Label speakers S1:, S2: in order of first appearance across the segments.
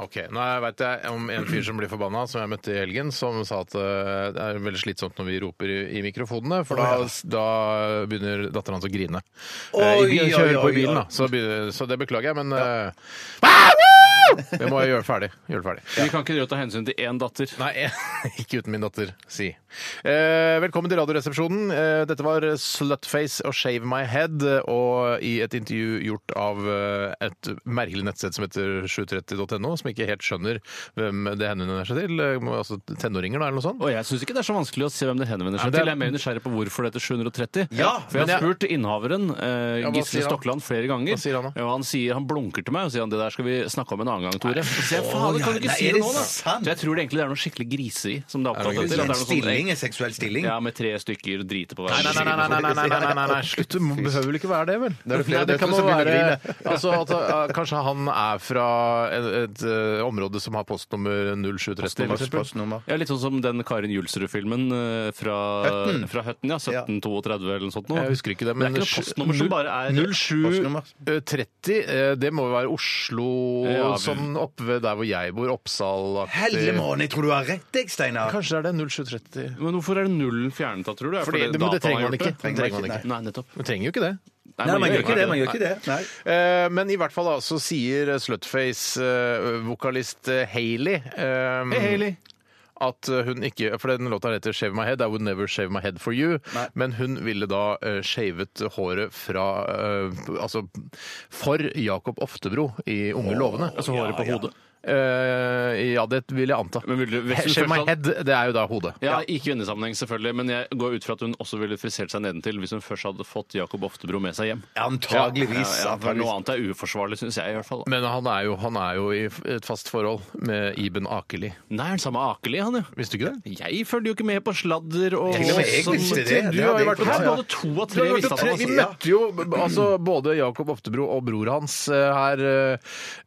S1: Ok, Nå veit jeg om en fyr som blir forbanna, som jeg møtte i helgen, som sa at eh, det er veldig slitsomt når vi roper i, i mikrofonene, for da, da begynner datteren hans å grine. Eh, I
S2: Oi,
S1: bilen, kjører
S2: oi,
S1: på
S2: oi,
S1: i bilen,
S2: oi.
S1: da. Så, begynner, så det beklager jeg, men eh, Ah, woo! Det må jeg gjøre ferdig. Gjøre ferdig.
S3: Vi kan ikke drive og ta hensyn til én datter.
S1: Nei, ikke uten min datter, si. Eh, velkommen til Radioresepsjonen. Eh, dette var Slutface og Shave My Head, eh, og i et intervju gjort av eh, et merkelig nettsted som heter 730.no, som ikke helt skjønner hvem det henvender seg til. Eh, må- Altså tenåringer, da, eller noe sånt.
S3: Og jeg syns ikke det er så vanskelig å se hvem det henvender
S1: Nei,
S3: seg
S1: det er-
S3: til. Jeg er mer nysgjerrig på hvorfor det heter 730.
S2: Ja,
S3: For jeg
S1: men
S3: har spurt innehaveren, eh,
S1: Ja, hva sier
S3: Gisle
S1: han?
S3: Stokland, flere ganger.
S1: Hva sier han da?
S3: Ja, han, sier, han blunker til meg og sier han, det der skal vi snakke om en annen gang, Tore. Så sier jeg, faen, kan du
S2: Nei,
S3: ikke si
S2: er
S3: det
S2: det
S3: nå, da?
S2: sant?
S3: Så jeg tror det egentlig det er noe skikkelig griseri som det er opptatt etter.
S1: noe
S3: At det er
S2: sånn
S3: noe sånt,
S2: stilling, en seksuell stilling.
S3: ja, med tre stykker drite på
S1: Nei,
S3: hver.
S1: nei, nei, nei, nei, nei, nei, nei, nei, nei. Slutt, det må- behøver vel ikke være det, vel?
S4: er det flere
S1: Nei, det
S4: døtre
S1: kan jo
S4: som begynner å
S1: være altså, at, uh, Kanskje han er fra et, et uh, område som har postnummer 0730? for eksempel.
S2: Postnummer.
S3: Ja, Litt sånn som den Karin Julsrud-filmen eh, fra Høtten. Fra Høtten ja, 1732 eller noe sånt. Nå.
S1: Jeg husker ikke det,
S3: Men
S1: men
S3: det er ikke noe postnummer som bare er
S1: 07 30, eh, det må jo være Oslo,
S3: Ja, vi-
S1: sånn oppe ved der hvor jeg bor, Oppsal
S2: Helle måned, jeg tror du har rett, jeg, Steinar.
S1: Kanskje det er det 0730.
S3: Men hvorfor er det nullen fjernet da, tror du? Er
S1: Fordi,
S3: fordi
S1: det, men det
S3: dataen har
S1: trenger man
S3: gjort
S1: ikke.
S3: det?
S1: Det trenger man ikke.
S3: Nei, nettopp.
S1: Man trenger jo ikke det.
S2: Nei, man gjør ikke det. man gjør ikke det. Nei.
S1: Eh, Men i hvert fall da, så sier Slutface-vokalist Hayley eh, at eh, hun ikke For den låta heter 'Shave My Head'. I would never shave my head for you.
S2: Nei.
S1: Men hun ville da eh, shavet håret fra eh, Altså for Jakob Oftebro i Unge lovende.
S3: Altså håret på hodet.
S1: Eh, ja, det vil jeg anta.
S3: Men vil du- hvis
S1: He-
S3: du
S1: Shave
S3: først
S1: my
S3: hadde-
S1: head, det er jo da hodet.
S3: Ja, Ikke i kvinnesammenheng, selvfølgelig, men jeg går ut fra at hun også ville frisert seg nedentil hvis hun først hadde fått Jakob Oftebro med seg hjem.
S2: Antageligvis.
S3: Ja, ja, for
S2: antageligvis.
S3: noe annet er uforsvarlig, syns jeg i hvert fall. da.
S1: Men han er, jo, han er jo i f- et fast forhold med Iben Akeli.
S3: Nei, han samme Akeli, han jo.
S1: Visste du ikke det?
S3: Jeg følger jo ikke med på sladder og
S2: Til og med jeg
S3: sånn-
S2: visste det.
S1: Du har
S2: Det
S1: jo
S2: hadde jeg
S1: vært
S2: fått
S3: Her
S2: med meg.
S3: både to av tre
S1: Det
S3: visste
S1: var
S3: at han
S1: tre-
S3: var
S1: Vi
S3: singel.
S1: møtte jo b- altså, både Jakob Oftebro og bror hans eh, her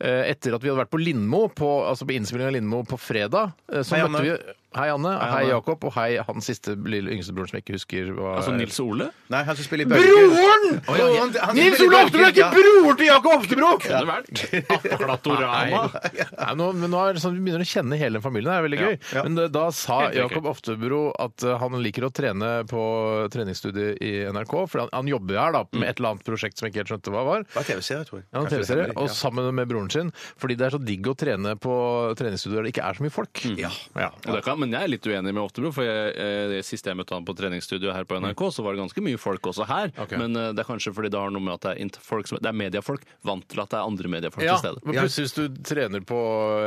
S1: eh, etter at vi hadde vært på Lindmo, på, altså på innspillingen av Lindmo på fredag. eh, Så
S2: Hei,
S1: møtte
S2: Anne.
S1: vi Hei, Anne. Hei,
S3: Anne.
S1: Jakob. Og hei, hans siste lille yngstebroren som jeg ikke husker hva
S3: Altså Nils Ole?
S2: Nei, han som spiller i
S1: Broren!
S2: Å, ja, han- han-
S1: Nils Ole Oftebro er ikke broren til Jakob Oftebro!
S3: Ja. Det vært Aplatorama.
S1: Nei, nå, men nå er det sånn, Vi begynner å kjenne hele den familien. Det er veldig gøy.
S2: ja.
S1: Men eh, da sa
S3: Helt riktig.
S1: Jakob Oftebro at eh, han liker å trene på treningsstudiet i NRK. For han, han jobber her da
S3: Mm.
S1: med et eller annet prosjekt som jeg ikke helt skjønte hva var.
S2: Det var TV-serie, tror jeg.
S1: Ja, en
S2: Kanskje
S1: TV-serie,
S2: det er
S1: Og
S2: hemmelig,
S1: sammen med broren sin. Fordi det er så digg å trene på treningsstudio der det ikke er så mye folk.
S2: Mm. ja.
S1: Ja.
S3: Og det kan, men jeg er litt uenig med Oftebro, for jeg, eh, det siste jeg møtte han på treningsstudio her på NRK, så var det ganske mye folk også her.
S1: Ok.
S3: Men eh, det er kanskje fordi det har noe med at det er, int- folk som, det er mediefolk, vant til at det er andre mediefolk
S1: Ja,
S3: til stede.
S1: men plutselig hvis du trener på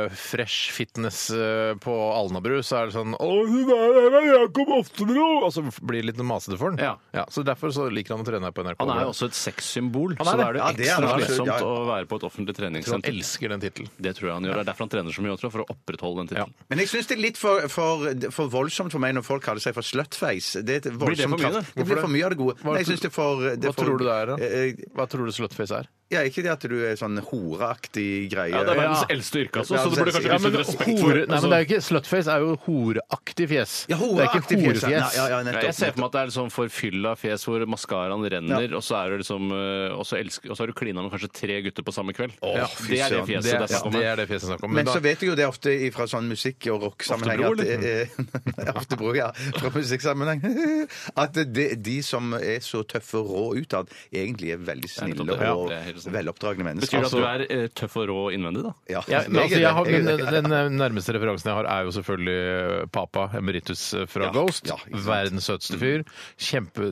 S1: eh, Fresh Fitness eh, på Alnabru, så er det sånn Å, det der er jo Jakob Oftebro! Og så blir det litt masete for han.
S3: Ja.
S1: så derfor så liker han å trene her på NRK.
S3: Han er jo også et sexsymbol, så
S1: er
S3: da er det jo
S2: Ja, det er
S3: ekstra
S2: han absolutt,
S3: slitsomt
S2: ja.
S3: å være på et offentlig
S1: Han
S3: treningssenter.
S1: elsker den tittelen.
S3: Det tror jeg han gjør. Det er derfor han trener så mye, jeg tror, for å opprettholde den tittelen.
S2: Men jeg syns det er litt for, for, for voldsomt for meg når folk kaller seg for slutface. Det er
S3: Blir
S2: et
S3: det for
S2: voldsomt
S3: mye,
S2: kraft.
S3: da?
S2: Det blir for mye av det gode. Nei, jeg synes det er for, det er
S1: Hva
S2: for,
S1: tror du det er, da?
S2: da?
S1: Hva tror du slutface er?
S2: Ja, ikke det at du er sånn horeaktig greie.
S3: Ja, det er
S1: verdens
S3: verdens eldste yrke,
S2: altså,
S3: altså,
S2: så
S3: så
S2: du
S3: det
S2: burde
S3: burde
S2: kanskje
S3: kanskje vise litt
S2: Ja,
S3: respekt
S1: hore,
S3: for
S1: nei, men det er jo ikke, Slutface er jo horeaktig fjes.
S2: Ja,
S1: det er ikke
S2: horeaktig fjes, ja.
S1: horefjes.
S2: Ja, ja, ja,
S3: Ja,
S2: nettopp,
S3: jeg ser for meg at det er sånn forfylla fjes hvor maskaraen renner, og så er du liksom eh, Og så, elsker, og så har du klina med kanskje tre gutter på samme kveld.
S2: Å,
S3: Ja,
S2: fy
S3: det er det
S2: søren.
S3: fjeset det
S1: Det er
S3: er snakk om.
S1: det, er det fjeset er snakk om.
S2: Men,
S1: Men da-
S2: så vet jeg jo det ofte fra sånn musikk- og rocksammenheng
S3: Oftebro,
S2: at eh, Oftebro, ja. Fra musikksammenheng. At de, de som er så tøffe og rå utad, egentlig er veldig
S3: nettopp
S2: snille
S3: det. Ja,
S2: og
S3: det er helt sant.
S2: veloppdragne mennesker.
S3: Betyr det at du er eh, tøff og rå innvendig, da?
S2: Ja,
S1: Ja, men altså,
S2: er
S1: jeg har,
S2: det. Jeg er
S1: men
S2: det.
S1: den nærmeste referansen jeg har, er jo selvfølgelig eh, Papa Emeritus eh, fra
S2: Ja,
S1: Ghost.
S2: ja, ikke sant.
S1: Verdens søteste fyr. Kjempe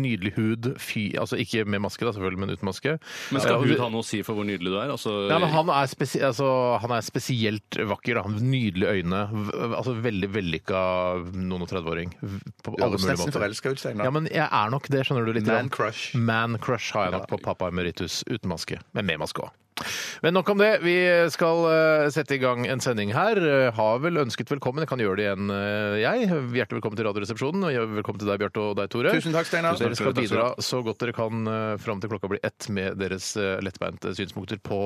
S1: Nydelig hud. Fy, altså ikke med maske, da, selvfølgelig, men uten maske.
S3: Men skal
S1: Ja, altså,
S3: hud ha noe å si for hvor nydelig du er? Altså,
S1: Nei, men han, er spesi altså, han er spesielt vakker. da. Han har Nydelige øyne. V- Altså Veldig vellykka noen og 30-åring. v- På
S2: Du
S1: alle
S2: høres
S1: mulige
S2: nesten
S1: måter.
S2: forelska ut, Steinar.
S1: Ja, men jeg er nok det, skjønner du. litt
S2: Man
S1: grann.
S2: crush.
S1: Man crush har jeg nok på pappa emeritus. uten maske, men med maske òg. Men nok om det. Vi skal eh, sette i gang en sending her. Eh, Har vel ønsket velkommen. Jeg kan gjøre det igjen, eh, jeg. Hjertelig velkommen til Radioresepsjonen. Og hjertelig velkommen til deg, Bjarte, og deg, Tore.
S2: Tusen takk, Steinar.
S1: Dere
S3: Tusen
S1: skal
S3: takk,
S1: bidra så godt dere kan eh, fram til klokka blir ett med deres eh, lettbeinte synspunkter på,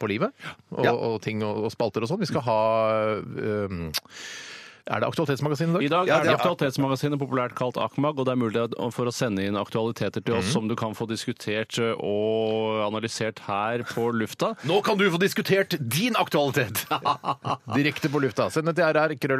S1: på livet og,
S2: Ja.
S1: og ting og, og spalter og sånn. Vi skal ha eh, Er det Aktualitetsmagasinet
S3: I
S1: i
S3: dag
S1: dag?
S2: Ja,
S3: er
S2: det
S3: det
S2: er-
S3: Aktualitetsmagasinet, populært kalt AKMAG, og det er mulighet for å sende inn aktualiteter til oss som du kan få diskutert eh, og analysert her på lufta.
S1: Nå kan du få diskutert din aktualitet! Direkte på lufta. Send det til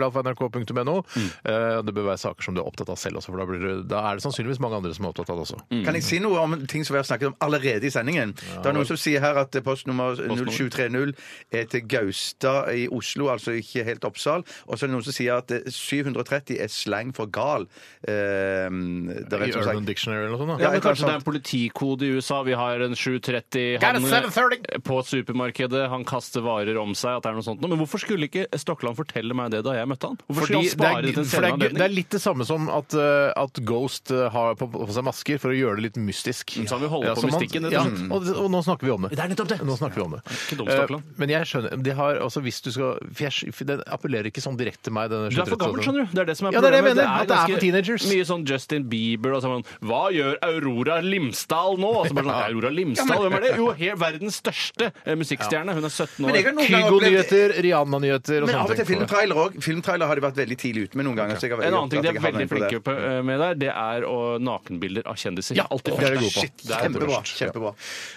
S1: rr.krøllalfa.nrk.no. Eh, Det bør være saker som du er opptatt av selv også, for da, blir du, da er det sannsynligvis mange andre som er opptatt av det også.
S3: Mm.
S2: Kan jeg si noe om ting som vi har snakket om allerede i sendingen? Det er noen som sier her at postnummer 0730 er til Gaustad i Oslo, altså ikke helt Oppsal. Og så er det noen som sier at eh, 730 er slang for gal. Eh, det er
S1: I
S2: rett som
S1: Urban
S2: sagt.
S1: Dictionary eller noe sånt.
S3: Ja,
S1: da.
S2: Ja,
S3: men
S2: et eller annet
S3: Kanskje det er
S2: sånt.
S3: en politikode i USA. Vi har en 730
S1: Got a
S3: han,
S1: 730.
S3: på supermarkedet. Han kaster varer om seg. at det er noe sånt. nå. Men hvorfor skulle ikke Stokkeland fortelle meg det da jeg møtte han? Hvorfor
S1: Fordi
S3: skulle han
S1: det
S3: spare
S1: er,
S3: til en
S1: for det,
S3: senere
S1: er, gøy- det er
S3: anledning?
S1: litt det samme som at, eh, at Ghost eh, har på, på seg masker for å gjøre det litt mystisk.
S3: Mm, Så han vil holde på
S1: så man-
S3: mystikken, rett og
S1: Ja,
S3: slett.
S1: og, og nå snakker vi om det.
S3: Det er nettopp det.
S1: Nå snakker vi om det.
S3: Ikke dum,
S1: Eh,
S3: Stokkeland.
S1: men jeg skjønner de har, altså, hvis du skal, for jeg, for Den appellerer ikke sånn direkte til meg. Denne
S3: Du er for gammel, skjønner du. altså. Det er det som er
S1: Ja, det er det jeg
S3: problemet.
S1: mener, at det er for
S3: ganske
S1: teenagers.
S3: Mye sånn Justin Bieber og sånn Hva gjør Aurora Limsdal nå? Og så bare sånn, Aurora Limsdal, hvem er det? Jo, he- verdens største eh, musikkstjerne. Hun er 17
S2: Men jeg
S3: år.
S2: har noen ganger opplevd
S1: Kygo-nyheter, Rihanna-nyheter og
S2: Men av og
S1: sånne
S2: til
S1: ting.
S2: filmtrailer òg. Filmtrailer har de vært veldig tidlig ute med noen ganger. Så jeg har
S3: En annen ting de
S2: jeg
S3: er
S2: havner
S3: veldig
S2: inn på det.
S3: flinke på, eh, med der, det er å- nakenbilder av kjendiser.
S1: Ja,
S3: Alltid
S1: det er de
S3: først.
S1: gode på.
S2: Shit,
S1: Det er
S2: kjempebra.
S1: alltid først.
S2: kjempebra.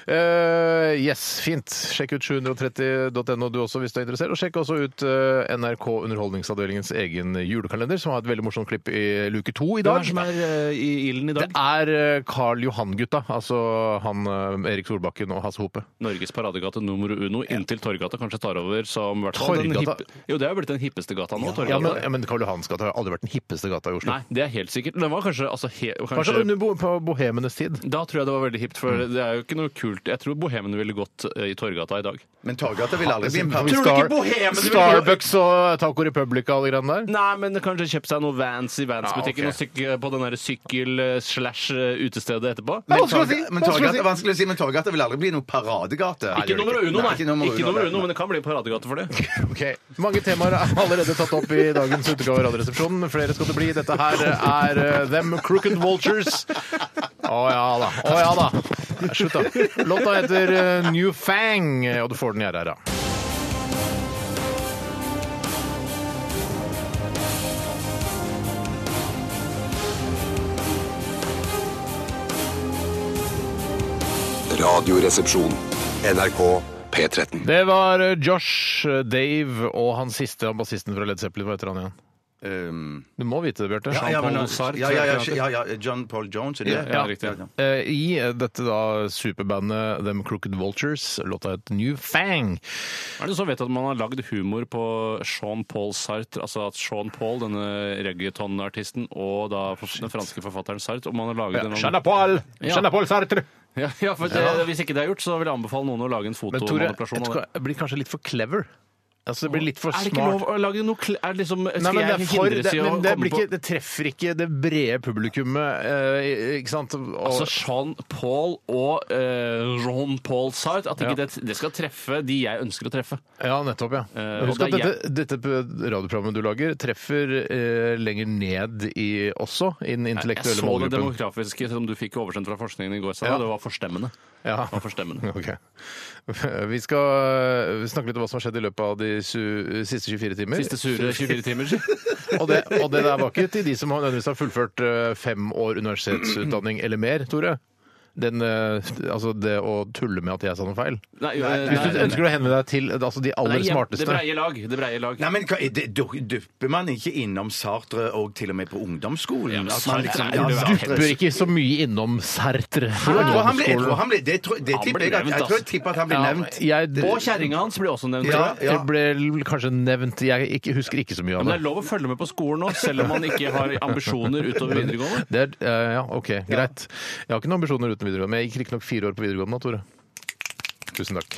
S1: Eh, yes, fint. Sjekk ut 730.no du også hvis du er interessert. Og sjekk også ut eh, NRK Underholdningsavdelingens egen julekalender, som har et veldig morsomt klipp i luke to
S3: Hva
S1: i
S3: er
S1: dag.
S3: det som er eh, i ilden i dag?
S1: Det er eh, Karl Johan-gutta, altså han eh, Erik Solbakken og Hasse Hope.
S3: Norges paradegate nummer uno inntil Torgata kanskje tar over som i hvert fall den
S1: Torggata?
S3: hippe- Jo, det er jo blitt den hippeste gata nå. Torggata.
S1: Ja, men, ja, men Karl Johans gata har aldri vært den hippeste gata i Oslo.
S3: Nei, det er helt sikkert. Den var kanskje, altså, he,
S1: Kanskje
S3: kanskje
S1: under bo på bohemenes tid.
S3: Da tror jeg det var veldig hipt, for det er jo ikke noe kult. Jeg tror bohemen ville gått eh, i Torgata i dag.
S2: Men Torgata vil aldri bli en
S1: Star-
S2: pub.
S1: Starbucks og Taco Republic og alle de greiene der.
S3: Nei, men kanskje kjøpt seg noe Vans i Vans-butikken
S1: Ja, ok.
S3: og sykle på den der eh, sykkel-slash-utestedet etterpå.
S1: Men-
S2: Torga-
S1: Vanskelig å si.
S2: Men
S1: Vanskelig å si.
S2: Torgata, vanskelig å si, men Torgata vil aldri bli noe paradegate.
S3: ikke nummer uno, nei. Ikke nummer uno,
S2: nei.
S3: men det kan bli paradegate for det.
S1: Ok, Mange temaer er allerede tatt opp i dagens utgave av Radioresepsjonen. Flere skal det bli. Dette her er eh, Them Crooked Vultures. Å ja da. Å ja da. Slutt, da. Låta heter eh, New Fang, og du får den i RR, da.
S4: Radioresepsjon. NRK P13.
S1: Det var eh, Josh, eh, Dave og han siste han bassisten fra Led Zeppelin. Hva heter han igjen?
S2: Um,
S1: Du må vite det, Bjarte.
S2: ja, ja, men,
S3: Jean-Paul Sartre,
S2: ja, ja,
S3: tror jeg
S2: ja, ja, John Paul Jones, er det det?
S3: Ja, riktig.
S1: Eh, I eh, dette da superbandet Them Crooked Vultures, låta het New Fang.
S3: Er det så vet du at man har lagd humor på Sean Paul Sartre, altså at Sean Paul, denne reggaeton-artisten, og da
S1: Ah,
S3: den franske forfatteren Sartre, og man har laget en
S1: Paul!
S3: Ja.
S1: Paul Sartre!
S3: Ja, ja, for det, Hvis ikke det er gjort, så vil jeg anbefale noen å lage en
S1: Men Tore, jeg
S3: fotomanipulasjon. av
S1: tror
S3: det.
S1: jeg blir kanskje litt for clever. Altså, det blir litt for
S3: Er det ikke lov
S1: smart.
S3: å lage noe kl- er det liksom, Skal
S1: Nei, men det, er
S3: jeg
S1: for,
S3: hindres
S1: det,
S3: i å
S1: men det,
S3: komme
S1: blir
S3: på
S1: ikke, det treffer ikke det brede publikummet, eh, ikke sant? Og,
S3: Altså Sean Paul og eh, Ron Paul Sartre. At ikke
S1: Ja.
S3: det, det skal treffe de jeg ønsker å treffe.
S1: ja, nettopp, ja.
S3: Eh,
S1: Husk
S3: og
S1: at
S3: det er
S1: dette, dette radioprogrammet du lager, treffer eh, lenger ned i også, i den
S3: Jeg
S1: intellektuelle
S3: så det
S1: målgruppen.
S3: demografiske som du fikk oversendt fra forskningen i går. Sara.
S1: Ja.
S3: Det var forstemmende.
S1: Ja.
S3: Det var forstemmende.
S1: Ok. Vi skal snakke litt om hva som har skjedd i løpet av de su siste 24 timer.
S3: Siste sure 24 timer. si.
S1: Og, det, og det der var ikke til de som har nødvendigvis har fullført eh, fem år universitetsutdanning eller mer, Tore. Den, eh, altså det å tulle med at jeg sa noe feil.
S3: Nei, jo, eh,
S1: Hvis
S3: nei,
S1: du
S3: nei,
S1: ønsker å henvende deg til eh, altså, de
S3: nei,
S1: aller
S3: jeg- Det
S1: smarteste
S3: breie lag. Det breie lag.
S2: Nei, men hva- det- du- Dupper man ikke innom Sartre og til og med på ungdomsskolen?
S3: men
S2: At
S3: Sartre
S2: man liksom-
S3: er jo
S2: ja,
S3: det
S2: Sartre-
S1: Bør ikke så mye innom Sertre.
S2: Jeg tror han ble- jeg tror han ble- Det tror- det
S3: Han
S2: tipper
S3: ble
S2: jeg at-
S3: nevnt,
S2: jeg tror jeg
S3: altså.
S2: tipper at han ble nevnt.
S1: jeg,
S3: Og kjerringa hans blir også nevnt.
S2: Ja,
S3: tror jeg.
S1: Det ble kanskje nevnt Jeg ikke, husker ikke så
S3: Men
S1: mye av
S3: det er
S1: det.
S3: lov å følge med på skolen òg, selv om man ikke har ambisjoner utover videregående.
S1: Det er, eh, ja, OK, greit. Jeg har ikke noen ambisjoner uten videregående, men jeg gikk riktignok fire år på videregående, Tore. Tusen takk.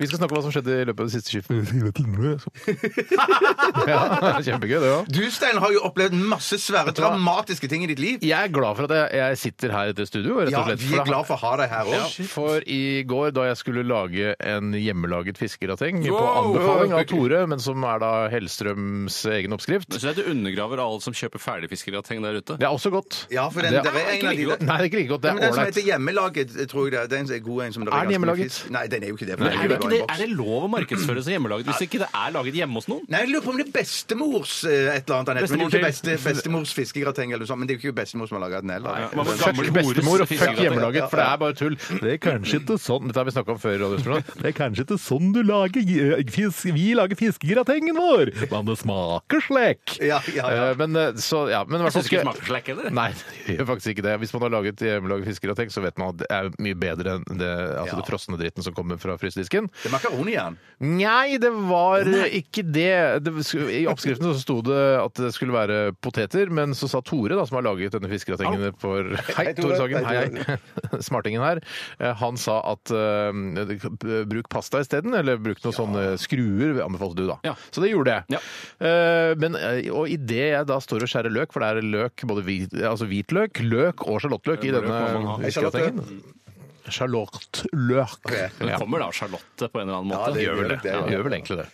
S1: Vi skal snakke om hva som skjedde i løpet av det siste skiftet. ja, kjempegøy, det òg.
S2: Du, Stein, har jo opplevd masse svære, dramatiske ting i ditt liv.
S1: Jeg er glad for at jeg, jeg sitter her i dette studio. Rett
S2: Ja,
S1: og slett,
S2: vi er glad for å ha deg her
S1: Ja,
S2: òg.
S1: for i går, da jeg skulle lage en hjemmelaget fiskerateng på
S3: Wow!
S1: anbefaling av Tore, men som er da Hellstrøms egen oppskrift
S3: Jeg synes at du undergraver alle som kjøper ferdigfiskerateng der ute.
S1: Det er også godt.
S2: Ja, for den,
S1: det
S2: der er en av de der.
S1: Nei, det er ikke like godt. Det
S2: Nei, men
S1: er
S2: Den som
S1: ålreit.
S2: heter Hjemmelaget, tror jeg det er. Den er god en som
S1: Er
S2: det
S1: den
S2: ganske mye
S1: hjemmelaget?
S2: fisk- Nei, den er jo ikke det. for
S3: Men er
S2: den
S3: det,
S2: jo
S3: ikke
S2: bare
S3: det,
S2: en boks.
S3: er det lov å markedsføre seg hjemmelaget hvis ikke det er laget hjemme hos noen?
S2: Nei, jeg lurer på om det er bestemors eh, et eller annet. Annette, Men det er jo ikke
S3: Bestemor
S2: beste, bestemors fiskegrateng eller noe sånt. Men det er jo ikke bestemor som har laga den heller.
S3: Nei, man må
S2: Fuck.
S3: gammel
S1: Fuck bestemor og fuck
S3: hores-
S1: hjemmelaget, for det er bare tull. Det er kanskje ikke sånn Dette har vi snakka om før. i Radiospillet. Det er kanskje ikke sånn du lager eh, fisk, Vi lager fiskegratengen vår! Men det smaker slik!
S2: Ja, ja, ja.
S1: Eh, Men, eh, så, ja, men i hvert fall
S3: Synes ikke det
S1: skal-
S3: smaker slik heller.
S1: Nei, det gjør faktisk ikke det. Hvis man har laget hjemmelaget fiskegrateng, så vet man at det er mye bedre enn det, altså
S2: Ja.
S1: det frosne dritten som kommer fra frysedisken.
S2: Det er makaroni i den.
S1: Nei, det var ikke det. det sku- I oppskriften så sto det at det skulle være poteter, men så sa Tore, da, som har laget denne fiskegratengen for Hei, Tore Sagen. Hei, hei. Smartingen her. Eh, Han sa at eh, det- bruk pasta isteden, eller bruk noen sånne skruer, anbefalte du da.
S3: Ja.
S1: Så det gjorde jeg.
S3: Ja.
S1: Eh, Men, eh, og idet jeg da står og skjærer løk, for det er løk, både hvit, altså hvitløk, løk og sjalottløk i
S3: Løk må man ha.
S1: denne fiskegratengen. Sjalottløk.
S3: Det kommer da Charlotte på en eller annen måte.
S1: Sånn
S2: Ja, det
S1: Gjør vel det.
S2: Ja,
S1: gjør vel egentlig det.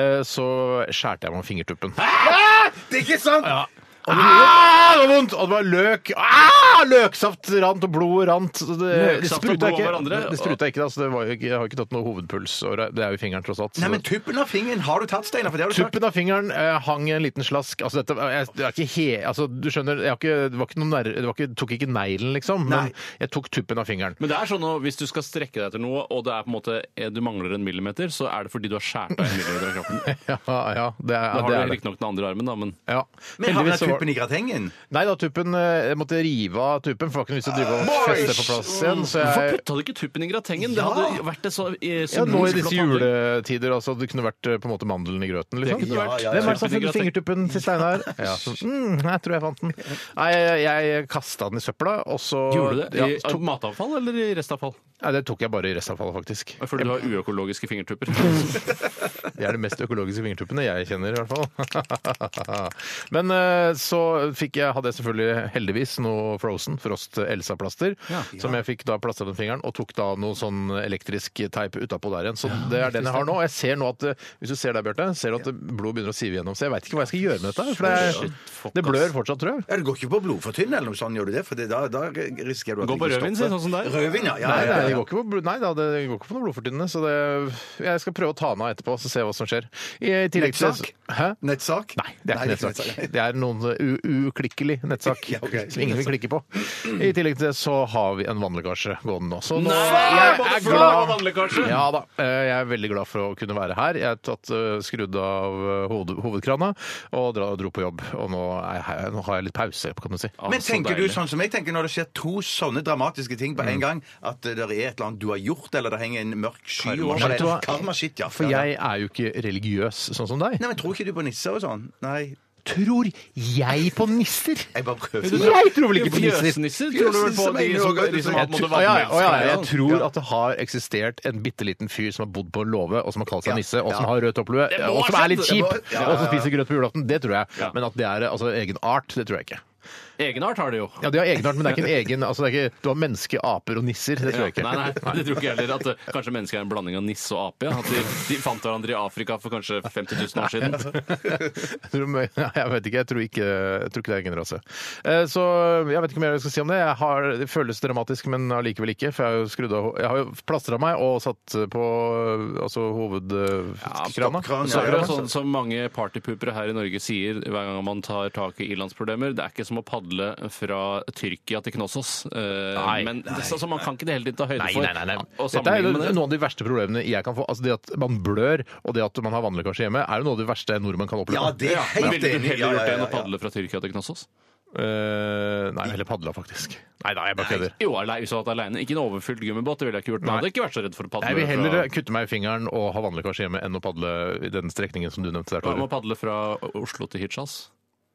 S1: Eh, Så skjærte jeg meg fingertuppen.
S3: Ah!
S2: Det er ikke sant!
S1: Ah, det var vondt! Og det var løk. Ah, løksaft rant, og blod rant. Så Det, det
S3: Løksaft og blod
S1: spruta ikke,
S3: over hverandre.
S1: det spruta ikke da, så det var jo ikke, jeg har ikke tatt noe hovedpuls. Og det er jo i fingeren, tross alt. så-
S2: Nei, men tuppen av fingeren har du tatt, Steinar. For det har du sagt.
S1: Tuppen av fingeren eh, hang en liten slask. Altså, dette, jeg, det er ikke he, altså, du skjønner, jeg har ikke, det var ikke noen nær, det var ikke, tok ikke neglen, liksom,
S2: Nei.
S1: men jeg tok tuppen av fingeren.
S3: Men det er sånn at hvis du skal strekke deg etter noe, og det er på en måte, eh, du mangler en millimeter, så er det fordi du har skåret av en millimeter av kroppen.
S1: Ja, ja, det er
S3: Da
S1: det.
S3: har
S1: Er
S3: du
S1: det.
S3: riktignok den andre armen, da, men
S1: Ja.
S2: Men har vi
S1: Heldigvis
S2: den
S1: så var-
S2: tuppen i gratengen?
S1: Nei da, tuppen eh, Jeg måtte rive av tuppen, for det var ikke noe vits i å drive og feste på plass igjen. Så
S3: Hvorfor
S1: jeg
S3: putta du ikke tuppen i gratengen? Det
S2: Ja.
S3: hadde vært et så eh,
S1: eh, ja, nå i
S3: symbolsk
S1: disse
S3: flott handling.
S1: juletider, altså. Det kunne vært eh, på en måte mandelen i grøten,
S3: Det
S1: liksom.
S3: kunne vært
S1: Hvem er det som har
S3: tuppen i
S1: funnet
S3: gratengen.
S1: fingertuppen til Steinar? Ja, så, mm, jeg tror jeg fant den. Nei, jeg, jeg kasta den i søpla, og så
S3: Gjorde du det? I
S1: Ja, tok,
S3: matavfall eller i restavfall?
S1: nei, det tok jeg bare i restavfallet, faktisk.
S3: Fordi du har uøkologiske fingertupper.
S1: Det er de mest økologiske fingertuppene jeg kjenner, i hvert fall. Men eh, så fikk jeg, hadde jeg selvfølgelig heldigvis noe Frozen, Frost Elsa-plaster, som jeg fikk da plastra den fingeren, og tok da noe sånn elektrisk teip utapå der igjen. Så det er den jeg har nå. Og jeg ser nå at eh, Hvis du ser der, Bjarte, ser du at blod begynner å sive gjennom. Så jeg veit ikke hva jeg skal gjøre med dette. her, For det,
S3: Shit,
S1: er,
S3: fuck,
S1: det blør fortsatt, tror jeg.
S2: Ja, Du går ikke på blodfortynne eller noe sånt, gjør du det? For det- da, da risikerer du at
S3: Gå
S2: det
S3: på
S2: ikke
S3: rødvin, si,
S2: stopper.
S3: sånn som deg.
S2: Rødvin, ja. ja,
S1: Nei,
S2: ja,
S1: nei, det
S2: ja.
S1: går ikke på, blod- nei da, det går ikke på noe blodfortynnende, så det, jeg skal prøve å ta den av etterpå og se hva som skjer. I, i tillegg til-
S2: Nettsak?
S1: Hæ?
S2: Nettsak?
S1: Nei, det er ikke nettsak. Det er noen uh, u- uklikkelig nettsak
S2: Ja, ok.
S1: som ingen vil klikke på. I tillegg til det så har vi en vannlekkasje gående nå. Så nå
S3: Nei,
S1: jeg er glad. Ja da, eh, jeg er veldig glad for å kunne være her. Jeg har tatt eh, skrudd av eh, hoved, hovedkrana og dra, dro på jobb. Og nå, er jeg, her- nå har jeg litt pause, kan du si.
S2: Men tenker du sånn som jeg tenker når det skjer to sånne dramatiske ting på
S1: Mm.
S2: en gang, at det er et eller annet du har gjort, eller det henger en mørk sky over
S1: Vet
S2: deg?
S1: du hva?
S2: Karmashit, ja.
S1: For jeg er jo ikke religiøs, sånn som deg.
S2: Nei, men Tror ikke du på nisser og sånn? Nei.
S1: Tror jeg på nisser?
S2: Jeg bare prøver.
S1: Jeg tror vel ikke på nisser!
S3: Fjøsnisser tror du vel på? De
S2: Fjøsnisser
S3: som,
S2: mener
S3: de som
S2: jeg
S3: har på en måte
S1: Å ja, å ja,
S3: vannmelkskleie,
S1: jeg
S3: da.
S1: tror at det har eksistert en bitte liten fyr som har bodd på en låve, og som har kalt seg nisse, og som har rød topplue,
S3: Det må
S1: og som
S3: ha
S1: er litt
S3: skjedd, det
S1: kjip,
S3: må-
S2: ja, ja,
S1: og som spiser grøt på julaften. Det tror jeg.
S3: Ja.
S1: Men at det er altså, egen art, det tror jeg ikke.
S3: Egenart har de jo.
S1: Ja, De har egenart, men det er ikke en egen altså, det er ikke, Du har menneske, aper og nisser. Det tror jeg ikke.
S3: Nei, nei, det tror ikke jeg heller. At eh, kanskje mennesker er en blanding av nisse og ape. ja. At de, de fant hverandre i Afrika for kanskje 50 000 år
S1: altså.
S3: siden.
S1: Jeg tror- nei, Jeg vet ikke. Jeg tror ikke, jeg tror ikke det er egen rase. Eh, Så jeg vet ikke mer jeg skal si om det. Jeg har, det føles dramatisk, men allikevel ikke. For jeg har jo skrudd av Jeg har jo plastra meg og satt på altså, hovedkrana.
S2: stoppkran,
S3: Så er det
S2: ja.
S3: sånn som mange partypupere her i Norge sier hver gang man tar tak i ilandsproblemer. Det er ikke som å padle fra Tyrkia til Knossos. Eh,
S1: Nei,
S3: men det, altså, man kan ikke det hele tiden ta høyde
S1: Nei,
S3: for.
S1: nei, nei,
S3: å
S1: nei. Dette er jo
S3: sammenligne med det.
S1: noen av de verste problemene jeg kan få. Altså Det at man blør, og det at man har vannlekkasje hjemme, er jo noe av det verste en nordmann kan oppleve.
S2: Ja, det er
S3: Men
S2: helt
S3: ville du
S2: enig.
S3: heller gjort
S2: Ja, ja,
S3: det enn
S2: ja,
S3: å
S2: ja.
S3: padle fra Tyrkia til Knossos?
S1: Eh, nei, heller padla, faktisk. Nei da, jeg bare kødder.
S3: Jo, alei- hvis du hadde vært alene. Ikke en overfylt gummibåt, det ville jeg ikke gjort. Men jeg hadde ikke vært så redd for å padle
S1: Jeg vil heller
S3: fra,
S1: kutte meg i fingeren og ha vannlekkasje hjemme enn å padle i den strekningen som du nevnte der,
S3: om å
S1: Tore.
S3: padle fra Oslo til Hitchas.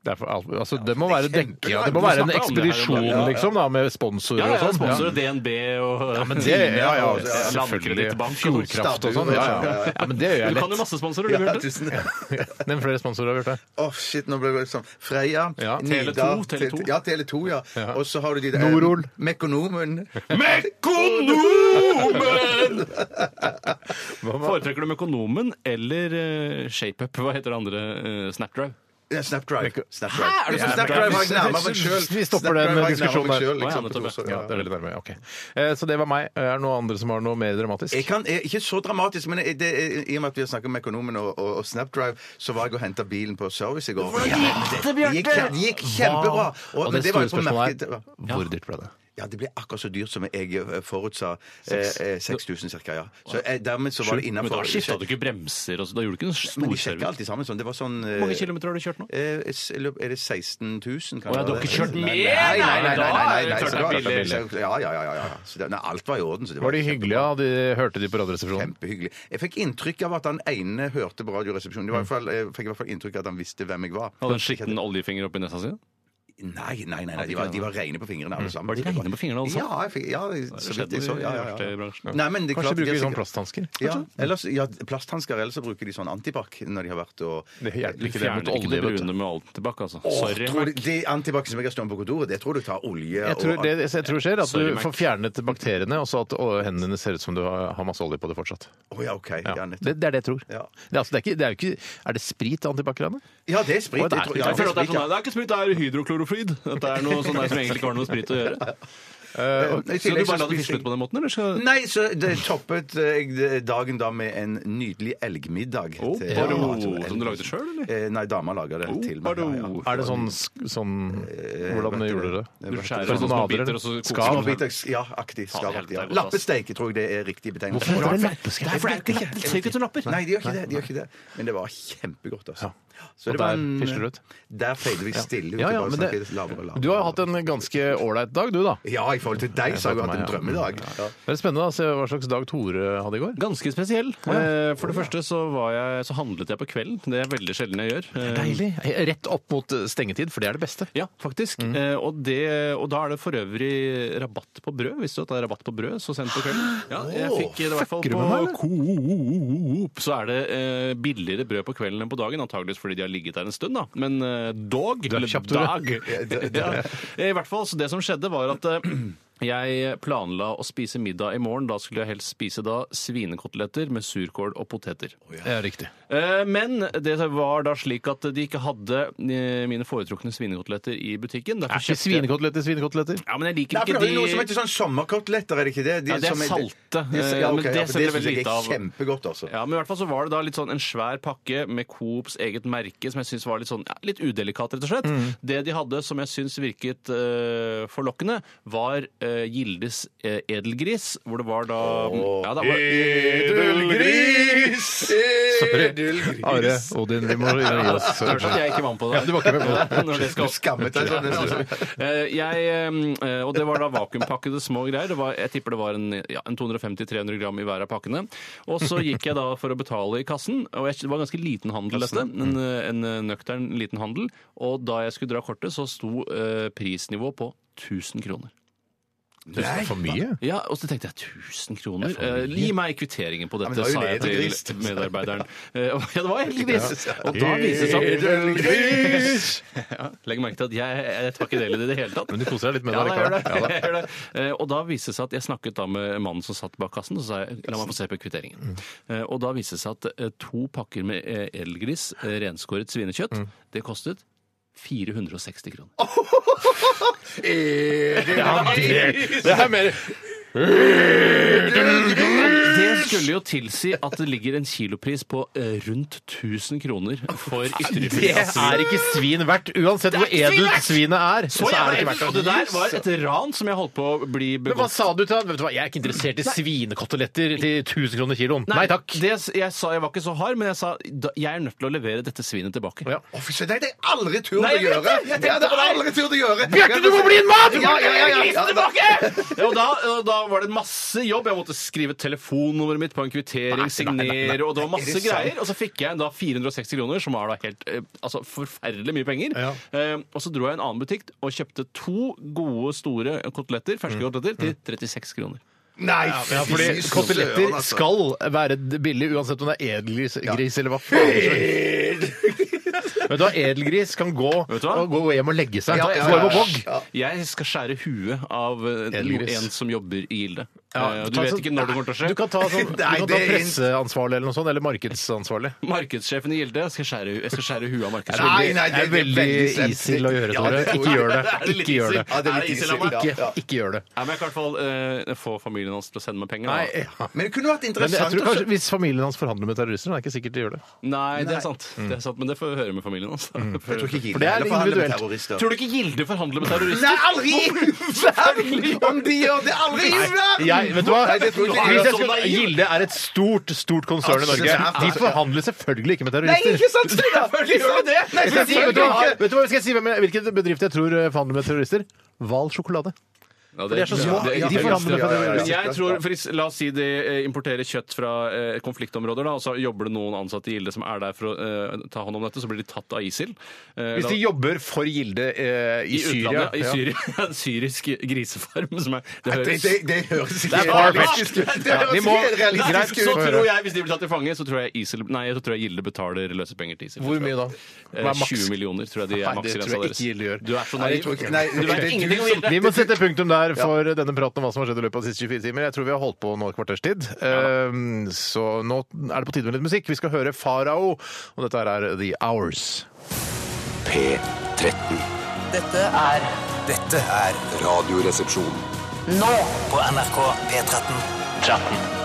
S1: Det, er for, al- altså, det må være, dekket,
S2: kjempe-
S1: ja, det må være en
S3: Vi snakker om det her om
S1: ekspedisjon,
S3: dagen. Ja, ja.
S1: liksom, da, med sponsorer og sånn.
S3: sponsorer DNB og
S1: Men det, ja, ja,
S3: og-
S1: selvfølgelig.
S3: Landkredittbank og
S1: Fjordkraft og sånn. Ja, ja. ja, men det gjør jeg
S3: Du kan jo
S1: lett.
S3: masse sponsorer, du, Bjarte.
S2: tusen takk.
S1: Nevn flere sponsorer, Bjarte.
S2: Åh, shit, nå ble det sånn. Freia,
S1: Ja,
S3: Tele2,
S2: Nida,
S3: Tele2.
S2: Tele- Ja, Tele2, ja.
S1: Ja.
S2: Og så har du de der
S1: Norol.
S2: Mekonomen.
S3: Mekonomen! Foretrekker du Mekonomen eller eh, ShapeUp? Hva heter det andre? eh, Snapdrive?
S2: Ja, Snapdrive. Snapdrive.
S3: Hæ, er det
S2: Ja,
S3: Snapdrive?
S2: Snapdrive var jeg nærmere meg
S1: Vi
S2: selv.
S1: stopper
S2: Snapdrive
S1: den
S2: var jeg
S1: diskusjonen
S2: nærmere meg
S1: der.
S2: selv,
S3: Å, ja,
S2: liksom, på
S3: nettopp,
S2: Torshov,
S1: Ja,
S2: ja.
S1: det er veldig nærme. ja, Ok. Eh, Så det var meg. Er det noen andre som har noe mer dramatisk?
S2: Jeg kan, jeg, ikke så dramatisk, men jeg, det, er- i og med at vi har snakket om økonomen og, og, og Snapdrive, så var jeg og henta bilen på service i går. Ja, det gikk, det gikk kjempebra!
S1: Og det
S2: men
S1: store
S2: jo på
S1: spørsmålet
S2: merket-
S1: er hvor dyrt ble det?
S2: Ja, det ble akkurat så dyrt som jeg eh, forutsa. Eh, eh, 6000 ca. Ja. Så eh, dermed så var det
S3: Men da
S2: innafor.
S3: skifta du ikke bremser? og så- Da gjorde du ikke
S2: Men
S3: noen
S2: vi sjekka
S3: storservice?
S2: alltid sammen sånn. Det var sånn eh,
S3: Hvor mange kilometer har du kjørt nå?
S2: eh, s- løp- Er det 16 000,
S3: Å,
S2: kanskje?
S3: ja, du har ikke kjørt
S2: Nei,
S3: mer?
S2: Nei, nei, nei. nei, nei,
S3: Da er
S2: nei,
S3: det
S2: så
S3: klart
S2: da-
S3: det er billig.
S2: så- Ja, ja, ja. ja, ja. Så det, nei, alt var i orden. Så det
S1: Var de hyggelige? Ja, de hørte de på Radioresepsjonen?
S2: Kjempehyggelig. Jeg fikk inntrykk av at han ene hørte på Radioresepsjonen. Det var i hvert fall- Jeg fikk i hvert fall inntrykk av at han visste hvem jeg var.
S3: Mm. Hadde en skitten oljefinger oppi nesa si?
S2: Nei, nei, nei, nei de, var, de var reine på fingrene alle sammen.
S3: Mm. Var de reine på fingrene, altså?
S2: Ja, jeg fikk, ja så vidt jeg så. Ja, ja, ja.
S3: i bransjen.
S2: Nei, men det er
S1: Kanskje
S2: klart,
S1: bruker de
S2: de er
S1: sånn
S2: sikkert-
S1: plasthansker?
S2: Ja, ellers, ja, plasthansker. Ellers så bruker de sånn antibac når de har vært og
S1: Det hjelper
S3: Du
S1: ikke det
S3: fjerner
S1: mot
S3: ikke det
S1: olje. vet du.
S3: brune med alt tilbake, altså. Sorry.
S2: Tror du, De antibac som jeg har stående på kontoret, det tror du tar olje
S1: Jeg tror,
S2: og
S1: det, jeg tror skjer at
S3: Sorry,
S1: du
S3: Mac.
S1: får fjernet bakteriene, og så at å, hendene dine ser ut som du har har masse olje på det fortsatt.
S2: Å ja, OK. Ja,
S1: Ja.
S2: nettopp.
S1: Det, det er det jeg tror.
S2: Ja.
S1: Det er, altså, det er, ikke, det er, jo ikke, er det sprit antibac-ranet?
S2: Ja, det er sprit.
S1: Å, det er
S2: jeg tror-
S1: sprit.
S2: ja,
S3: Jeg føler at det er
S2: sprit, ja.
S3: sånn der, Det er ikke sprit, det er hydroklorofrid. Dette er noe sånn der som egentlig ikke har noe med sprit å gjøre.
S2: I tillegg
S3: Skal du bare la det
S2: så
S3: fisle
S2: spiser jeg-
S3: ut på den måten, eller skal
S2: Nei, så det toppet eh, dagen da med en nydelig elgmiddag.
S3: Å,
S2: til-
S3: paro,
S2: Ja, til-
S3: som du lagde selv, eller? Oh,
S2: Eh, Nei, dama laga det til meg.
S3: paro.
S1: Er det sånn, sk- sånn
S2: Eh,
S1: Hvordan gjorde dere det?
S3: du skjære
S1: Bare
S3: sånne små
S1: nader,
S3: biter,
S1: eller?
S3: og så koker
S1: Skal?
S3: du den?
S2: Småbiter, ja, aktig. skal
S3: Faen,
S2: alltid,
S3: det
S2: ja.
S3: er godt, ass.
S2: Lappesteik tror jeg det er riktig betegnelse.
S1: Hvorfor
S2: på
S1: er det
S2: det.
S1: lappeskaut?
S2: Nei, for det er ikke-
S3: Det ser ikke ut som lapper.
S2: Nei, det gjør ikke det. det gjør ikke det. Men det var kjempegodt, altså. Så
S1: Og
S2: det var
S1: der
S2: en-
S1: fisler det ut?
S2: Der feider vi stille ut.
S1: Ja, ja,
S2: og bare sånn
S1: men det,
S2: snakker lavere og lavere.
S1: du har jo hatt en ganske ålreit dag, du, da.
S2: Ja, i forhold til deg så har jeg hatt en drømmedag. Ja.
S1: Det er spennende å se hva slags dag Tore hadde i går.
S3: Ganske spesiell. Eh, For det første så, var jeg, så handlet jeg på kvelden. Det er veldig sjelden jeg gjør. Eh,
S1: Deilig. Rett opp mot eh, stengetid, for det er det beste.
S3: Ja, faktisk.
S1: Mm.
S3: Eh, og, det, og da er det for øvrig rabatt på brød. Visste du at det er rabatt på brød så sent på kvelden? Ja, jeg fikk det i hvert fall
S1: fucker du
S3: på
S1: med meg,
S3: Coop. Så er det eh, billigere brød på kvelden enn på dagen, antageligvis fordi de har ligget der en stund, da. Men eh, dog
S1: Du er
S3: eller
S1: kjapp, Tore.
S3: dag. ja. Eh, I hvert fall, så det som skjedde var at eh, jeg planla å spise middag i morgen. Da skulle jeg helst spise da svinekoteletter med surkål og poteter.
S1: Ja, riktig.
S3: Eh, Men det var da slik at de ikke hadde eh, mine foretrukne svinekoteletter i butikken. Derfor
S1: Er ikke
S3: kjøpte jeg-
S1: svinekoteletter svinekoteletter?
S3: Ja, men jeg liker
S2: Nei, for
S3: ikke
S2: det
S3: de
S2: er jo noe som heter sånn sommerkoteletter, er det ikke det? De
S3: Ja, det er
S2: som
S3: salte.
S2: de-
S3: Eh,
S2: Ja,
S3: men
S2: ok,
S3: det
S2: ja, for
S3: selger
S2: det
S3: vel
S2: syns jeg
S3: lite
S2: er
S3: av.
S2: kjempegodt, altså.
S3: ja, men i hvert fall så var det da litt sånn en svær pakke med Coops eget merke som jeg syns var litt sånn ja, litt udelikat, rett og slett.
S1: Mm.
S3: Det de hadde som jeg syns virket eh, forlokkende, var eh, Gildes eh, edelgris, hvor det var da ja, det var,
S2: Edelgris! Edelgris!
S1: Are, Odin, vi må gi oss.
S3: Det hørtes at jeg ikke var med på det.
S1: Ja, du var ikke med på det.
S3: Når det skal
S2: Du
S3: opp.
S2: skammet deg sånn. nesten.
S3: Eh, jeg, eh, og det var da vakuumpakkede små greier. Det var, jeg tipper det var en, ja, en 250-300 gram i hver av pakkene. Og så gikk jeg da for å betale i kassen, og jeg, det var en ganske liten handel dette. En, eh, en eh, nøktern liten handel. Og da jeg skulle dra kortet, så sto eh, prisnivået på 1000 kroner.
S1: Tusen for mye.
S3: Ja, og så tenkte jeg 1000 kroner. Eh, gi meg kvitteringen på dette,
S2: det var jo
S3: sa jeg
S2: edelgris.
S3: til medarbeideren. Eh, og- ja, det var helt gris.
S2: Ja.
S3: Og da viser det seg
S2: Edelgris!
S3: ja, Legg merke til at jeg, jeg tar ikke del i det i det hele tatt.
S1: Men du koser deg litt med
S3: Ja,
S1: det
S3: da, jeg gjør det.
S1: likevel.
S3: Jeg gjør det. Eh, Og da viste det seg at jeg snakket da med mannen som satt bak kassen, og så sa jeg la meg få se på
S1: Mm.
S3: kvitteringen. Eh, Og da viste det seg at eh, to pakker med eh, edelgris, eh, renskåret svinekjøtt,
S1: Mm.
S3: det kostet 460 kroner.
S1: Ja, det er mer
S3: Det skulle jo tilsi at det ligger en kilopris på eh, rundt 1000 kroner for
S1: Det
S3: ytterligere
S1: er ikke svin verdt. Uansett hvor edelt svinet er, så er det ikke verdt
S3: Og det der var et ran som jeg holdt på å bli
S1: Men hva
S3: begått
S1: sa du til han? Vet du hva, Jeg er ikke interessert i svinekoteletter til 1000 kroner kiloen. Nei takk.
S3: Det, jeg sa jeg var ikke så hard, men jeg sa da- jeg er nødt til å levere dette svinet tilbake.
S1: Ja.
S2: Å, fy søren, det hadde jeg aldri tur
S3: Nei,
S2: å
S3: jeg vet
S2: gjøre!
S3: det. Jeg
S2: Det hadde jeg aldri tur å gjøre!
S1: Bjarte, du må bli en mann!
S2: Ja, ja, ja, ja, ja.
S3: Tilbake! Ja, og da, og da var det masse jobb. Jeg måtte skrive telefonnummer navneordet mitt på en kvittering,
S1: Nei, nei, nei, nei.
S3: signere, og det var
S2: Er
S3: masse
S2: det sant?
S3: greier. Og så fikk jeg da 460 kroner, som er da helt eh, altså forferdelig mye penger.
S1: Ja.
S3: Eh, og så dro jeg i en annen butikk og kjøpte to gode, store koteletter, ferske
S1: Mm.
S3: koteletter til 36 kroner.
S2: Nei,
S1: Ja, fordi
S2: fy søren,
S1: koteletter
S2: altså.
S1: skal være billig uansett om det er edelgris gris eller hva Vet du hva, edelgris kan gå,
S3: Vet du hva?
S1: og gå hjem og legge seg.
S2: Ja, ja,
S1: Gå hjem
S2: ja.
S1: og vogg.
S3: Jeg skal skjære huet av eh,
S1: Edelgris.
S3: en som jobber i Gilde.
S1: Ja,
S3: Eh, du
S1: ta
S3: vet
S1: sånn-
S3: ikke når det kommer til å skje.
S1: Du kan ta, sånn, du
S2: Nei,
S1: kan ta
S2: det er-
S1: presseansvarlig eller noe sånt, eller markedsansvarlig.
S3: Markedssjefen i Gilde skal skjære, hu- jeg skal skjære huet av markedssjefen.
S2: Nei, nei,
S1: det er veldig
S2: slemt.
S1: ISIL å gjøre,
S2: Ja,
S1: Tore.
S2: det tror
S1: Ikke
S2: jeg.
S1: gjør det.
S3: Er det litt
S1: Ikke gjør det.
S3: ISIL?
S2: Ja, det er litt
S3: ISIL,
S2: ISIL, ja.
S1: Ikke, ikke gjør det.
S3: Nei, men jeg kan i hvert fall eh, få familien hans til å sende meg penger. da.
S1: Nei, ja.
S2: Men det kunne
S1: Men
S2: vært
S1: jeg
S2: interessant
S1: tror
S2: å
S1: kanskje Hvis familien hans forhandler med terrorister, da er det ikke sikkert de gjør det.
S3: Nei, det er sant. Det er sant, Men det får vi høre med familien hans.
S1: Mm.
S2: Jeg tror ikke Hitler
S1: For det er
S2: heller forhandler med
S1: individuelt.
S2: terrorister.
S3: Tror du ikke Gilde forhandler med terrorister?
S2: Nei, aldri! Aldri! Om de gjør det, aldri! i verden!
S1: Jeg, vet du hva?
S2: Nei, det tror jeg ikke.
S1: Hvis jeg
S2: Sånn
S1: skulle,
S2: er jeg.
S1: Gilde er et stort stort konsern i
S2: Altså,
S1: Norge. De
S2: altså, ja.
S1: forhandler selvfølgelig ikke med
S2: Nei,
S1: terrorister.
S2: ikke sant? Selvfølgelig gjør de det! Nei,
S1: Vet du
S2: selvfølgelig
S1: hva,
S2: ikke.
S1: vet du hva skal jeg si hvem jeg- hvilken bedrift jeg tror eh, forhandler med terrorister? Hval sjokolade.
S3: Ja,
S1: de er så små.
S3: det-
S1: De
S3: det er
S1: forhandler med
S3: ganske-
S1: terrorister.
S3: Men jeg tror, for is- La oss si de eh, importerer kjøtt fra eh, konfliktområder, da, og så jobber det noen ansatte i Gilde som er der for å eh, ta hånd om dette, så blir de tatt av ISIL. Eh,
S1: Hvis
S3: da-
S1: de jobber for Gilde eh, i,
S3: i utlandet,
S1: Syria,
S3: i Syria. En syrisk grisefarm som er Det
S2: Det,
S3: høres
S2: det, det høres ikke
S1: Det er far-fetched.
S2: realistisk ut. Det
S1: Ja,
S2: høres
S1: vi må-
S2: ikke
S3: Nei,
S2: realistisk
S3: så
S2: ut.
S3: tror jeg, Hvis de blir tatt til fange, så tror jeg ISIL Nei, jeg tror jeg Gilde betaler løsepenger til ISIL.
S1: Hvor mye da?
S3: Eh,
S1: Hva er maks?
S3: 20 millioner tror jeg de er
S1: Nei, det tror
S3: maksgrensa
S1: jeg
S3: deres.
S1: ikke Gilde gjør.
S3: Du er så
S2: Nei, det
S3: naiv.
S2: tror jeg ikke. Nei,
S3: Du vet
S2: det-
S3: ingenting om Gilde.
S1: Vi må sette punktum der for denne praten om hva som har skjedd i løpet av de siste 24 timer. Jeg tror vi har holdt på nå et kvarters tid. Eh, Så nå er det på tide med litt musikk. Vi skal høre Farao, og dette her er The Hours.
S5: P13.
S6: Dette er
S4: Dette er Radioresepsjon.
S6: nå på NRK P13.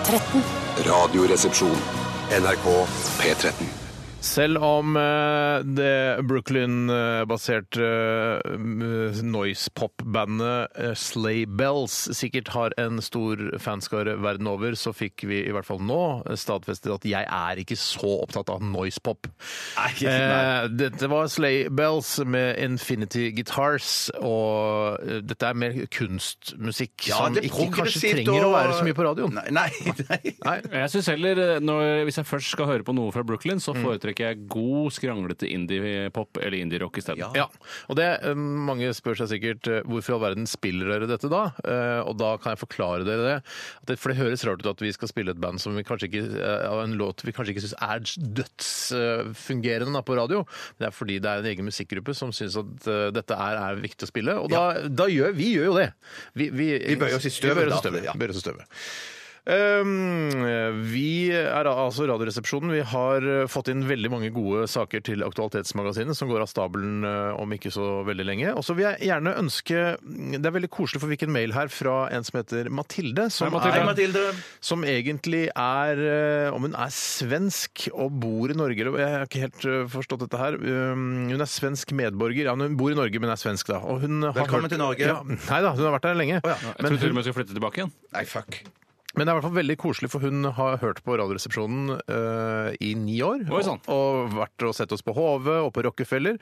S4: Radioresepsjon. NRK P13.
S1: Selv om eh, det Brooklyn-baserte eh, noise pop-bandet eh, Slay Bells sikkert har en stor fanskare verden over, så fikk vi i hvert fall nå stadfestet at jeg er ikke så opptatt av noise pop. Eh, dette var Slay Bells med Infinity Guitars, og eh, dette er mer kunstmusikk som
S2: det er
S1: ikke kanskje
S2: progressivt
S1: trenger å
S2: og-
S1: være så mye på radioen.
S2: Nei, nei. nei.
S1: Nei.
S3: Jeg synes heller, eh, når, Hvis jeg først skal høre på noe fra Brooklyn,
S1: Mm.
S3: så foretrekker jeg god, skranglete indie-pop eller indie-rock isteden.
S1: Ja, og det, eh, Mange spør seg sikkert eh, hvorfor i all verden spiller dere dette da? Eh, Og da kan jeg forklare dere det. At det. For det høres rart ut at vi skal spille et band som vi kanskje ikke, eh, av en låt vi kanskje ikke syns er dødsfungerende da, på radio. Det er fordi det er en egen musikkgruppe som syns at eh, dette er, er viktig å spille. Og da, da gjør vi gjør jo det. Vi, vi,
S2: Vi bøyer oss i støvet,
S1: Vi bøyer oss i
S2: da.
S1: støvet.
S2: Ja.
S1: Bøyer oss i støvet. Um, vi er da- altså Radioresepsjonen. Vi har uh, fått inn veldig mange gode saker til Aktualitetsmagasinet, som går av stabelen uh, om ikke så veldig lenge. Og så vil jeg gjerne ønske Det er veldig koselig, for vi fikk en mail her fra en som heter Mathilde. Som,
S2: Hei,
S1: Er,
S2: Mathilde.
S1: som egentlig er uh, Om hun er svensk og bor i Norge eller Jeg har ikke helt uh, forstått dette her. Um, Hun er svensk medborger. Ja, men hun bor i Norge, men er svensk, da. Og hun har
S2: Velkommen
S1: hørt-
S2: til Norge.
S1: Ja, nei da, hun har vært der lenge.
S3: Jeg tror til og med jeg skal flytte tilbake igjen.
S2: Nei, fuck.
S1: Men det er i hvert fall veldig koselig, for hun har hørt på Radioresepsjonen eh, i ni år.
S3: Oi, sann.
S1: Og, og vært og sett oss på HV og på Rockefeller.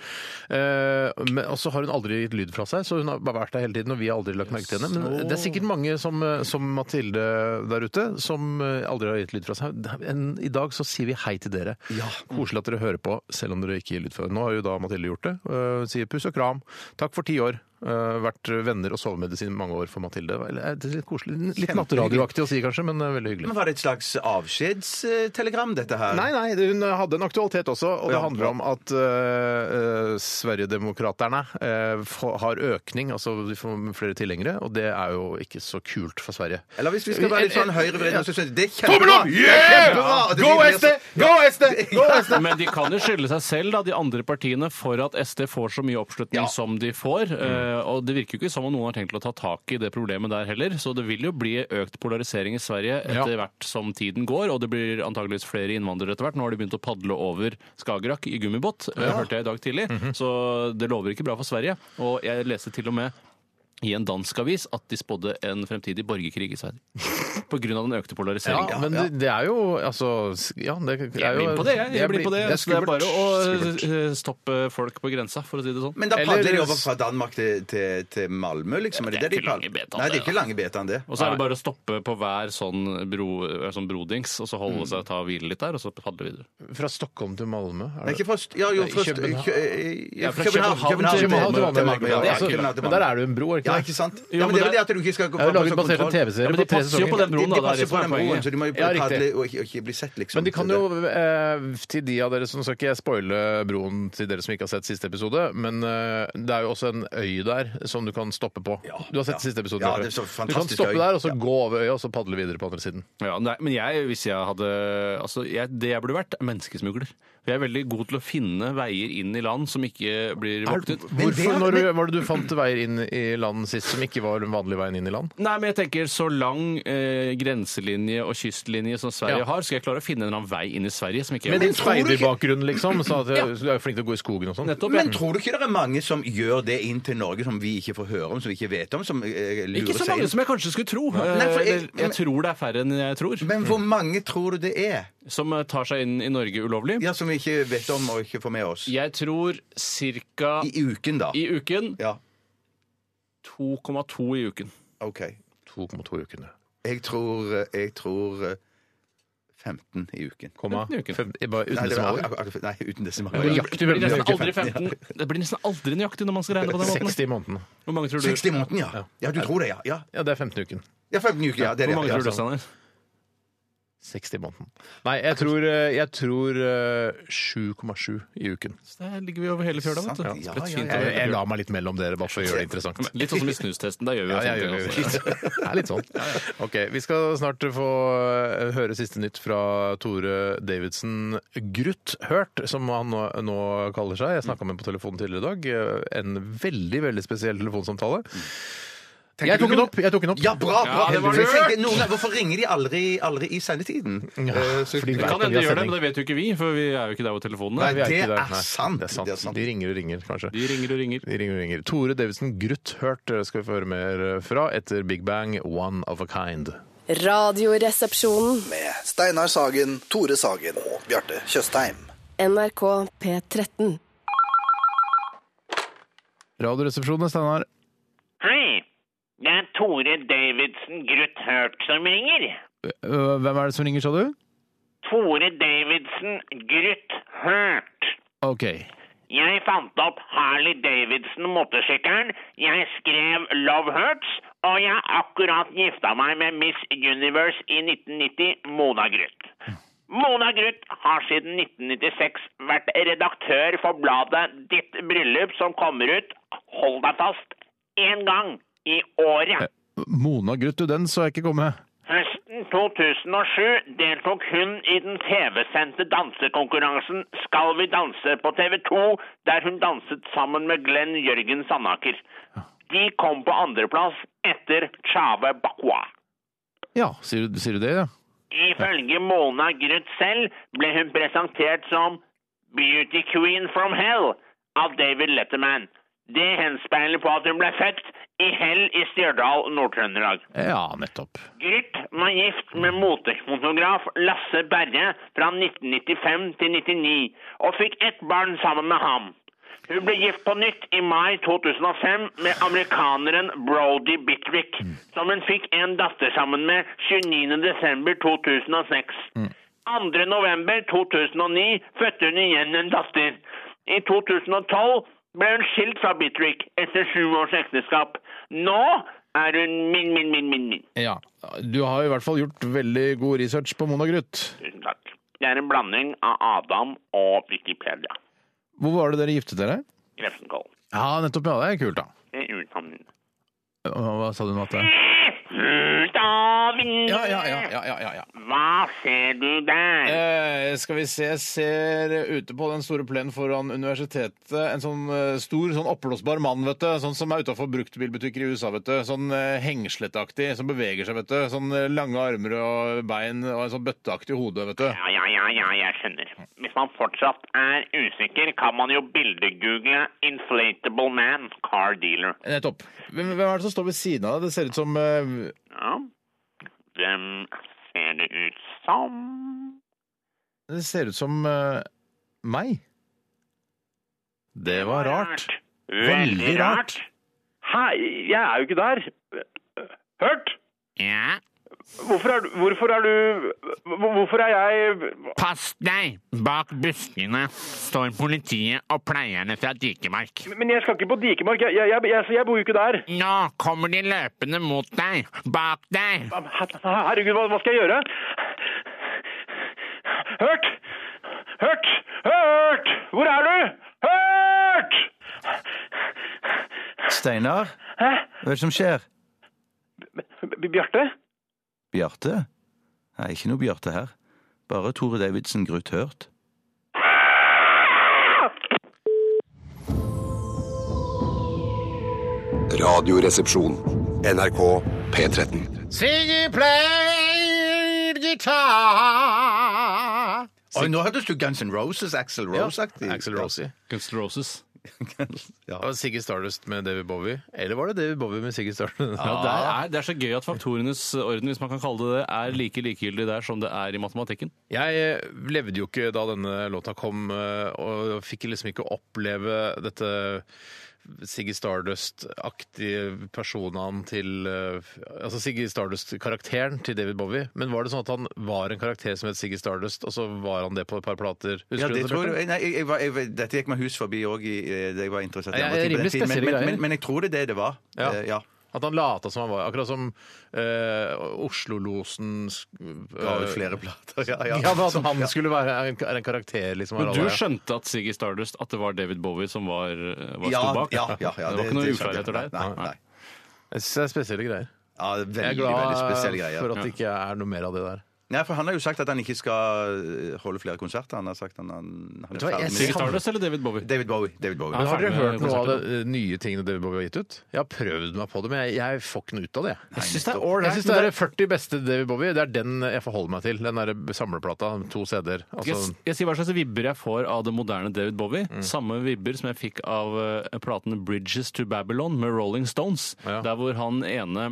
S1: Eh, men, og så har hun aldri gitt lyd fra seg, så hun har bare vært der hele tiden. Og vi har aldri lagt merke til henne. Men det er sikkert mange som, eh, som Mathilde der ute, som eh, aldri har gitt lyd fra seg. Det er En, I dag så sier vi hei til dere. Koselig at dere hører på, selv om dere ikke gir lyd fra dere. Nå har jo da Mathilde gjort det. eh, hun sier puss og kram. Takk for ti år. Eh, vært venner og sovemedisin i mange år for Mathilde. Eller, eh, Det er litt koselig. Litt nattradioaktig å si, kanskje, men eh, veldig hyggelig.
S2: Men var det et slags avskjedstelegram, dette her?
S1: Nei, nei, det- hun eh, hadde en aktualitet også, og det
S2: Ja.
S1: handler om at uh, Sverigedemokraterne eh, få- har økning, altså de får flere tilhengere, og det er jo ikke så kult for Sverige.
S2: Eller hvis vi skal være litt sånn høyrevridende, så synes jeg det er
S1: Tommel
S2: kjempebra!
S1: opp!
S2: Det er kjempebra! Og det
S1: Go
S2: blir så-
S1: SD! Go SD! Go SD!
S3: Men de kan jo skylde seg selv, da, de andre partiene, for at SD får så mye oppslutning som de får. Eh, Og det virker jo ikke som om noen har tenkt å ta tak i det problemet der heller. Så det vil jo bli økt polarisering i Sverige etter hvert som tiden går, og det blir antageligvis flere innvandrere etter hvert. Nå har de begynt å padle over Skagerrak i gummibåt, eh, hørte jeg i dag tidlig. Så det lover ikke bra for Sverige. Og jeg leste til og med i en dansk avis at de spådde en fremtidig borgerkrig i Sverige. På grunn av den økte
S1: Ja,
S3: polariseringen.
S1: men det, det er jo altså s- Ja, det er jo
S3: Jeg blir på det, jeg. jeg blir på det.
S1: Det er
S3: Så det er
S1: skummelt.
S3: bare å
S1: Skummelt.
S3: eh, stoppe folk på grensa, for å si det sånn.
S2: Men da padler
S1: Eller-
S2: de over fra Danmark til, til, til Malmö, liksom? Er
S3: Det
S2: det,
S3: er
S2: det de
S3: ikke
S2: padler?
S3: lange beta,
S2: Nei, det
S3: det,
S2: er ikke
S3: da.
S2: lange beta enn det.
S3: Og så er det bare å stoppe på hver sånn, bro, eh, sånn brodings, og så holde seg, ta og hvile litt der, og så padle videre.
S1: Fra Stockholm til Malmö? er
S2: Nei,
S1: det-
S2: ikke først, ja, jo,
S1: Nei,
S2: først
S1: København.
S2: Kø- eh,
S3: Ja, fra
S2: København
S3: København
S2: til-
S3: til
S1: København til
S2: til- til
S1: Malmø.
S2: Malmö, ja,
S3: det er
S2: altså,
S3: kult.
S2: København til
S1: Men
S2: Malmö.
S1: der er det jo en bro, er det
S2: Ja,
S1: ikke
S2: ikke
S1: det?
S2: sant?
S3: Jo, men
S2: Ja, men det er
S3: det-
S2: vel det at du ikke skal
S1: Det er jo laget basert på
S3: Ja,
S1: TV-serier
S3: men
S1: på
S3: de
S1: tre
S3: passer jo på
S1: sesonger.
S3: den broen, da.
S2: De
S3: Det er
S2: passer
S3: det
S2: på
S3: som er
S2: den broen, så
S3: poenget.
S2: de må jo
S1: Ja, riktig.
S2: padle og ikke, og ikke bli sett, liksom.
S1: Men de kan jo, eh, til de av dere som Skal ikke jeg spoile broen til dere som ikke har sett siste episode, men eh, det er jo også en øy der som du kan stoppe på.
S2: Ja,
S1: Du har sett
S2: ja.
S1: siste episode?
S2: Ja,
S1: Tore.
S2: det er så
S1: du kan
S2: fantastisk
S1: stoppe
S2: øy.
S1: der, og så gå over øya, og så padle videre på andre siden.
S3: Ja, nei, men jeg, hvis jeg hadde altså jeg, Det jeg burde vært, er menneskesmugler. For jeg er veldig god til å finne veier inn i land som ikke blir voktet.
S2: Men det
S1: Hvorfor,
S2: er-
S1: når du, var det du fant veier inn i land sist som ikke var den vanlige veien inn i land?
S3: Nei, men jeg tenker så lang eh, grenselinje og kystlinje som Sverige
S1: Ja.
S3: har, skal jeg klare å finne en eller annen vei inn i Sverige som ikke
S2: Men
S3: er
S2: det- tror du ikke-
S1: Speiderbakgrunn, liksom? Sa at jeg, du er jo flink til å gå i skogen og sånn.
S3: Nettopp, ja.
S2: Men tror du ikke det er mange som gjør det inn til Norge, som vi ikke får høre om, som vi ikke vet om, som eh, lurer
S3: Ikke så
S2: seg
S3: mange
S2: inn?
S3: som jeg kanskje skulle tro.
S2: Nei,
S3: Eh,
S2: for jeg-
S3: eller, jeg tror det er færre enn jeg tror,
S2: Men hvor mange tror du det er?
S3: som eh, tar seg inn i Norge ulovlig.
S2: Ja, Som vi ikke vet om og ikke får med oss?
S3: Jeg tror ca.
S2: I uken, da.
S3: i uken
S2: Ja,
S3: 2,2 i uken.
S2: OK.
S1: 2,2 ukene.
S2: Jeg tror, eh, jeg tror eh, 15 i uken.
S1: Komma.
S3: Femten uker.
S1: Fem, bare uten
S2: Nei, det var,
S1: desimaler.
S2: ak- ak- nei uten
S1: Det
S2: desimaler.
S1: var
S3: Det
S1: jaktig
S3: blir nesten
S1: veldig
S3: aldri 15. Det blir nesten aldri nøyaktig når man skal regne på den måten.
S1: 60 i måneden.
S3: Hvor mange tror du
S2: 60 i måneden, ja. Ja, du tror det, ja. Ja,
S1: Ja, det er 15 uken.
S2: ja 15 uker, ja. Det er
S3: Hvor mange
S2: det. altså. Ja,
S3: tror du, Steinar?
S1: 60 i måneden. Nei, jeg tror, eh, jeg tror eh, 7,7 i uken.
S3: Der ligger vi over hele fjøla, vet du.
S2: Sant, ja,
S3: Spett
S2: ja,
S3: fint
S2: ja,
S3: over hele
S1: Jeg, jeg
S3: fjøla.
S1: la meg litt mellom dere, bare for å gjøre det interessant.
S3: Litt sånn som i snustesten. Der gjør vi altså. jo
S1: Ja, jeg gjør
S3: sånne
S1: det.
S3: ting også.
S1: Det er litt sånn. Ok, Vi skal snart få eh, høre siste nytt fra Tore Davidsen Gruth Hørt, som han nå, nå kaller seg. Jeg snakka med ham på telefonen tidligere i dag. Eh, En veldig, veldig spesiell telefonsamtale. Jeg tok den opp! Jeg tok den opp.
S2: Ja, bra! bra.
S3: Ja, det var
S2: For jeg
S3: lurt.
S2: tenker, noen ganger, hvorfor ringer de aldri, aldri i sendetiden?
S1: Ja,
S2: Eh, så-
S1: fordi vi
S3: Det kan
S1: vet at vi
S3: hende de gjør det,
S1: har
S3: men
S1: sending.
S3: det vet jo ikke vi, for vi er jo ikke der hvor telefonen
S2: Nei,
S3: er.
S1: Vi
S2: det
S1: ikke der.
S2: er
S1: Nei,
S2: sant.
S1: Det er
S2: Det er sant.
S1: sant. De ringer og ringer, kanskje.
S3: De ringer og ringer.
S1: De ringer og ringer. Tore Davidsen Gruth Hørt eh, skal vi få høre mer fra etter Big Bang One of a Kind.
S7: Radioresepsjonen.
S8: med Steinar Sagen, Tore Sagen og Bjarte Tjøstheim.
S7: NRK P13.
S1: Radioresepsjonen, Steinar.
S9: Hei, det er Tore Davidsen Gruth Hørt som ringer.
S1: Øh, Hvem er det som ringer, sa du?
S9: Tore Davidsen Gruth Hørt.
S1: OK.
S9: Jeg fant opp Harley Davidson motorsykkelen, jeg skrev Love Hurts, og jeg har akkurat gifta meg med Miss Universe i 1990, Mona Gruth. Mona Gruth har siden 1996 vært redaktør for bladet Ditt bryllup, som kommer ut, hold deg fast, én gang i året.
S1: Mona Gruth, du, den så jeg ikke komme.
S9: Høsten 2007 deltok hun i den TV-sendte dansekonkurransen Skal vi danse på TV 2, der hun danset sammen med Glenn Jørgen Sandaker. De kom på andreplass etter Chave Bakwa.
S1: Ja, sier du, sier du det, ja?
S9: Ifølge Mona Gruth selv ble hun presentert som Beauty Queen from Hell av David Letterman. Det henspeiler på at hun ble født i Hell i Stjørdal, Nord-Trøndelag.
S1: Ja, nettopp.
S9: Gryth var gift med motefotograf Lasse Berre fra 1995 til 99, og fikk ett barn sammen med ham. Hun ble gift på nytt i mai 2005 med amerikaneren Brody Bitwick, som hun fikk en datter sammen med 29. desember 2006. 2. november 2009 fødte hun igjen en datter. I 2012 ble hun skilt fra Bitwick etter sju års ekteskap. Nå er hun min, min, min, min, min.
S1: Ja. Du har i hvert fall gjort veldig god research på Mona Gruth.
S9: Tusen takk. Det er en blanding av Adam og Wikipedia.
S1: Hvor var det dere giftet dere?
S9: Grefsenkollen.
S1: Ja, nettopp. Ja, det er kult, da.
S9: Det er Ut av vinduet.
S1: Hva sa du nå at det
S9: Ut av vinduet!
S1: Ja, ja, ja. ja, ja, ja.
S9: Hva ser du der?
S1: Eh, skal vi se, jeg ser ute på den store plenen foran universitetet en sånn eh, stor, sånn oppblåsbar mann, vet du. Sånn som er utafor bruktbilbutikker i USA, vet du. Sånn eh, hengsletaktig, som beveger seg, vet du. Sånn eh, lange armer og bein og en sånn bøtteaktig hode, vet du.
S9: Ja, ja, ja, ja, jeg skjønner. Hvis man fortsatt er usikker, kan man jo bildegoogle 'inflatable man car dealer'.
S1: Nettopp. Hvem, hvem er det som står ved siden av deg? Det ser ut som eh,
S9: Ja. Hvem ser det ut som?
S1: Det ser ut som eh, meg. Det var rart.
S9: Veldig rart.
S10: Hei, jeg er jo ikke der. Hørt?
S11: Ja,
S10: Hvorfor er, du- hvorfor er du hvor- Hvorfor er jeg
S11: pass deg! Bak buskene står politiet og pleierne fra Dikemark.
S10: Men jeg skal ikke på Dikemark. Jeg, jeg, jeg, jeg, jeg bor jo ikke der.
S11: Nå kommer de løpende mot deg! Bak deg!
S10: Herregud, hva, hva skal jeg gjøre? Hørt! Hørt! Hørt! Hvor er du? Hørt!
S2: Steinar,
S10: Hæ?
S2: hva er det som skjer?
S10: B- Bjarte?
S2: Bjarte? Nei, ikke noe Bjarte her. Bare Tore Davidsen Gruth Hørt.
S4: Radioresepsjon. NRK P13.
S1: Siggy played guitar.
S2: Oi, nå hørtes du Guns N' Roses, Axel Rose-aktig.
S1: Axel Rosie.
S3: Guns N' Roses.
S2: Ja.
S1: Og Siggy Stardust med David Bowie. Eller var det David Bowie med Siggy Stardust?
S3: Ja, det, er, det er så gøy at faktorenes orden, hvis man kan kalle det det, er like likegyldig der som det er i matematikken.
S1: Jeg eh, levde jo ikke da denne låta kom, eh, og fikk liksom ikke oppleve dette Siggy Stardust-aktige personaen til eh, Altså Siggy Stardust-karakteren til David Bowie. Men var det sånn at han var en karakter som het Siggy Stardust, og så var han det på et par plater? Husker
S2: Ja,
S1: du
S2: det tror
S1: Bjarte?
S2: jeg, nei, jeg, jeg, var- jeg, var- dette gikk meg hus forbi òg, da jeg var interessert i
S1: Ja,
S2: andre ting
S1: rimelig
S2: på den tiden. Men,
S1: spesielle
S2: men,
S1: greier.
S2: men, men jeg tror det er det det var.
S1: Ja.
S2: Eh, ja.
S1: At han lata som han var. Akkurat som eh, Oslo-losen sk-
S2: Ga ut
S1: eh,
S2: flere plater. Ja, ja.
S1: Ja, men at han skulle være en, er en karakter, liksom.
S3: Men
S1: av
S3: du
S1: alle.
S3: skjønte at Siggy Stardust, at det var David Bowie som var, eh, var sto
S2: ja,
S3: bak?
S2: ja, ja, ja,
S3: det var ikke noe
S2: skjønte jeg.
S3: uferdigheter der?
S2: Nei, nei.
S1: Jeg synes det er spesielle greier.
S2: Ja, det er
S1: Jeg er
S2: veldig,
S1: glad
S2: veldig spesielle greier.
S1: for at det ikke er noe mer av det der.
S2: Nei, for Han har jo sagt at han ikke skal eh, holde flere konserter. Han har sagt han, han, han er
S1: du hva,
S3: Siggy
S1: jeg
S2: ferdig med det.
S3: Stardust eller David Bowie?
S2: David Bowie. David Bowie.
S1: Men har dere
S3: ferdig med
S1: hørt noe av
S3: konserten,
S1: de nye tingene David Bowie har gitt ut? Jeg har prøvd meg på det, men jeg, jeg får ikke noe ut av det. jeg.
S2: syns det er
S1: Jeg syns det er 40 beste David Bowie. Det er den jeg forholder meg til. Den der samleplata. To CD-er.
S3: Jeg,
S1: Altså,
S3: jeg sier hva slags vibber jeg får av det moderne David Bowie.
S2: Mm.
S3: Samme vibber som jeg fikk av eh, platene Bridges to Babylon med Rolling Stones.
S1: Ja.
S3: Der hvor han ene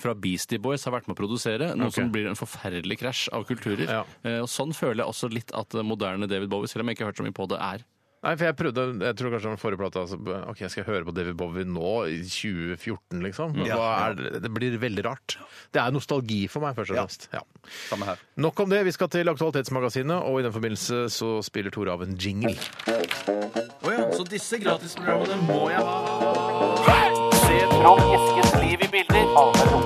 S3: fra Beastie Boys har vært med å produsere, noe
S1: Ok.
S3: som blir en forferdelig krasj av kulturer.
S1: Ja.
S3: Eh, og Sånn føler jeg også litt at det moderne David Bowie, selv om jeg ikke har hørt så mye på det, er.
S1: nei, for jeg prøvde Jeg tror kanskje den forrige plata altså, OK, jeg skal høre på David Bowie nå, i 2014, liksom. Hva er, det- det blir veldig rart. Det er nostalgi for meg, først og fremst. Ja.
S2: Samme her.
S1: Nok om det. Vi skal til Aktualitetsmagasinet, og i den forbindelse så spiller Tore av en jingle.
S3: Så disse gratisprogrammene må jeg ha.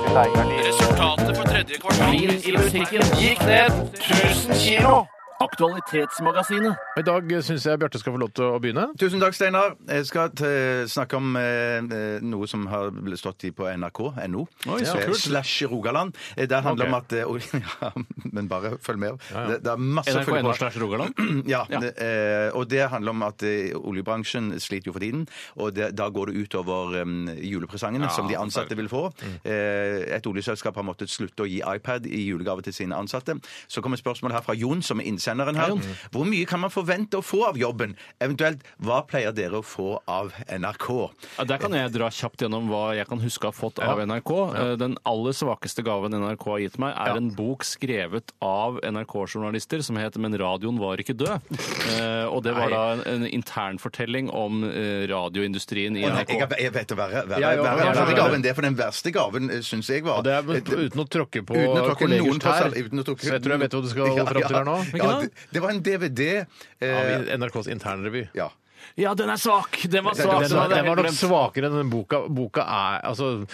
S3: Resultatet på tredje kvartal i musikken gikk ned 1000 kilo. Aktualitetsmagasinet.
S1: I dag syns jeg Bjarte skal få lov til å begynne.
S2: Tusen takk, Steinar. Jeg skal eh, snakke om eh, eh, noe som har blitt stått i på nrk.no.
S3: Oi, så
S2: Eh,
S3: kult.
S2: Slash Rogaland. Eh, Det handler om at eh, oi, ja, Men bare følg med. Det, det er masse å følge
S3: NRK1
S2: på.
S3: slash Rogaland.
S2: Ja, det, eh, og det handler om at eh, oljebransjen sliter jo for tiden, og det, da går det utover um, julepresangene som de ansatte vil få.
S1: Mm.
S2: Eh, et oljeselskap har måttet slutte å gi iPad i julegave til sine ansatte. Så kommer spørsmålet her fra Jon, som er innsenderen her. Hvor mye kan man forvente å få av jobben? Eventuelt, hva pleier dere å få av NRK?
S3: Ja, Der kan jeg dra kjapt gjennom hva jeg kan huske å ha fått av NRK. Eh, Den aller svakeste gaven NRK har gitt meg, er en bok skrevet av NRK-journalister som het 'Men radioen var ikke død'. Eh, Og det var da en, en internfortelling om eh, radioindustrien i
S2: Å, nei,
S3: NRK.
S2: jeg, jeg vet å være, være,
S1: Ja,
S2: være,
S1: ja,
S2: være,
S1: ja, ja, ja.
S2: gaven. Det er for den verste gaven, syns jeg var.
S1: Og det er uten å tråkke på
S2: Uten å tråkke
S1: kollegers
S2: noen på
S1: tær.
S2: sal- uten å tråkke-
S1: Så jeg tror jeg vet hva du skal
S2: Ja,
S1: fram til her nå.
S2: Ja, det, det var en DVD. eh,
S1: Av NRKs internrevy.
S2: ja.
S3: Ja, den er svak! Den var
S1: Den
S3: svak.
S1: var,
S3: den
S1: den var
S3: hadde jeg
S1: nok
S3: helt glemt.
S1: svakere enn den boka. Boka er Altså,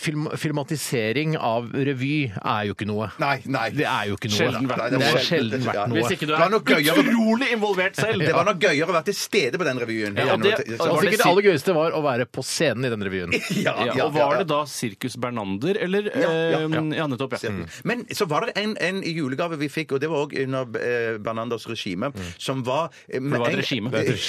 S1: film, filmatisering av revy er jo ikke noe.
S2: Nei, nei.
S1: Det er jo ikke noe.
S3: Sjelden vært
S1: det
S3: noe.
S1: er sjelden vært noe.
S3: Hvis ikke du
S2: Det var
S3: er
S2: nok gøyere-
S3: utrolig involvert selv.
S2: Det var nok gøyere å være til stede på den revyen.
S3: Ja, og det-
S2: Ja,
S1: Og
S3: var det
S1: sikkert det
S3: si-
S1: aller gøyeste var å være på scenen i den revyen.
S2: ja,
S3: Ja,
S2: ja,
S3: og var
S2: ja.
S3: det da Sirkus Bernander, eller
S2: Ja, ja,
S3: eh,
S2: ja.
S3: ja, nettopp. Ja.
S2: Men så var det en, en julegave vi fikk, og det var òg under eh, Bernanders regime, som var For
S3: det var et regime.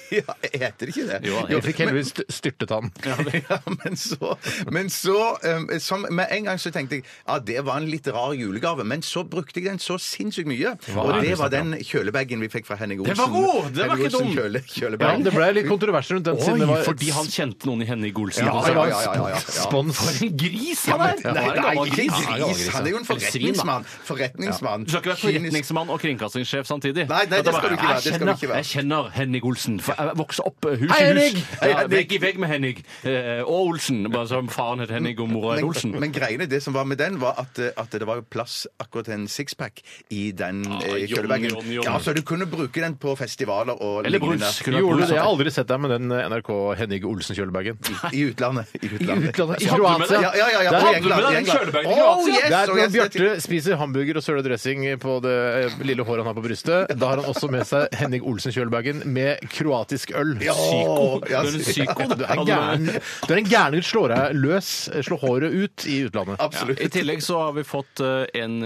S2: Ja, heter det ikke det?
S3: Jo,
S1: Jeg fikk
S2: men-
S1: heldigvis st- styrtet han.
S2: ja, men så, men så eh, som, Med en gang så tenkte jeg ja, det var en litt rar julegave, men så brukte jeg den så sinnssykt mye. og
S1: er
S2: det
S1: det
S2: var den kjølebagen vi fikk fra Henning Olsen.
S3: Den var god! Den var
S2: Henning
S3: ikke
S2: Olsen
S3: dum.
S2: Kjøle,
S1: Ja,
S2: kjølebag.
S1: det ble litt kontrovers rundt den siden det
S3: Oi,
S1: var
S3: fordi han kjente noen i Henny Golsen.
S1: ja,
S3: på
S1: det
S3: seg.
S1: var
S2: ja, ja, ja, ja.
S1: spons.
S3: For en gris han er!
S2: Nei,
S3: Han er en
S2: nei,
S3: gammel
S2: ikke
S3: gris.
S1: Ja,
S2: gris. Han er jo en
S3: Eller svin, da.
S2: forretningsmann. Forretningsmann.
S3: Du skal ikke være
S2: Kynisk-
S3: forretningsmann og kringkastingssjef samtidig.
S2: Nei, nei,
S3: At
S2: det
S3: bare,
S2: skal du ikke være, det skal
S3: Jeg kjenner,
S2: du ikke være.
S3: jeg kjenner Henning Olsen. For jeg vokste opp eh, hus
S1: Hei,
S3: i
S1: Henning!
S3: hus.
S1: Hei,
S3: Ja,
S1: Henning!
S3: Vegg i vegg med Henning. eh, Og Olsen. Bare som faren het Henning og mora het Olsen.
S2: Men, men greiene, det som var med den, var at, eh, at det var jo plass akkurat til en sixpack i den ah,
S3: Johnny,
S2: kjølebagen.
S3: Johnny, Johnny.
S2: Ja, så du kunne bruke den på festivaler og
S3: Eller
S2: lignende.
S3: brus. Kunne
S1: Gjorde du
S3: brus,
S1: det? Jeg har
S3: da.
S1: aldri sett deg med den eh, NRK Henning Olsen-kjølebagen.
S2: I utlandet. I
S3: Hadde du med
S1: I
S2: utlandet.
S1: Kroatia.
S3: deg-
S2: Ja, ja, ja, ja,
S1: Der-
S2: og i
S3: Hadde du med deg
S2: England, i
S3: den
S2: England.
S3: kjølebagen i
S2: Oh,
S3: Kroatia?
S2: yes,
S1: Det er
S2: oh,
S1: når
S2: yes,
S1: Bjarte spiser hamburger og søler dressing på det eh, lille håret han har på brystet. Da har han også med seg Henning Olsen-kjølebagen med kroatisk øl.
S2: Ja,
S1: Psyko.
S2: ja,
S3: Du er en psyko, du.
S1: Du er en gæren. Du er en gæren gutt. Slår deg løs, slår håret ut i utlandet.
S2: Absolutt.
S3: I tillegg så har vi fått eh, en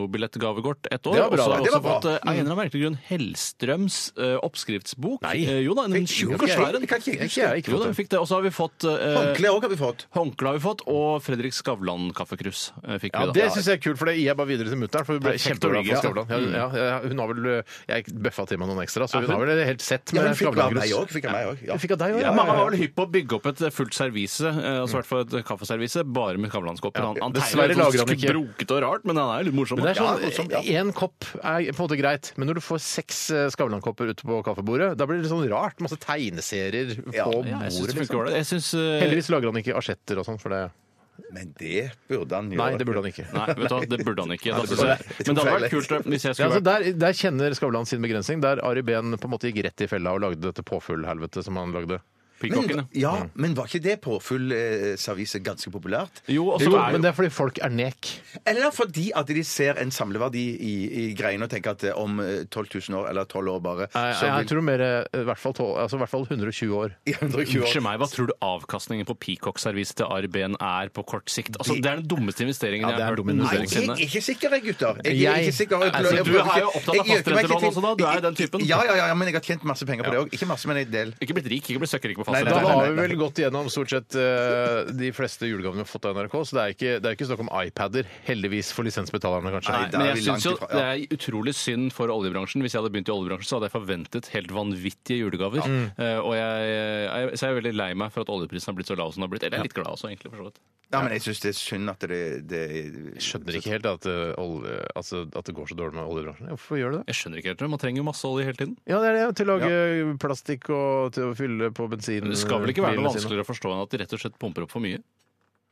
S3: kinobillettgavekort et år.
S1: Det var bra,
S3: og så
S1: det.
S3: har vi
S2: Det
S3: også
S2: var
S3: fått
S2: bra. Mm.
S3: eh, av en eller annen merkelig grunn Hellstrøms eh, oppskriftsbok.
S1: Nei.
S3: Eh, jo da, en tjukk og svær en.
S2: Kan ikke-
S1: Ikke jeg, ikke
S3: Jo da,
S1: fått
S3: vi
S1: det.
S3: fikk det. Og så har vi fått eh,
S2: Håndkle òg har vi fått.
S3: Håndkle har vi fått, og Fredrik Skavlan-kaffekrus eh, fikk
S1: Ja,
S3: vi da.
S1: det syns jeg er kult, for det gir jeg bare videre til mutter'n. For hun ble
S3: Perfekt
S1: kjempeglad
S3: origin.
S1: for Skavlan. Ja, ja, ja, hun har vel eh, Jeg bøffa til meg noen ekstra, så
S3: Ja,
S1: hun har
S3: hun-
S1: vel et helt sett
S2: Ja,
S1: med
S2: men fikk av meg
S1: Skavlan-grus.
S2: òg. Fikk av meg òg. Ja.
S1: Fikk av deg òg,
S3: Ja, Mange var vel hypp på å bygge opp et fullt servise, eh, altså i hvert fall et kaffeservise, bare med Skavlan-koppen. Han, han
S1: Dessverre
S3: tegner sånn
S1: lager han ikke.
S3: brokete og rart, men han er jo litt morsom.
S1: Men det
S3: da.
S1: er sånn,
S3: Ja, morsom, ja.
S1: Én kopp er på en måte greit, men når du får seks eh, Skavlan-kopper ute på kaffebordet, da blir det sånn rart. Masse tegneserier
S2: Ja.
S1: på
S3: Ja, jeg syns
S1: bordet.
S3: det funker
S1: Liksom.
S3: ålreit. Jeg syns, eh,
S1: Heldigvis lager han ikke asjetter og sånn, for det
S2: Men det burde han gjøre.
S1: Nei, det burde han ikke.
S3: Nei, vet du hva, det burde han ikke. Da
S2: det
S3: synes jeg.
S2: burde han ikke.
S3: Men det hadde vært kult eh, hvis jeg
S1: Ja,
S3: skulle
S1: altså
S3: vært
S1: der, der kjenner Skavlan sin begrensning. Der Ari Behn på en måte gikk rett i fella og lagde dette påfuglhelvetet som han lagde.
S3: pikkokken.
S2: Men, ja,
S3: Mm.
S2: men var ikke det påfyll eh, servise ganske populært?
S3: Jo, og så
S1: Jo,
S3: er
S1: men
S3: jo
S1: det er fordi folk er nek.
S2: Eller fordi at de ser en samleverdi i, i greiene og tenker at eh, om eh, 12 000 år, eller 12 år bare,
S1: Jeg, jeg, tror mer eh, i hvert fall, tol- altså, i hvert fall 120 år.
S2: i 120 år
S3: Unnskyld meg, Hva tror du avkastningen på Peacock-serviset til Ari Behn er på kort sikt? Altså, Det er den dummeste investeringen
S1: Ja,
S3: jeg
S1: det er
S3: har hørt.
S1: en dum investering.
S2: Jeg er
S3: noensinne.
S2: ikke sikker, jeg, gutter. Jeg, er
S1: Jeg-
S2: ikke sikker. Jeg,
S3: Altså,
S2: jeg
S3: du
S2: prøver
S3: er jo
S2: ikke-
S3: opptatt av
S2: jeg gjør ikke meg
S3: fastrentelån
S2: til-
S3: også, da. Du er jo den typen.
S2: Ja, ja, ja, ja, men jeg har tjent masse penger på det òg. Ikke masse, men en del.
S3: Ikke blitt rik, ikke blitt søkkrik på
S2: Nei,
S1: Da
S2: nei, nei,
S3: fastlandet.
S1: har vi vel gått igjennom stort sett eh, de fleste julegavene vi har fått av NRK, så det er ikke, det er ikke snakk om iPader. Heldigvis for lisensbetalerne, kanskje.
S2: Nei,
S3: Nei,
S2: der
S3: men jeg
S2: er vi langt
S3: synes jo
S2: ifra,
S3: Det
S2: ja.
S3: er utrolig synd for oljebransjen. Hvis jeg hadde begynt i oljebransjen, så hadde jeg forventet helt vanvittige julegaver. Eh, og jeg, jeg, så jeg er veldig lei meg for at oljeprisen har blitt så lav som den har blitt. Eller jeg er litt glad også, egentlig. for så vidt.
S2: Ja, men jeg syns det er synd at det, det
S1: Jeg skjønner ikke helt at, eh, olje, altså, at det går så dårlig med oljebransjen. Hvorfor gjør det det?
S3: Jeg skjønner ikke helt det. Man trenger jo masse olje hele tiden.
S1: Ja, det er det. Til å lage plastikk og til å fylle på bensin.
S3: Det skal vel ikke være noe
S1: bilene sine.
S3: vanskeligere å forstå enn at de rett og slett pumper opp for mye.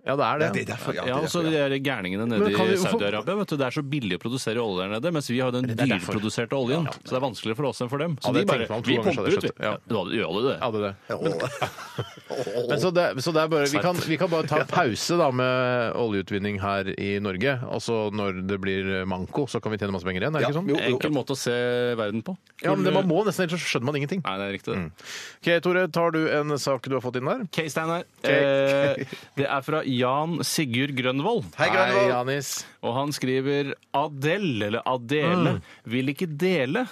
S1: Ja, det Mm. er det.
S2: Ja, det er derfor, ja.
S3: Ja,
S2: det er
S3: og så
S2: derfor,
S3: de
S2: ja.
S3: der gærningene nede
S1: Men kan vi-
S3: i Saudi-Arabia. vet du, Det er så billig å produsere olje der nede, mens vi har den dyrproduserte oljen. Så det er vanskeligere for oss enn for dem. Så
S1: Ja,
S3: de
S1: det
S3: bare
S1: tenkte man to
S3: Vi
S1: ganger, så
S3: pumper
S1: hadde
S3: ut,
S1: jeg
S3: vi.
S1: skjønt det. Ja.
S3: Ja, da gjør alle det.
S1: Ja, det er det.
S2: Åh.
S1: Men så det, så det er bare, vi, kan, vi kan bare ta pause da med oljeutvinning her i Norge. Og så når det blir manko, så kan vi tjene masse penger igjen. Er det
S2: Ja,
S1: ikke sånn?
S2: jo, jo.
S3: Enkel måte å se verden på.
S1: Ja, men det, Man må Mm. nesten, ellers så skjønner man ingenting.
S3: Nei, det er riktig. det.
S1: Ok, Tore, tar du en sak du har fått inn der?
S3: K-Stein her. Eh, det er fra Jan Sigurd Grønvold.
S2: Hei, Grønvold.
S1: Janis.
S3: Og han skriver Adele, eller Adele, vil ikke dele.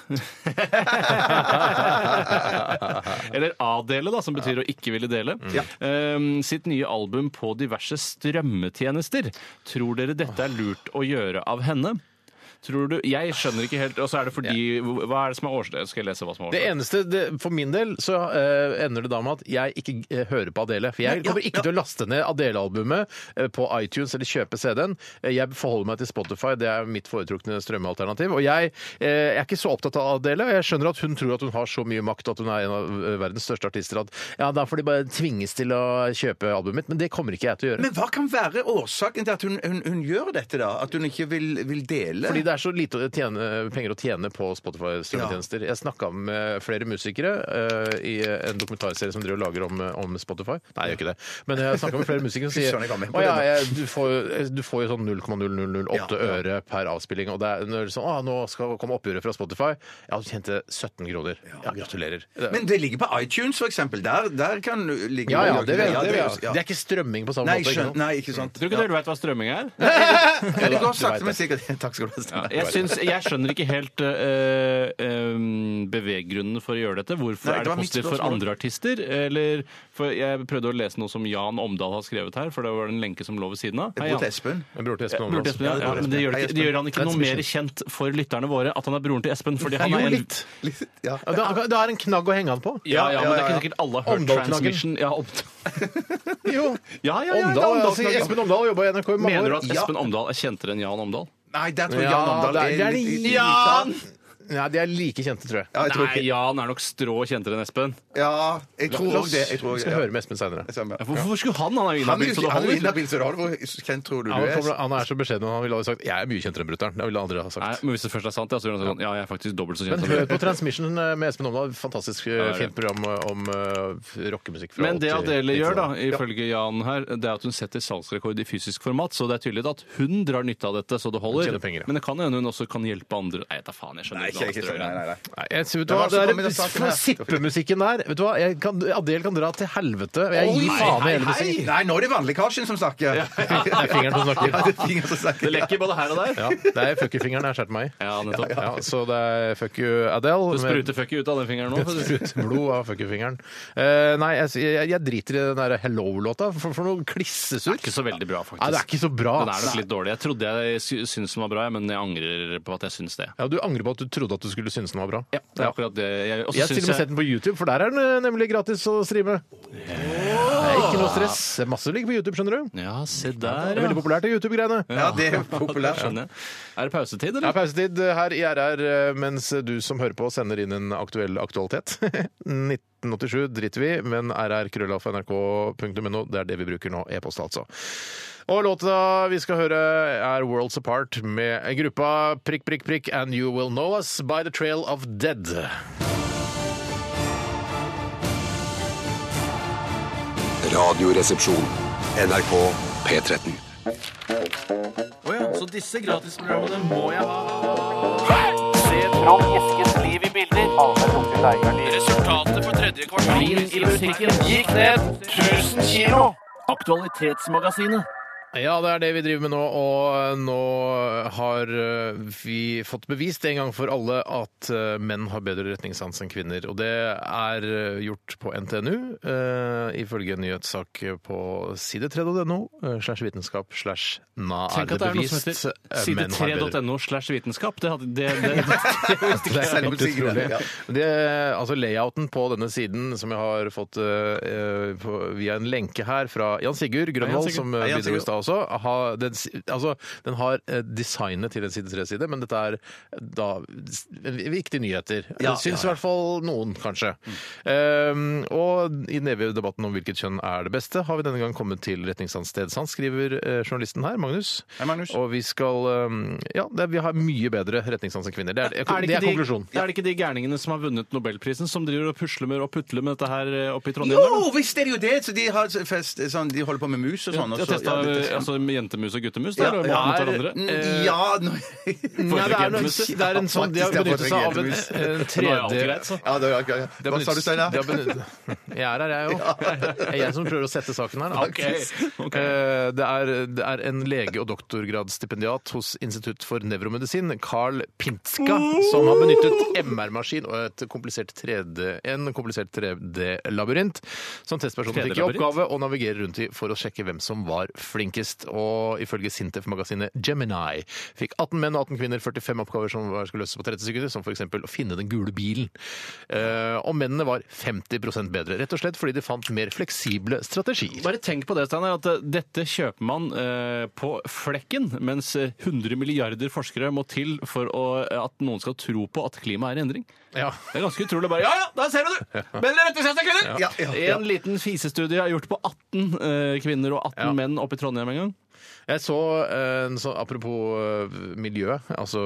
S3: eller Adele, da, som betyr å ikke ville dele. Eh, sitt nye album på diverse strømmetjenester. Tror dere dette er lurt å gjøre av henne? Tror du, Jeg skjønner ikke helt Og så er det fordi Hva er det som er årsaken? Skal jeg lese hva som er
S1: Det
S3: årsaken?
S1: eneste, det, For min del så eh, ender det da med at jeg ikke eh, hører på Adele. For jeg kommer ikke til å laste ned Adele-albumet eh, på iTunes eller kjøpe CD-en. Eh, Jeg forholder meg til Spotify, det er mitt foretrukne strømmealternativ. Og jeg, eh, jeg er ikke så opptatt av Adele. og Jeg skjønner at hun tror at hun har så mye makt at hun er en av eh, verdens største artister at ja, da får de bare tvinges til å kjøpe albumet mitt. Men det kommer ikke jeg til å gjøre.
S2: Men hva kan være årsaken til at hun, hun, hun gjør dette, da? At hun ikke vil, vil dele?
S1: fordi det er så lite å tjene, penger å tjene på Spotify-strømmetjenester. Jeg snakka med flere musikere eh, i en dokumentarserie som driver og lager om, om Spotify. Nei, jeg gjør ikke det. Men jeg snakka med flere musikere som
S2: Fy søren, jeg kan
S1: sier
S2: med på
S1: Å ja,
S2: det nå."
S1: jeg, du, får, du får jo sånn 0,0008
S2: Ja, ja.
S1: øre per avspilling. Og det er når det er sånn Å, nå skal komme oppgjøret fra Spotify. Ja, du tjente 17 kroner. Ja, gratulerer. Det-
S2: Men det ligger på iTunes, for eksempel. Der, der kan ligge
S1: ja, ja, det, vet jeg, det, vet jeg.
S2: ja.
S1: det er ikke strømming på samme
S2: Nei,
S1: måte. ikke
S2: skjønn,
S1: sant?
S2: nei, ikke sant.
S3: Tror du ikke dere vet hva strømming er?
S2: Ja, det
S1: Du
S2: går
S1: vet
S2: sakte,
S1: det.
S2: men sikkert. Takk skal du ha. Steinar.
S3: Jeg, syns, jeg skjønner ikke helt eh, eh, beveggrunnen for å gjøre dette. Hvorfor
S2: Nei, det
S3: er det
S2: var mitt
S3: positivt for
S2: spørsmål.
S3: andre artister? Eller, for jeg prøvde å lese noe som Jan Omdal har skrevet her, for det var en lenke som lå ved siden av. Hei,
S2: Bror til
S3: Jan.
S2: Espen.
S1: Men Bror til
S3: Ja,
S1: Espen
S3: Bror til
S1: Omdal.
S3: Espen, ja, ja, men det gjør,
S2: Hei,
S3: ikke,
S2: Espen.
S3: det gjør han ikke
S1: That's
S3: noe mer
S1: efficient.
S3: kjent for lytterne våre at han er broren til Espen. Fordi han
S1: jo,
S3: er en,
S1: litt.
S2: Litt- Ja.
S1: Ja, Det er- det er en knagg å henge han på.
S3: ja, ja, men det er
S2: ja, ja.
S3: ikke sikkert alle har hørt
S1: Omdal-knaggen.
S3: Transmission. Ja, Omdal-
S1: Jo.
S3: Ja, ja, ja,
S1: Omdal,
S3: Omdal-
S1: altså, Espen Omdal jobba i NRK i mange
S3: Mener du
S1: år.
S3: at Espen Omdal er kjentere enn Jan Omdal?
S2: Nei, der tror jeg Jan Omdal
S1: det
S2: er
S1: det
S2: litt
S1: li-
S3: Jan!
S1: Ja, de er like kjente, tror jeg.
S2: Ja, jeg tror
S3: Nei,
S2: ikke
S3: Jan er nok strå kjentere enn Espen.
S2: Ja, jeg tror
S1: La
S2: òg
S1: oss-
S2: det. Jeg
S1: vi
S2: tror også-
S1: skal
S2: ja.
S1: høre med Espen seinere.
S2: Samme.
S3: Hvorfor, hvorfor skulle han? Han er jo
S2: Han er
S3: inhabil,
S2: jo
S3: så det
S2: ikke- han er jo
S3: holder.
S2: inhabil, så det holder. Hvor kjent tror du du
S1: Ja, han, kommer,
S2: er?
S1: han er så beskjeden, og han ville aldri sagt 'jeg er mye kjentere enn brutter'n'. Det ville han aldri ha
S3: Nei,
S1: sagt.
S3: men hvis det først er sant, ja, så gjør han sånn. Ja, jeg er faktisk dobbelt så kjent.
S1: Men
S3: som
S1: hør
S3: dere.
S1: på Transmission med Espen Omdal. Fantastisk eh,
S3: det er det.
S1: fint program om eh, rockemusikk. fra
S3: Men det
S1: 80-
S3: Adele gjør, da,
S1: 90-tallet.
S3: ifølge Jan her, det er at hun setter salgsrekord i fysisk format. Så det er tydelig at hun drar nytte av dette, så det
S1: Hun
S3: holder.
S1: tjener penger, ja.
S3: Men det kan hende hun også kan hjelpe andre. Nei, da faen, jeg skjønner
S2: Nei,
S3: hva han gjør.
S2: ikke, ikke, nei, nei, nei.
S1: Nei, jeg, vet du hva,
S2: Det var
S1: det
S2: som
S1: er
S2: kom i den saken her.
S1: sippemusikken der Vet du hva, jeg kan, Adele kan dra til helvete. Jeg gir faen i hele
S2: Hei!
S1: musikken.
S2: Nei, nå er det vannlekkasjen som snakker. Ja,
S1: Det er fingeren som snakker.
S2: det er fingeren som
S3: Det
S2: snakker.
S3: lekker både her og der.
S1: Ja, det er fuckerfingeren jeg har skåret meg i.
S3: Ja, nettopp.
S1: Ja, så det er fuck you, Adele.
S3: Det
S1: med-
S3: spruter fucky ut av den fingeren nå. for å si- sånn.
S1: Sprut blod av fuckerfingeren. Uh, nei, jeg, jeg, jeg driter i den der Hello-låta. For, for noe klissesur.
S3: Det er ikke så veldig bra, faktisk.
S1: Nei, det er ikke så bra.
S3: Den er nok litt dårlig. Jeg trodde jeg sy- syntes den var bra, men jeg angrer på at jeg syns det.
S1: Ja, Du angrer på at du trodde at du skulle synes den var bra.
S3: Ja, det er akkurat det. Jeg, også
S1: Jeg har til og
S3: syns
S1: med sett den på YouTube, for der er den eh, nemlig gratis å streame. Det er ikke noe stress. Det er Masse ligger på YouTube, skjønner du.
S3: Ja, se
S1: Det
S3: der,
S1: er veldig populært, det YouTube-greiene.
S2: Ja, det er
S3: Der
S2: populært.
S3: skjønner jeg. Er det pausetid,
S1: Det er
S3: eller?
S1: pausetid her i RR, mens du som hører på, sender inn en aktuell aktualitet. 1987 driter vi, men rrkrøllalfa.nrk.no, det er det vi bruker nå. E-post, altså. Og låta vi skal høre, er Worlds Apart med gruppa prikk, prikk, prikk, and you will know us by the trail of dead.
S4: Radioresepsjon. NRK P13.
S1: Ja, det er det vi driver med nå, og nå har eh, vi fått bevist en gang for alle at eh, menn har bedre retningssans enn kvinner. Og det er eh, gjort på NTNU, eh, ifølge en nyhetssak på side 3.no, eh, slash vitenskap, slash na
S3: Tenk at det er noe som heter
S1: eh, menn har bedre-
S3: side3.no slash vitenskap. Det, hadde- det, det,
S1: det er helt utrolig.
S2: Selvmotsigende, ja.
S1: Det, altså Layouten på denne siden som jeg har fått eh, eh, på, via en lenke her fra Jan Sigurd Grønvold, som eh,
S2: Hei, Jan
S1: bidro i
S2: Sigurd.
S1: stad også, har, den, si- altså, den har eh, designet til en side tre-side, men dette er da s- viktige nyheter.
S2: Ja,
S1: det syns
S2: ja, ja.
S1: i hvert fall noen, kanskje. Um, og i den evige debatten om hvilket kjønn er det beste, har vi denne gang kommet til retningssans stedsans, skriver eh, journalisten her, Magnus.
S2: Hei, Magnus.
S1: Og vi skal um, Ja, det, vi har mye bedre retningssans enn kvinner. Det er,
S3: Er det,
S1: det er
S3: ikke
S1: konklusjonen.
S3: de, er det ikke de gærningene som har vunnet Nobelprisen, som driver og pusler med og putler med dette her eh, oppe i Trondheim?
S2: Jo, visst er det jo det! Så de, har fest, sånn, de holder på med mus og sånn. og
S3: Jeg
S2: så-
S3: testa
S2: ja, det-
S3: altså, med jentemus og guttemus
S2: Ja,
S3: der, og
S2: ja,
S3: mot
S1: er-
S3: hverandre. Eh,
S2: Mm, Ja nå- Eh,
S1: Nei, det er, noe,
S3: Foretrekker
S1: det er en sånn De har
S2: Ja, faktisk,
S1: benyttet
S2: jeg
S1: seg av en,
S2: foretrekker
S1: en
S3: Nå er alt greit,
S1: 3D
S3: så.
S2: Ja, det var akkurat-
S1: Det
S2: Hva sa du,
S1: benyttes-
S2: Steinar?
S1: det har benyttet- Jeg er her, jeg òg. Det er jeg som prøver å sette saken her. da.
S3: Ok, ok.
S1: Eh, Det, er, det er en lege- og doktorgradsstipendiat hos Institutt for nevromedisin, Carl Pinska, som har benyttet MR-maskin og et komplisert 3D, en komplisert 3D-labyrint som testpersonen fikk i
S3: 3D-labyrint?
S1: oppgave å navigere rundt i for å sjekke hvem som var flinkest. Og ifølge Sintef-magasinet Gemini fikk 18 menn og 18 kvinner 45 oppgaver som var- skulle løses på 30 sekunder, som f.eks. å finne den gule bilen. Eh, og mennene var 50 bedre, rett og slett fordi de fant mer fleksible strategier.
S3: Bare tenk på det, Steiner, at eh, dette kjøper man eh, på flekken, mens eh, 100 milliarder forskere må til for å, eh, at noen skal tro på at klimaet er i endring.
S1: Ja.
S3: Det er ganske utrolig. Bare, ja, ja, der ser du det! Men det er rett og slett kvinner!
S2: Ja, ja, ja.
S3: En liten fisestudie er gjort på 18 eh, kvinner og 18
S1: Ja.
S3: menn oppe i Trondheim en gang.
S1: Jeg så eh, en sånn Apropos eh, miljø, altså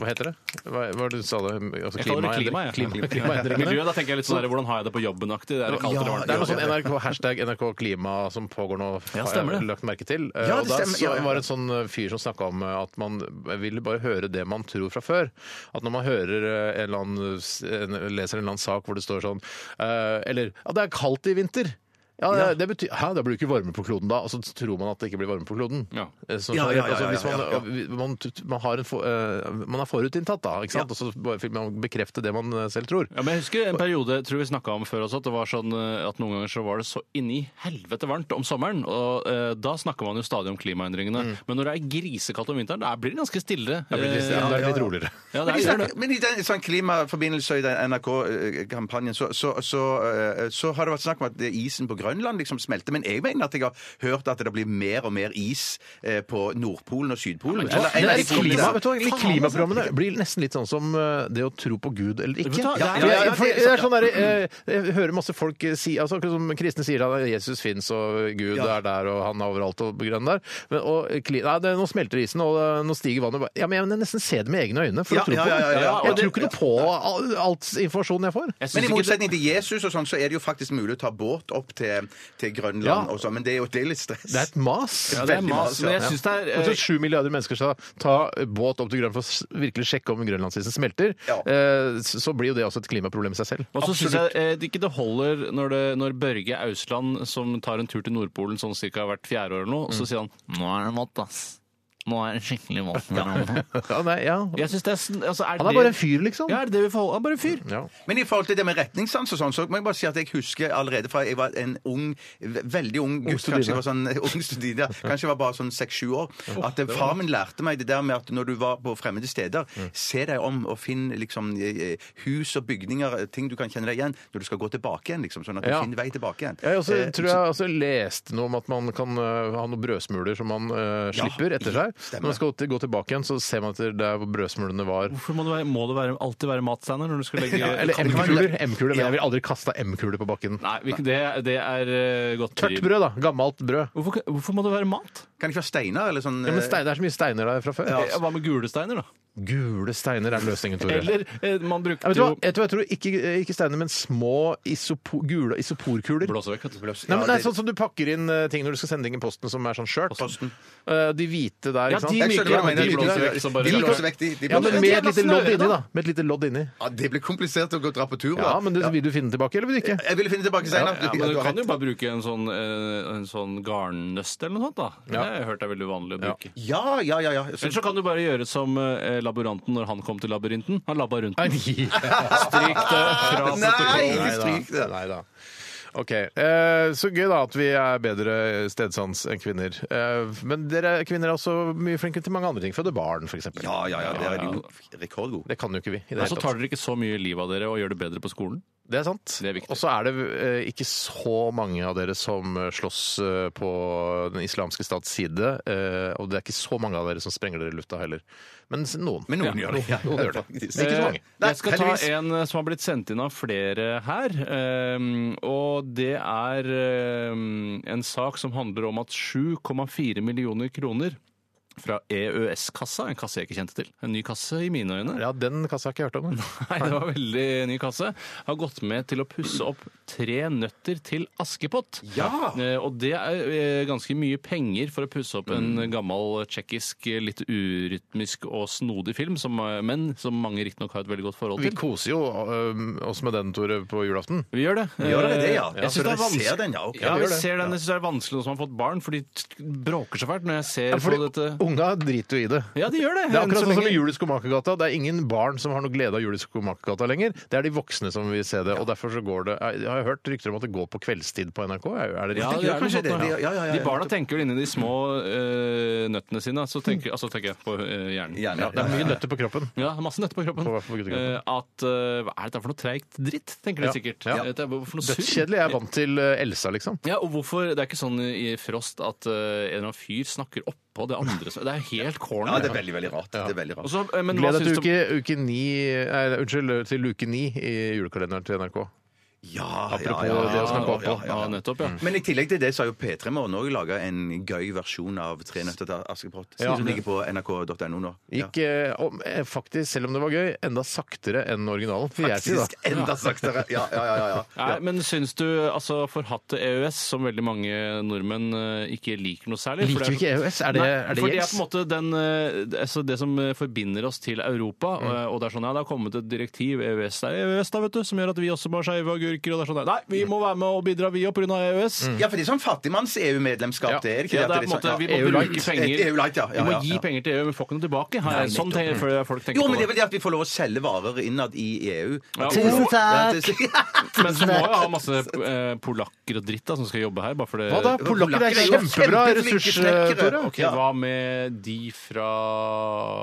S1: Hva heter det? Hva, hva er det du sa det? Altså,
S3: Jeg kaller det klima, jeg.
S1: klima,
S3: Miljø, da tenker jeg litt sånn der, Hvordan har jeg det på jobben-aktig? Det er det kaldt eller varmt.
S1: det er noe sånn NRK, hashtag NRK klima som pågår nå,
S3: Ja,
S1: har
S3: stemmer
S1: jeg
S3: det.
S1: lagt merke til. Eh,
S2: Ja, det
S1: og der
S2: stemmer,
S1: så
S2: ja, ja.
S1: var det en sånn eh, fyr som snakka om eh, at man vil bare høre det man tror fra før. At når man hører eh, en eller annen, s- en, leser en eller annen sak hvor det står sånn eh, Eller ja, det er kaldt i vinter. Ja, det, det betyr, Hæ, da blir det ikke varme på kloden, da? Og så tror man at det ikke blir varme på kloden.
S3: Ja.
S1: Eh, Så,
S2: Ja, ja, ja,
S1: altså, hvis
S2: ja,
S1: man,
S2: ja, ja.
S1: Man, man, har en, for- eh, man er forutinntatt, da. Ikke sant? Og så bare vil man bekrefte det man eh, selv tror.
S3: Ja, men jeg husker en periode jeg tror vi snakket om før også, at det var sånn eh, at noen ganger så var det så inni helvete varmt om sommeren. og eh, Da snakker man jo stadig om klimaendringene. Men når det er grisekaldt om vinteren, da blir det ganske stille.
S1: Da blir det litt-
S3: Eh,
S1: da er det
S2: ja,
S1: litt
S2: ja.
S1: roligere.
S3: ja,
S2: Men,
S3: det
S2: i
S3: er,
S2: sånn- men i den sånn klimaforbindelse i den NRK-kampanjen, eh, så, så, så, eh, så har det vært snakk om at det- isen på Grønland liksom smelter. Men jeg mener at jeg har hørt at det blir mer og mer is eh, på Nordpolen og Sydpolen.
S1: Ja,
S2: Eller en
S1: det
S2: av de
S1: er
S2: punktene.
S1: klima, vet du, hva, egentlig
S3: Faen,
S1: klimaprogrammene blir nesten litt sånn som eh, det å tro på Gud eller ikke.
S3: Vet du hva?
S1: Ja,
S3: Ja,
S1: for
S3: ja,
S2: ja,
S1: jeg- for
S2: det er
S1: det er
S2: sant,
S1: sånn derre, eh, Jeg hører masse folk eh, si altså, akkurat som kristne sier at Jesus fins og Gud
S2: Ja.
S1: er der og han er overalt og grønn der. Men, og, eh, kli- nei, det, nå smelter isen og eh, nå stiger vannet. Ja, men jeg nesten ser det med egne øyne for
S2: Ja,
S1: å tro på
S2: ja, ja, ja,
S1: det.
S2: ja.
S1: Jeg tror ikke noe på all, alt informasjonen jeg får.
S3: jeg
S2: Men i
S3: synes ikke det,
S2: motsetning til Jesus og sånn, så er det jo faktisk mulig å ta båt opp til, til Grønland
S1: Ja.
S2: og sånn, men det er jo det er litt stress.
S1: Det er et mas.
S3: ja, det er
S2: veldig
S3: mas,
S2: masse,
S3: men
S2: ja.
S3: jeg synes det er
S1: Jeg
S3: eh,
S1: tror sju milliarder mennesker skal ta båt opp til Grønland for å s- virkelig sjekke om grønlandsisen smelter.
S2: Ja.
S1: eh, s- Så blir jo det også et klimaproblem i seg selv.
S3: Og så synes jeg eh, det ikke det holder når, det, når Børge Ausland, som tar en tur til Nordpolen sånn cirka hvert fjerde år eller noe,
S1: Mm.
S3: så sier han Nå er det vått, ass. Nå er det skikkelig vått. Jeg
S1: Ja, nei, ja.
S3: synes det er, sn- altså, er
S1: Han er
S3: det-
S1: bare en fyr, liksom.
S3: Ja, er det det vi får holde? Han er bare en fyr.
S1: Ja.
S2: Men i forhold til det med retningssans og sånn, så må jeg bare si at jeg husker allerede fra jeg var en ung, ve- veldig ung gutt,
S1: studine.
S2: kanskje jeg var sånn ung studine, ja. kanskje jeg var bare sånn seks-sju år, at eh, far min lærte meg det der med at når du var på fremmede steder, se deg om og finn liksom eh, hus og bygninger, eh, ting du kan kjenne deg igjen, når du skal gå tilbake igjen, liksom, sånn at du
S1: Ja.
S2: finner vei tilbake igjen.
S1: Jeg også,
S2: Eh,
S1: tror
S2: så-
S1: jeg også leste noe om at man kan øh, ha noen brødsmuler som man øh, slipper etter seg.
S2: stemmer.
S1: Når man skal til- gå tilbake igjen, så ser man etter der hvor brødsmulene var.
S3: Hvorfor må det, være, må det være, alltid være matsteiner når du skal legge
S1: Ja, eller
S3: Kan-
S1: M-kuler. M-kuler, Men jeg vil aldri kaste M-kuler på bakken.
S3: Nei, vi- det, det er eh, godt
S1: Tørt brød, da. Gammelt brød.
S3: Hvorfor, hvorfor må det være mat?
S2: Kan det ikke være steiner eller sånn?
S1: Ja, men
S2: eh,
S1: stein, Det er så mye steiner der fra før.
S3: Ja, Hva med gule steiner, da?
S1: Gule steiner er løsningen, Tore.
S3: Eller eh, man
S1: Ja,
S3: brukte
S1: vet, du hva?
S3: jo
S1: vet du hva, jeg tror ikke, ikke steiner, men små isopo, gule isoporkuler.
S3: Blås vekk, vet du.
S2: bløss-
S1: Nei,
S2: ja,
S1: men det er
S2: det-
S1: sånn som du pakker inn eh, ting når du skal sende ting i posten, som er sånn skjørt.
S2: Posten.
S1: Eh, De hvite der,
S3: Ja,
S1: ikke sant?
S3: de
S2: Jeg skjønner hva du
S3: myke,
S2: mener,
S3: de
S2: de
S3: blåser
S2: myke.
S3: vekk, så bare
S2: De blåser vekk, de- de
S1: Ja,
S2: blåser
S1: men
S2: vekk.
S1: med et lite lodd inni, da. Med et lite lodd inni.
S2: Ja, det blir komplisert å gå og dra på tur, da.
S1: Ja, men det, vil du finne tilbake, eller vil du ikke?
S2: Jeg ville finne tilbake senere.
S3: Ja,
S2: Ja,
S3: men Du
S2: du har
S3: kan jo
S2: rett.
S3: bare bruke en sånn, eh, en sånn garnnøst eller noe sånt. da. Det har jeg hørt er veldig uvanlig å bruke.
S2: ja, ja, ja. ja. Så-
S3: Eller så kan du bare gjøre som eh, laboranten når han kom til labyrinten. Han labba rundt den.
S1: Stryk det
S3: fra
S2: Nei,
S3: protokollen.
S2: ikke stryk det.
S1: Nei da. OK. eh, Så gøy, da, at vi er bedre stedsans enn kvinner. Eh, Men dere kvinner er også mye flinkere til mange andre ting. Føde barn, f.eks.
S2: Ja, ja, ja. Der er de jo rekordgode.
S1: Det kan jo ikke vi. i det
S3: Og
S1: hele
S3: så
S1: tatt.
S3: tar dere ikke så mye liv av dere og gjør det bedre på skolen.
S1: Det er sant.
S3: Det er viktig.
S1: Og så er det eh, ikke så mange av dere som eh, slåss eh, på Den islamske stats side. eh, og det er ikke så mange av dere som sprenger dere i lufta heller. Men s- noen.
S2: Men noen gjør det. Ja,
S1: Noen gjør det.
S2: faktisk.
S1: Men ikke så mange.
S2: Nei,
S3: Eh, jeg skal ta
S2: heldigvis.
S3: en eh, som har blitt sendt inn av flere her. ehm, Og det er ehm, en sak som handler om at 7,4 millioner kroner fra EØS-kassa, en kasse jeg ikke kjente til, en ny kasse i mine øyne,
S1: Ja, den kassa har jeg ikke hørt om. men.
S3: Nei, det var veldig ny kasse. Har gått med til å pusse opp tre nøtter til Askepott.
S2: Ja!
S3: Eh, Og det er eh, ganske mye penger for å pusse opp en gammel tsjekkisk, eh, litt urytmisk og snodig film, som, eh, men som mange riktignok har et veldig godt forhold
S1: Vi
S3: til.
S1: koser jo eh, oss med den, Tore, på julaften.
S3: Vi gjør det. Eh,
S2: Vi gjør det, ja.
S3: Jeg syns
S2: Så
S3: det er
S2: dere ser
S3: vanskelig.
S2: den, ja, ok.
S3: Ja,
S2: Vi
S3: vi
S2: gjør det.
S3: ser den. Jeg syns det er vanskelig noen som har fått barn, for de t- bråker så fælt når jeg ser på
S1: Fordi
S3: dette.
S1: Unga driter jo i det.
S3: Ja, de gjør det.
S1: Det er
S3: enn så
S1: akkurat sånn som
S3: lenge.
S1: i Jul i Skomakergata. Det er ingen barn som har noe glede av Jul i Skomakergata lenger. Det er de voksne som vil se det. og derfor så går det, Jeg har hørt rykter om at det går på kveldstid på NRK. Er er det
S3: Ja,
S1: riktig?
S3: det er noe
S2: kanskje
S3: sånt,
S2: det.
S3: ja.
S2: Ja, ja, ja,
S3: De barna tenker vel inni de små eh, nøttene sine, så tenker, altså tenker jeg på eh, hjernen.
S2: Hjernen, ja.
S1: Det er mye nøtter på kroppen.
S3: Ja, masse nøtter på kroppen.
S1: På- på guttekroppen.
S3: Eh, at eh, hva er dette for noe treigt dritt, tenker de
S1: Ja.
S3: sikkert.
S1: Ja.
S3: Dette er for noe surr.
S1: Dødskjedelig. Jeg er vant til eh, Elsa, liksom.
S3: Ja, og hvorfor, Det er ikke sånn i Frost at eh, en eller annen fyr snakker oppå det andre. som- Det er helt corny.
S2: Ja, det er veldig, veldig rart. Det er veldig
S3: Og
S2: rart.
S3: så, eh, men hva
S1: Gled deg
S3: syns
S1: til
S3: du
S1: uke, uke ni, nei, unnskyld, til uke ni i julekalenderen til NRK.
S2: Ja,
S1: Apropos
S2: ja, ja,
S1: det å snakke opp
S2: ja,
S1: på.
S2: ja, ja.
S3: nettopp,
S1: Mm.
S3: ja.
S2: Men i tillegg til det så har jo P3 Morgen òg laga en gøy versjon av Tre nøtter til Askepott.
S1: Ja.
S2: Som ligger på nrk.no nå. Ja.
S1: Gikk eh, om, eh, faktisk, selv om det var gøy, enda saktere enn originalen. Får jeg si, da.
S2: Faktisk enda saktere. Ja, ja, ja. ja, ja.
S3: Nei, men syns du altså forhatte EØS, som veldig mange nordmenn eh, ikke liker noe særlig
S1: Liker vi ikke EØS? Er det, er det
S3: for det er
S1: gjengs?
S3: på en måte den, eh, altså det som eh, forbinder oss til Europa.
S2: Mm.
S3: eh, Og det er sånn, ja, det har kommet et direktiv, EØS det er EØS da, vet du, som gjør at vi også må ha skeive agurker. Og det er sånn, nei,
S2: Mm.
S3: vi må være med og bidra, vi, på grunn av EØS.
S2: Ja, for det er sånn fattigmanns-EU-medlemskap, det er det ikke
S3: Mm. Ja,
S2: At
S3: det er på en
S2: sånn-
S3: måte, vi
S2: ja,
S3: må
S2: EU-light.
S3: bruke penger.
S2: Et EU-light, E ja. ja,
S3: vi må
S2: ja,
S3: gi
S2: ja.
S3: penger til EU, men vi får ikke noe tilbake. Har jeg, sånn tenker føler jeg folk tenker
S2: Jo, men
S3: på
S2: det er vel det at vi får lov å selge varer innad i EU.
S3: Ja,
S2: At vi får lov-
S3: Tusen
S2: Ja, tusen
S3: Men så må jeg ha masse eh, polakker og dritt da, som skal jobbe her. Bare for det.
S1: Hva da? Polakker er
S2: jo
S1: kjempebra
S2: kjempeflinke
S1: ressurs, eh,
S2: snekkere.
S1: Tore.
S3: Ok,
S2: Ja.
S3: Hva med de fra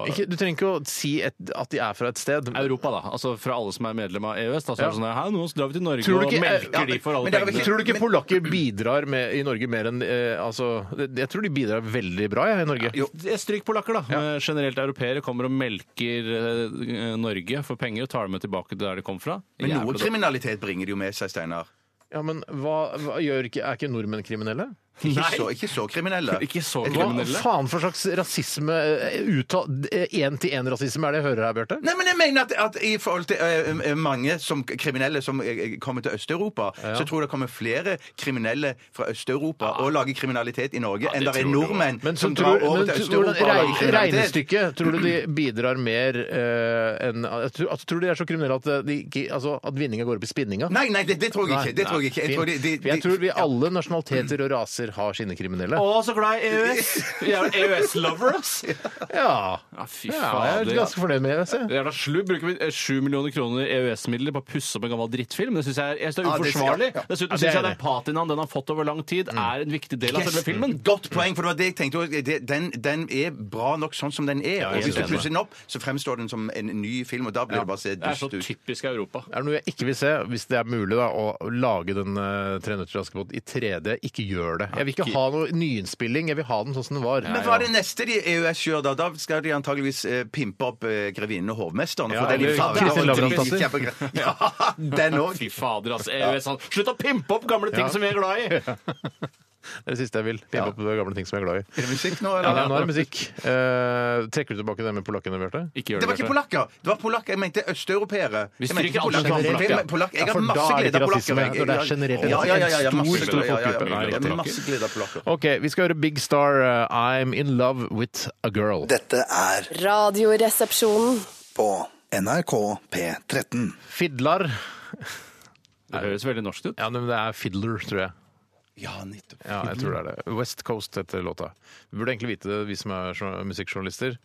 S1: Ikke, du trenger ikke å si et, at de er fra et sted.
S3: Europa, da? Altså fra alle som er medlem av EØS? Da, så er det
S1: Ja.
S3: sånn, Hei, nå drar vi til Norge
S1: Tror du ikke-
S3: og melker
S1: Ja,
S3: de for alle
S2: men det er vel
S3: pengene.
S1: Tror du ikke polakker bidrar med, i Norge mer enn eh, altså, Jeg tror de bidrar veldig bra jeg, i Norge.
S3: Jo. Stryk polakker, da. Men Generelt europeere kommer og melker eh, Norge for penger og tar dem med tilbake til der de kom fra.
S2: Men
S3: Jævla
S2: noe
S3: dårlig.
S2: kriminalitet bringer de jo med seg, Steinar.
S1: Ja, men hva, hva gjør ikke, Er ikke nordmenn kriminelle?
S2: Ikke så, ikke så kriminelle.
S3: Ikke så
S1: Hva
S3: kriminelle.
S1: faen for slags rasisme eh, Én-til-én-rasisme er det jeg hører her, Bjarte?
S2: Nei, men jeg mener at, at i forhold til eh, eh, mange som kriminelle som eh, kommer til Øst-Europa, så tror jeg det kommer flere kriminelle fra Øst-Europa og lager kriminalitet i Norge enn det er nordmenn
S1: Men, så
S2: som
S1: tror,
S2: drar over
S1: men
S2: til
S1: tror- hvordan
S2: Øst-Europa og lager
S1: reg-
S2: kriminalitet.
S1: regnestykket Tror du de bidrar mer eh, enn jeg tror, at- tror du de er så kriminelle at, eh, de, ikke- altså, at vinninga går opp i spinninga?
S2: Nei, nei, det, det tror jeg
S1: Nei,
S2: ikke. Det tror jeg ikke. Jeg tror, de, de,
S1: For jeg tror vi
S2: ja.
S1: alle nasjonaliteter og raser har sine kriminelle.
S3: Å, så glad i EØS! Vi er EØS-lover, ass!
S1: Ja.
S3: Ja, fy
S1: ja, jeg
S3: fader.
S1: er ganske fornøyd med det. se.
S3: Jævla slubb. Bruker vi 7 millioner kroner i EØS-midler på å pusse opp en gammel drittfilm? Det syns jeg, er- jeg synes det
S2: Ja,
S3: er
S2: det-
S3: uforsvarlig.
S2: ja, ja.
S3: Dessuten
S1: Ja,
S3: syns
S1: det er
S3: jeg den
S1: det. Mm.
S3: patinaen den har fått over lang tid, er en viktig del av selve filmen.
S2: Godt poeng, for det var det jeg tenkte også. Det- Den, den er bra nok sånn som den er. og
S3: jeg
S2: hvis du
S3: er enig.
S2: plusser den opp, så fremstår den som en ny film, og da blir det bare å se
S3: Det er så
S2: dust ut.
S3: typisk Europa.
S1: Er det noe jeg ikke vil se, hvis det er mulig, da, å lage den eh, Tre nøtter til Askepott i 3D? Ikke gjør det. Jeg vil ikke ha noe nyinnspilling. Jeg vil ha den sånn som den var.
S2: Men hva er det neste de EØS gjør da? Da skal de antageligvis eh, pimpe opp eh, grevinnen og hovmesteren.
S1: Ja,
S2: for det er
S1: eller
S2: de farger
S1: Kristin
S2: og
S1: Lavransdatter.
S2: dritt- kjempegre- Ja, den òg.
S3: Fy fader, altså. EØS, han. Slutt å pimpe opp gamle ting
S1: Ja.
S3: som vi er glad i!
S1: Det er det siste jeg vil. Pimpe opp gamle ting som jeg er glad i.
S2: Er det musikk nå,
S1: Ja,
S2: eller?
S1: nå er det musikk. Eh, trekker du tilbake det med polakkene, Bjarte?
S3: Ikke gjør det.
S2: Det var ikke
S3: Bjarte.
S2: polakker! Det var polakker, Jeg mente østeuropeere.
S3: Vi
S2: Jeg
S3: stryker
S2: mente ikke
S3: alt som
S2: polakker.
S3: er polakker.
S2: Jeg- polakker. Jeg
S1: Ja,
S2: har
S1: for da
S2: masse
S1: er det
S2: glede
S1: ikke
S2: av
S1: rasisme,
S2: polakker.
S1: når
S2: Jeg-
S1: det er generelt.
S2: Ja, ja, ja, ja,
S1: En stor,
S2: masse-
S1: stor
S2: ja, ja, ja,
S1: folkegruppe. Nei,
S2: ja,
S1: riktig.
S2: Masse glede av polakker.
S1: OK, vi skal høre Big Star, eh, I'm In Love With A Girl.
S8: Dette er
S7: Radioresepsjonen.
S8: på NRK P13.
S1: Fidlar.
S3: Det høres veldig norsk ut.
S1: Ja, men det er Fiddler, tror jeg.
S2: Ja, nettopp.
S1: Ja, jeg tror det er det. West Coast heter låta. Vi burde egentlig vite det, vi som er jour- musikkjournalister,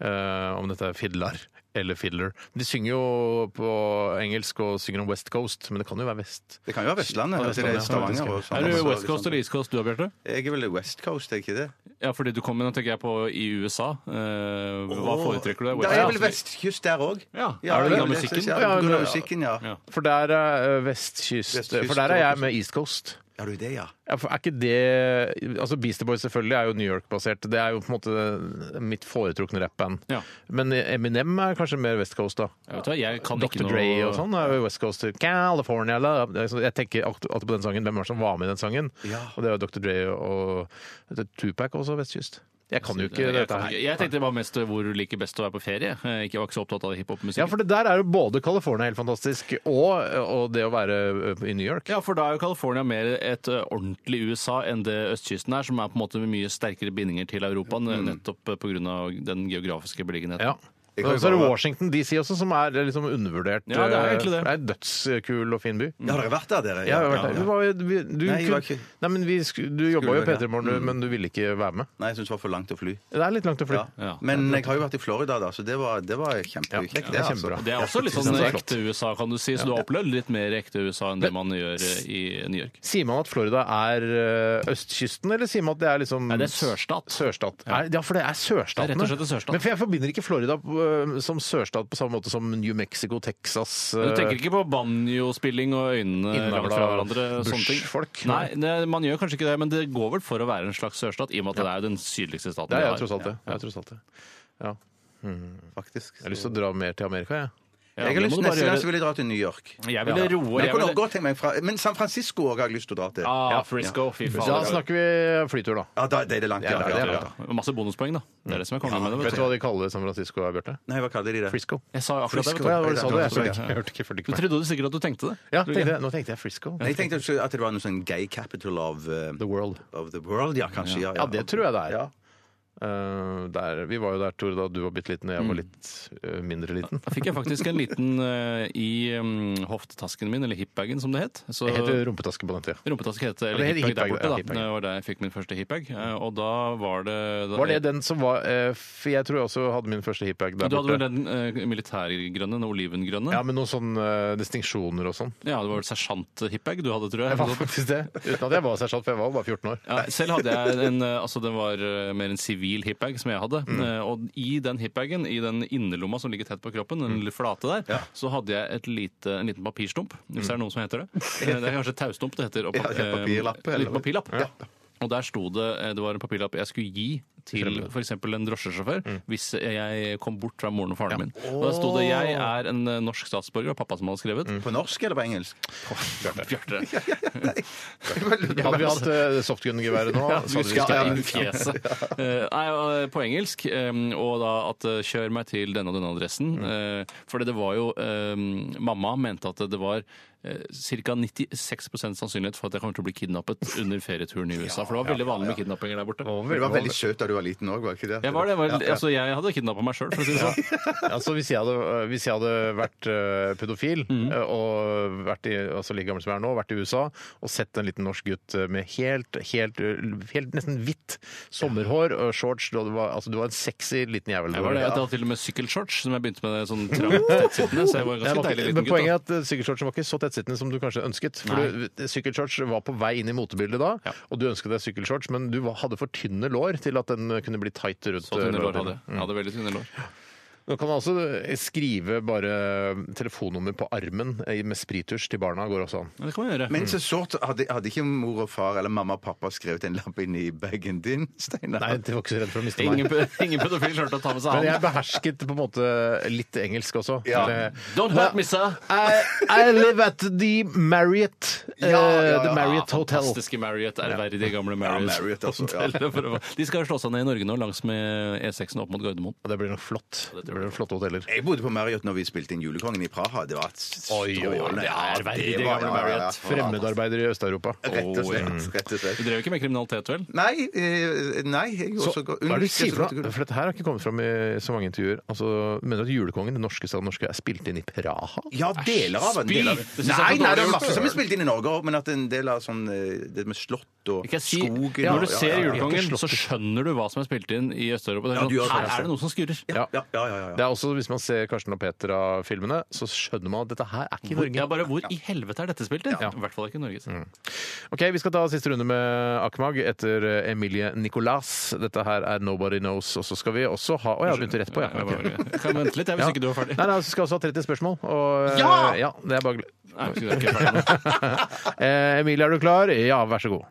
S1: eh, om dette er Fiddler eller Fiddler. De synger jo på engelsk og synger om West Coast, men det kan jo være vest.
S2: Det kan jo være Vestlandet.
S1: Ja,
S2: altså, det er
S1: Vestlandet,
S2: Stavanger
S1: ja,
S2: og sånn.
S3: Er du
S2: Altså,
S3: West Coast
S2: liksom.
S3: eller East Coast du, Bjarte?
S2: Jeg er vel West Coast, er jeg ikke det?
S3: Ja, fordi du kom med, nå tenker jeg på i USA. Eh, hva foretrekker du?
S2: Det er vel
S3: Coast?
S2: vestkyst der òg.
S3: Ja, er det grunn av musikken?
S2: Ja,
S1: Ja,
S2: grunn
S1: det-
S2: av musikken, ja.
S3: Ja.
S1: For der er eh, vestkyst,
S2: Vestkyst,
S1: For der er jeg med East Coast.
S2: Ja, du det, ja.
S1: Ja, for er ikke det Altså Beastie Boys selvfølgelig er jo New York-basert. Det er jo på en måte mitt foretrukne rappband.
S3: Ja.
S1: Men Eminem er kanskje mer West Coast, da.
S3: Jeg vet hva, jeg kan ikke
S1: Dr.
S3: noe-
S1: Dre og sånn er jo West Coast California love. Det er sånn- Jeg tenker alt- alltid på den sangen. Hvem var det som var med i den sangen?
S2: Ja.
S1: Og det er jo Dr. Dre og det er Tupac også, vestkyst. Jeg kan jo ikke
S3: Altså, Jeg,
S1: dette her.
S3: jeg tenkte det var mest hvor du liker best å være på ferie. Eh, Ikke jeg var ikke så opptatt av hiphop-musikk.
S1: Ja, for det der er jo både California helt fantastisk, og, og det å være ø, i New York.
S3: Ja, for da er jo California mer et ø, ordentlig USA enn det østkysten er, som er på en måte med mye sterkere bindinger til Europa, mm. nettopp pga. den geografiske beliggenheten.
S1: Ja. Og så er det Washington DC også, som er liksom undervurdert. øh,
S3: Ja, det er egentlig det.
S1: er en dødskul og fin by.
S2: Ja, har dere vært der, dere?
S1: Mm. Ja, jeg har vært der. Du,
S2: Ja, ja.
S1: var, jo- vi- du,
S2: Nei, jeg var
S1: kun-
S2: ikke-
S1: Nei, men vi, sku- du jobba jo i
S2: Skulle være
S1: P3 Morgen, du, men du ville ikke være med.
S2: Nei, jeg syns det var for langt å fly.
S1: Det er litt langt å fly.
S2: Ja. Men jeg har jo vært i Florida, da, så det var, det var kjempekjekt.
S1: Ja, det er kjempebra.
S3: Og Det er også litt sånn
S1: det er flott.
S3: ekte USA, kan du si, så du har opplevd litt mer ekte USA enn det man gjør ø, i New York.
S1: Sier man at Florida er ø, østkysten, eller sier man at det er liksom
S3: Nei, det er sørstat.
S1: Sørstat. Er, ja, for det er
S3: Det er rett
S1: sørstatene.
S3: og slett en sørstat.
S1: Men for jeg forbinder ikke Florida ø, som sørstat på samme måte som New Mexico, Texas eh,
S3: Men Du tenker ikke på banjospilling og øynene
S1: Innavla
S3: langt fra hverandre? sånne ting?
S1: Bush-folk?
S3: Nei, det, man gjør kanskje ikke det, men det går vel for å være en slags sørstat, i og med at det er jo den sydligste staten
S1: Det er
S3: vi
S1: jeg
S3: har.
S1: tross alt det. Jeg, er tross alt det. Ja.
S2: altså, faktisk.
S1: jeg har lyst til å dra mer til Amerika, jeg.
S3: Ja,
S2: jeg har
S3: det
S2: lyst,
S3: må du bare
S2: neste gang
S3: gjøre.
S2: så vil jeg dra til New York.
S3: Jeg ville roe-
S2: Men, jeg
S3: jeg
S2: kunne
S3: ville-
S2: også godt tenke meg fra, men San Francisco også har jeg lyst til å dra til.
S3: Ah, Frisco, fy faen.
S1: Da snakker vi flytur, da.
S2: Ja, da, det er det langt. Ja, det er langt da.
S3: Masse bonuspoeng, da. Det er det som er kongen med det.
S1: Vet du hva de kaller San Francisco, Bjarte?
S2: Nei, hva kaller de det?
S1: Frisco.
S3: Jeg sa jo akkurat det.
S2: Frisco,
S3: vet
S1: Ja, hva
S2: det
S1: sa
S2: er
S1: du? Jeg
S2: sant.
S1: hørte ikke- jeg hørte ikke. fulgte
S3: Du Du
S1: ikke med.
S3: trodde sikkert at du tenkte det.
S1: Ja, tenkte jeg, nå tenkte jeg Frisco.
S2: Nei, jeg tenkte også at det var noe sånn gay capital of, eh,
S1: The World.
S2: of the world. Ja, kanskje. Ja,
S1: Ja, det tror jeg det er.
S2: Ja.
S1: Eh, der, vi var jo der, Tore, da du var bitte liten og jeg
S3: Mm.
S1: var litt eh, mindre liten.
S3: Da fikk jeg faktisk en liten eh, i um, hoftetasken min, eller hipbagen som det het. Så,
S1: Jeg heter rumpetaske på den tida.
S3: Rumpetaske het det,
S1: Ja,
S3: eller
S1: det het
S3: hipbag der
S1: hipbag,
S3: borte.
S1: ja,
S3: da.
S1: hipbag.
S3: Det var der jeg fikk min første hipbag. eh, Og da var det da,
S1: Var det den som var eh, For jeg tror jeg også hadde min første hipbag der
S3: Du hadde vel
S1: borte.
S3: den eh, militærgrønne, den olivengrønne?
S1: Ja, med noen sånne eh, distinksjoner og sånn.
S3: Ja, det var vel sersjant-hipbag du hadde, tror jeg.
S1: Jeg var faktisk det. Uten at jeg var sersjant, for jeg var jo bare 14 år.
S3: sånn- Ja, selv hadde jeg en eh, altså det var eh, mer en sivil hipbag som jeg hadde.
S2: Mm.
S3: Eh, Og i den hipbagen, i den innerlomma som ligger tett på kroppen,
S2: Mm.
S3: den lille flate der, så hadde jeg et lite, en liten papirstump, hvis det er noen som heter det. Eh, Det er kanskje taustump det heter. og
S2: Mm. Ja,
S3: pa-
S2: det er papirlapp,
S3: eh, En
S2: eller-
S3: liten papirlapp. Og der sto det eh, det var en papirlapp jeg skulle gi til f.eks. en drosjesjåfør
S2: Mm.
S3: hvis jeg kom bort fra moren og faren min. Og der sto det 'Jeg er en eh, norsk statsborger', og pappa som hadde skrevet.
S2: På norsk eller på engelsk?
S3: Bjarte.
S1: Hadde vi hatt eh, softgun-geværet nå?
S3: Ja, du
S1: så hadde vi
S3: husker
S1: skutt
S3: jeg
S1: deg
S3: i fjeset. Eh, Nei, og, eh, på engelsk. eh, Og da at eh, 'kjør meg til denne og denne
S1: Mm.
S3: adressen'. eh, For det var jo eh, Mamma mente at det var eh, ca. 96 sannsynlighet for at jeg kommer til å bli kidnappet under ferieturen i USA. For det var veldig vanlig med kidnappinger der borte.
S2: Du var veldig søt da du var liten òg, var ikke det?
S3: Jeg var det, jeg var, altså jeg hadde kidnappa meg sjøl, for å si det sånn.
S1: Altså, hvis, jeg hadde, hvis jeg hadde vært eh, pedofil
S3: Mm.
S1: eh, og vært i, altså, like gammel som jeg er nå, vært i USA og sett en liten norsk gutt eh, med helt, helt, eh, helt nesten hvitt sommerhår og shorts Du var, altså, du var en sexy liten jævel. du
S3: Jeg var det, jeg hadde til og med sykkelshorts, som jeg begynte med sånn trangt tettsittende. Så jeg var en
S1: Jeg
S3: ganske
S1: var
S3: deilig
S1: ikke,
S3: liten
S1: men
S3: gutt.
S1: poenget
S3: da.
S1: er at eh, sykkelshortsen var ikke så tettsittende som du kanskje ønsket. For du- eh, sykkelshorts var på vei inn i motebildet da,
S3: Ja.
S1: og du ønsket deg sykkelshorts, men du var- hadde for tynne lår til at den eh, kunne bli tight rundt
S3: Så tynne
S1: eh,
S3: lår
S1: lårene.
S3: hadde jeg. jeg. Hadde veldig tynne lår.
S1: Nå kan man også eh, skrive bare eh, telefonnummer på armen eh, med sprittusj til barna. går også an.
S3: Men det kan man gjøre.
S2: Men så sårt hadde, hadde ikke mor og far eller mamma og pappa skrevet en lapp inn i bagen din, Steinar?
S1: Nei, de var ikke så redde for å miste meg.
S3: Ingen, ingen pedofil klarte å ta med seg
S1: Men
S3: han.
S1: jeg behersket på en måte litt engelsk også.
S2: Ja.
S1: Eller-
S3: Don't hurt me, sir!
S1: I, I live at the Marriott, eh,
S2: Ja, ja, ja.
S1: the Marriott Hotel.
S3: Fantastiske Marriott, ærverdige gamle
S2: Ja,
S3: Marriott.
S2: Marriott, altså, ja.
S3: Hotellet for å- De skal jo slå seg ned i Norge nå, langs med E6-en opp mot Gardermoen.
S1: Og Det blir nok flott. Det blir nok flotte hoteller.
S2: Jeg bodde på Marriott når vi spilte inn Julekongen i Praha. Det var et
S1: Oi, oi, oi, det er
S3: ærverdige gamle Marriott.
S1: Fremmedarbeidere i Øst-Europa.
S2: Rett og slett.
S3: Åh,
S2: Rett og
S3: Du
S2: slett.
S3: drev jo ikke med kriminalitet, vel?
S2: Nei, eh, nei jeg
S1: Så,
S2: også
S1: hva er det du sier for noe?
S2: det?
S1: For dette her har ikke kommet fram i så mange intervjuer. Altså, mener du at Julekongen, den norske staden norske, er spilt inn i Praha?
S2: Ja, deler av en
S3: Spy!
S2: del av
S3: Det synes jeg
S2: Nei,
S3: var dårlig
S2: nei, det er
S3: gjort.
S2: masse som er spilt inn i Norge òg, men at en del av sånn eh, Det med slott og
S3: Ikke jeg si,
S2: skogen og-
S3: når du
S2: ja,
S3: ser
S2: ja, ja.
S3: Julekongen, så skjønner du hva som er spilt inn i Øst-Europa. Det er
S2: Ja, du gjør
S3: sånn,
S2: det.
S3: Her er det noe som skurrer.
S2: Ja, ja, ja. ja, ja.
S1: Det er også, Hvis man ser Karsten og Petra-filmene, så skjønner man at dette her er ikke
S3: Hvor,
S1: Norge.
S3: ja, bare hvor i helvete er dette spilt inn? I hvert fall ikke i Norge. sier jeg.
S1: Ok, Vi skal ta siste runde med Akmag etter eh, Emilie Nicolas. Dette her er Nobody Knows. Og så skal vi også ha Å, jeg har begynt rett på, ja.
S3: Jeg
S1: Ok.
S3: bare- Kan vente litt, jeg, hvis
S1: Ja.
S3: ikke du er ferdig.
S1: Nei, nei, så skal vi også ha 30 spørsmål. Og,
S3: Ja!
S1: eh, ja det er bare...
S3: Nei, jeg er ikke ferdig nå.
S1: eh, Emilie, er du klar? Ja, vær så god.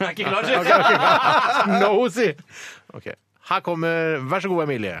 S3: Jeg er ikke klar, sier jeg.
S1: No, si! Ok, Her kommer Vær så god, Emilie.